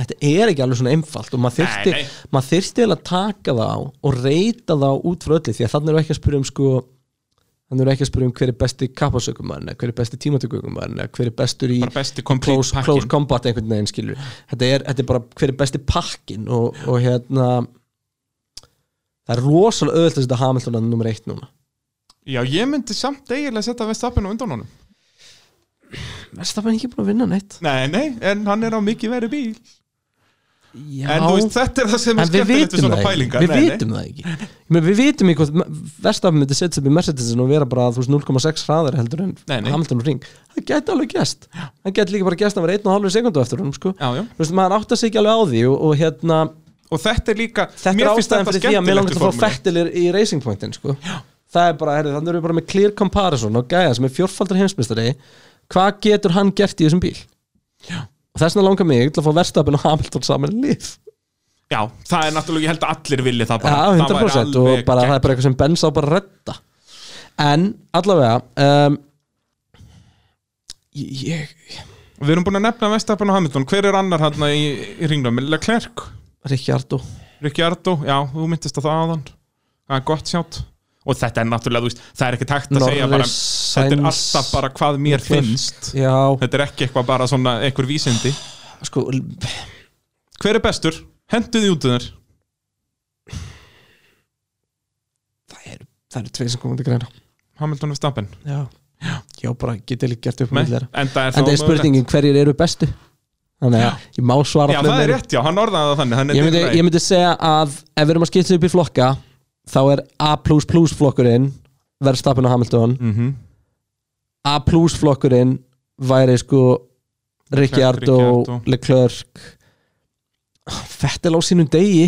C: þetta er ekki alveg svona einfalt og maður þyrfti,
D: Nei, nei.
C: maður þyrfti vel að taka þá og reyta þá út frá öllu því að þannig eru ekki að spyrja um sko þannig eru ekki að spyrja um hver er besti kappasökumarinn hver er besti tímatökumarinn hver er bestur í
D: Bara besti complete
C: close,
D: pakkin.
C: close combat einhvern veginn skilur þetta er, þetta er bara hver er besti pakkin og, og hérna það er rosalega auðvitað að setja Hamilton að nummer eitt núna
D: já ég myndi samt eiginlega setja Vestapen á undan honum
C: Verstafan er ekki búin að vinna neitt
D: nei nei en hann er á mikið verið bíl
C: Já.
D: En þú veist, þetta er það sem er
C: en við
D: skemmtilegt við
C: vitum
D: svona
C: það
D: pælingar
C: ekki við vitum það ekki Ég meina, við vitum ekki hvort verstafn myndi setja upp í Mercedesin og vera bara þú veist, 0,6 hraðar heldur en
D: Nei, nei.
C: Hamilton og Ring það gæti alveg gæst hann gæti líka bara gæst að vera 1,5 sekundu eftir honum sko.
D: Já, já.
C: Þú veist, maður átt að segja alveg á því og, og hérna,
D: Og þetta er líka,
C: þetta er
D: mér finnst
C: ástæðan
D: þetta
C: fyrir því að mér langar að
D: skemmtilegt í
C: fá
D: formúlu
C: fettilir í Racing Pointin sko. það er bara, herri, þannig erum við bara með clear comparison og gæja sem er fjórfaldar heimsmyndstari hvað getur hann gert í þessum bíl
D: Já.
C: og þess vegna langar mig til að fá verstafn og Hamilton saman í lið
D: Já, það er náttúrulega, ég held að allir vilja það bara
C: Já, 100%
D: Það væri
C: og
D: alveg
C: bara það
D: gegn-
C: er bara eitthvað sem Benz á bara að redda En allavega um, ég, ég
D: Við erum búin að nefna Vestapen og Hamilton Hver er annar hann í, í ringnum? Leclerc,
C: Ríkjardó
D: Ricciardo, já, þú myndist að það aðan Það er gott sjátt Og þetta er náttúrulega, þú veist, það er ekki takt að segja bara
C: Norris,
D: Þetta er
C: Sainz,
D: alltaf bara hvað mér
C: Leclerc.
D: finnst
C: Já,
D: Þetta er ekki eitthvað bara svona, einhver vísindi
C: sko
D: Hver er bestur? Hendu því út um þér
C: Það eru það eru tveir sem komandi greina
D: Hamilton Vestapen
C: Já, já bara getið líka gert upp
D: En
C: með þeirra
D: það
C: En það er
D: mögulegt.
C: spurningin hverjir eru bestu Þannig að ég má svara
D: Já,
C: öllum
D: það er
C: þeirra.
D: rétt, já, hann orðaði það þannig hann er
C: ég myndi,
D: dýrari.
C: ég myndi segja að ef við erum að skipta upp í flokka þá er A++ flokkurinn Verstappen og Hamilton
D: Mhm.
C: A plus flokkurinn væri sko Ricciardo,
D: Ricciardo.
C: Leclerc Fettel á sínum degi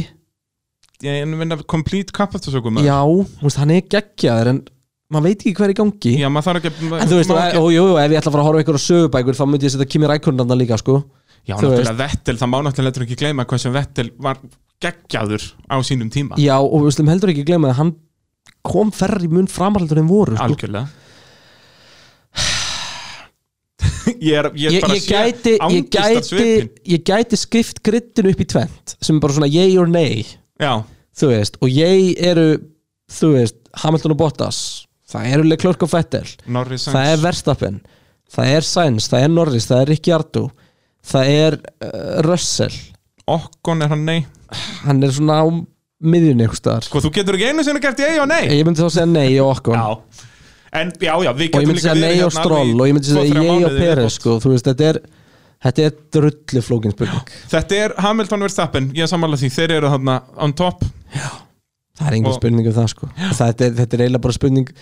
D: Ég er að vinna complete kappatusökum
C: Já, þú veist, hann er geggjaður en maður veit ekki hver er í gangi
D: já, maður þarf ekki
C: En þú veist,
D: má
C: og, og jú, jú, ef ég ætla að fara að horfa ykkur á sögubækur þá myndi ég setja Kimi Rækurnanda líka, sko
D: Já,
C: þú
D: náttúrulega Vettel, það má náttúrulega heldur ekki gleyma hvað sem Vettel var geggjaður á sínum tíma
C: Já, og við slum heldur ekki gleyma að hann kom ferri mun framarhaldur en voru, sko
D: Algjörlega Ég er, ég
C: Ég,
D: bara
C: ég,
D: sé
C: gæti, ég,
D: angistar
C: gæti,
D: svipinn.
C: ég gæti skipt grittinu upp í tvent sem er bara svona yay or nay
D: Já,
C: þú veist, og ég eru þú veist, Hamilton og Bottas það eru Leclerc og Vettel
D: Norris Sainz.
C: það er Verstappen, það er Sainz það er Norris, það er Ricciardo það er uh, Russell
D: Okkon er hann nei
C: hann er svona á miðjunni einhvers staðar
D: Sko, þú getur ekki einu sinni gert ég og nei
C: ég myndi þá segja nei og okkur
D: Já En já, já, við
C: og ég
D: getum
C: myndi
D: líka
C: segja
D: verið
C: nei og
D: hérna
C: Stroll
D: alveg í
C: og ég myndi
D: tvo,
C: segja ég
D: þrjá
C: og
D: mánuði
C: Peres
D: viðbót.
C: sko, þú veist, þetta er Þetta er drullu flókin spurning
D: Þetta er Hamilton Verstappen, ég sammála því Þeir eru þarna on top
C: Það er engin
D: Og-
C: spurning um það sko það er, Þetta er eiginlega bara spurning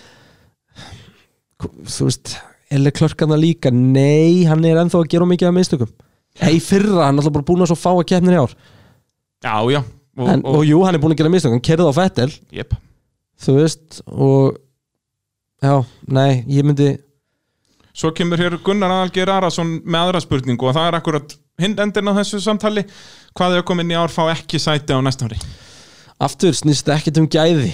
C: Þú veist Eller klörkarna líka, nei Hann er ennþá að gera of mikið af mistökum Hei fyrra, hann er alltaf bara búin að svo fá að keppnir í ár
D: Já, já og,
C: en, og, jú, hann er búin að gera mistökum, kerði á Fettel
D: Jep.
C: Þú veist, og Já, nei, ég myndi
D: Svo kemur hér Gunnar Algeir Arason með aðra spurningu og það er akkurat hinn endin á þessu samtali hvað þau komin í ár fá ekki sæti á næsta ári
C: Aftur snýst ekkert um gæði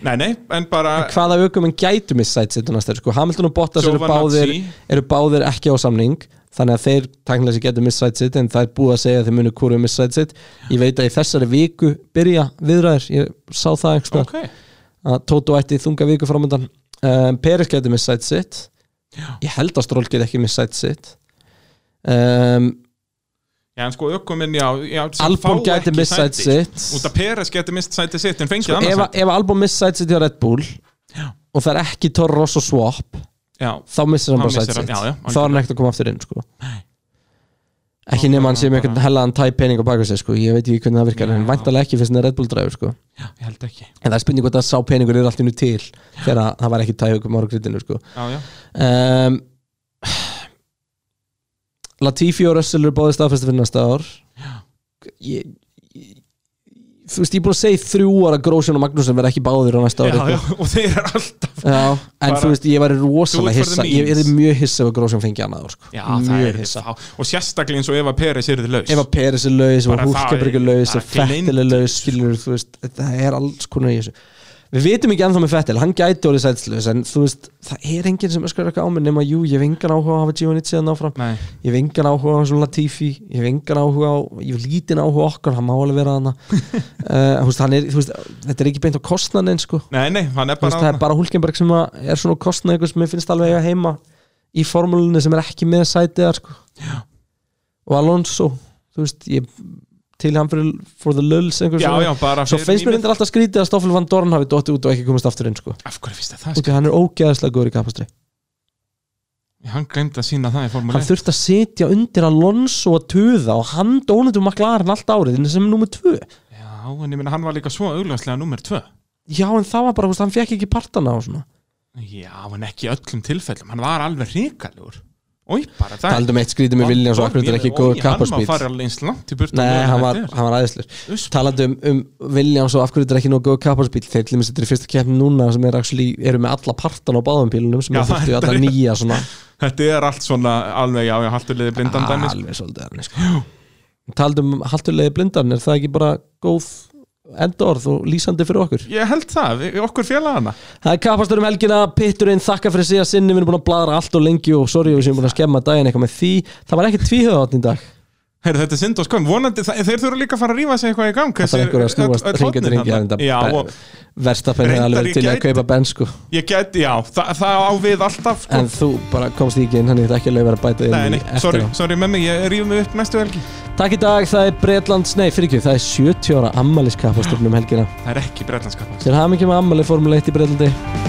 D: Nei, nei, en bara
C: Hvaða aukumenn gætu missætt sér næsta ári, sko? Hamilton og Bottas eru
D: Giovanazzi.
C: báðir, eru báðir ekki á samning þannig að þeir tæknilega sér getur missætt sitt en það er búið að segja að þeir munu kúru missætt sitt ég veit að í þessari viku byrja viðræður, ég sá það einhvers staðar,
D: Ok,
C: að Tóto ætti þunga viku framöndan um, Peris getur missætt sitt ég held að Stról getur ekki missætt sitt um,
D: já, en sko aukomin já, já sem
C: Albon
D: fá
C: gæti
D: ekki
C: missætt
D: sæti.
C: sitt
D: Út af Peres geti mist sæti sitt en fengið
C: Sko,
D: annars
C: ef,
D: sæti
C: ef Albon missætt sitt hjá Red Bull og það er ekki Toro Rosso swap
D: Já,
C: þá missir hann
D: Þá
C: bara
D: missir
C: sætt
D: hann,
C: sitt
D: já, já,
C: þá er hann ekkert að koma aftur inn sko. ekki
D: Þá
C: nema hann
D: bara-
C: sé með einhvern hellaðan tæp pening á baka sig sko. ég veit ekki hvernig það virkar en væntalega ekki fyrst en það er Red Bull dræfur sko.
D: já, ég held ekki
C: en það er spurning hvort að sá peningur er allt innu til þegar að það var ekki tæp um ára kryddinu sko.
D: Já, já,
C: um, Latifi og Russell eru báðið staðfæstu fyrir næsta ár ég, ég þú veist, ég er búin að segja í þrjú ára Grósjón og Magnússon verða ekki báðir á næsta ári sko.
D: já, já og þeir eru alltaf
C: Já, en
D: Bara-
C: þú veist, ég væri
D: Do it
C: rosalega
D: for
C: hissa
D: the
C: Ég
D: memes.
C: er mjög hissa ef að Grósjón fengi annað ár, sko.
D: Já, það
C: Mjög
D: er
C: hissa
D: fá Og sérstaklega eins og ef að Peres eru þið laus
C: Ef að Peres er laus, ef að
D: Bara
C: Húlkeberg er
D: það er-
C: laus
D: bara
C: ef Fettel er
D: gleymd.
C: laus, skilur þú veist það er alls konar í þessu Við vitum ekki ennþá með Fettel, hann gæti orðið sætslaus en þú veist, það er enginn sem öskar eitthvað á mig nema jú, ég hef engan áhuga á að hafa Giovannitsi að náfram
D: Nei,
C: ég hef engan áhuga á svona Latifi ég hef engan áhuga á, ég hef lítinn áhuga á okkar hann má alveg vera hana uh, þú veist, hann er, þú veist, þetta er ekki beint á kostnanin sko
D: nei, nei, hann er
C: Þú veist, það er
D: bara
C: bara Hulkenberg sem að er svona kostnað eitthvað sem ég finnst alveg eiga heima í formúlunni sem er ekki með sætiðar sko. og Alonso þú veist, ég til hann fyrir for the lulls einhver
D: Já,
C: svona.
D: já, bara
C: svo
D: fyrir
C: finnst mér
D: mýmið.
C: endur alltaf skrítið að Stoffel van Dorn hafi dottið út og ekki komist aftur inn sko.
D: Af hverju finnst þér það?
C: Út af hann er ógeðaslega góður í kapastri
D: Sko? Hann glemt að sína það í formule
C: hann þurfti að sitja undir Alonso að tuða og hann dónatum maklarinn allt árið sem er nummer tvö
D: Já, en ég meina hann var líka svo augljóslega nummer 2
C: já, en það var bara, þú veist, hann fekk ekki partana og svona
D: Já, en ekki í öllum tilfellum Hann var alveg ríkalegur Ói, bara það
C: taldum um eitt skrítið með Viljáns og akkur þetta er ekki góður
D: Hann
C: kapasbít
D: var farið alveg eins langt í burtu
C: Nei,
D: meðan
C: hann var,
D: þetta er.
C: hann var æðislegur
D: Uss.
C: Talandi um, um Williams og af hverju þetta er ekki nógu góð kapparsbíl Þeir til dæmis þetta er í fyrsta keppni núna sem er actually, eru með alla partan á báðum bílunum sem
D: Já,
C: er þurftu
D: það
C: alla
D: er-
C: nýja svona
D: Þetta er allt svona alveg, já, já, haltu liði blindan dæmis
C: Alveg svolítið þannig sko. Talandi um haltulegi blindan er það ekki bara góð endorð og lýsandi fyrir okkur
D: Ég held það, við, okkur félagana
C: Það er kappastur um helgina, pitturinn, þakka fyrir síðan sinni Við erum búin að bladra allt og lengi og sorry við séum búin að skemma daginn eitthvað með því Það var ekki tvíhöðatn í dag
D: Heyrðu, þetta er synd og skoðum, vonandi, það, þeir þurfa líka að fara að rífa sig eitthvað í gang
C: Það er
D: þessir-
C: einhver að snúast
D: öll- öll
C: hringa til
D: hornin þarna.
C: hringi
D: Já, og
C: Verstapenn er
D: Reyndar
C: alveg
D: ég
C: til í að
D: gæti-
C: kaupa benn sko
D: ég get, já, það, það á við alltaf sko.
C: en þú bara komst því ekki inn þannig að þetta ekki að leiða að bæta inn
D: Nei, nei,
C: í eftir
D: sorry,
C: á.
D: sorry með mig, ég rífum mig upp næstu helgi
C: takk í dag, það er Bretlands, nei fyrir ekki það er 70 ára ammaliskapasturnum um helgina
D: Það er ekki brellanskapast
C: til hafa mikið með ammali formule 1 í Bretlandi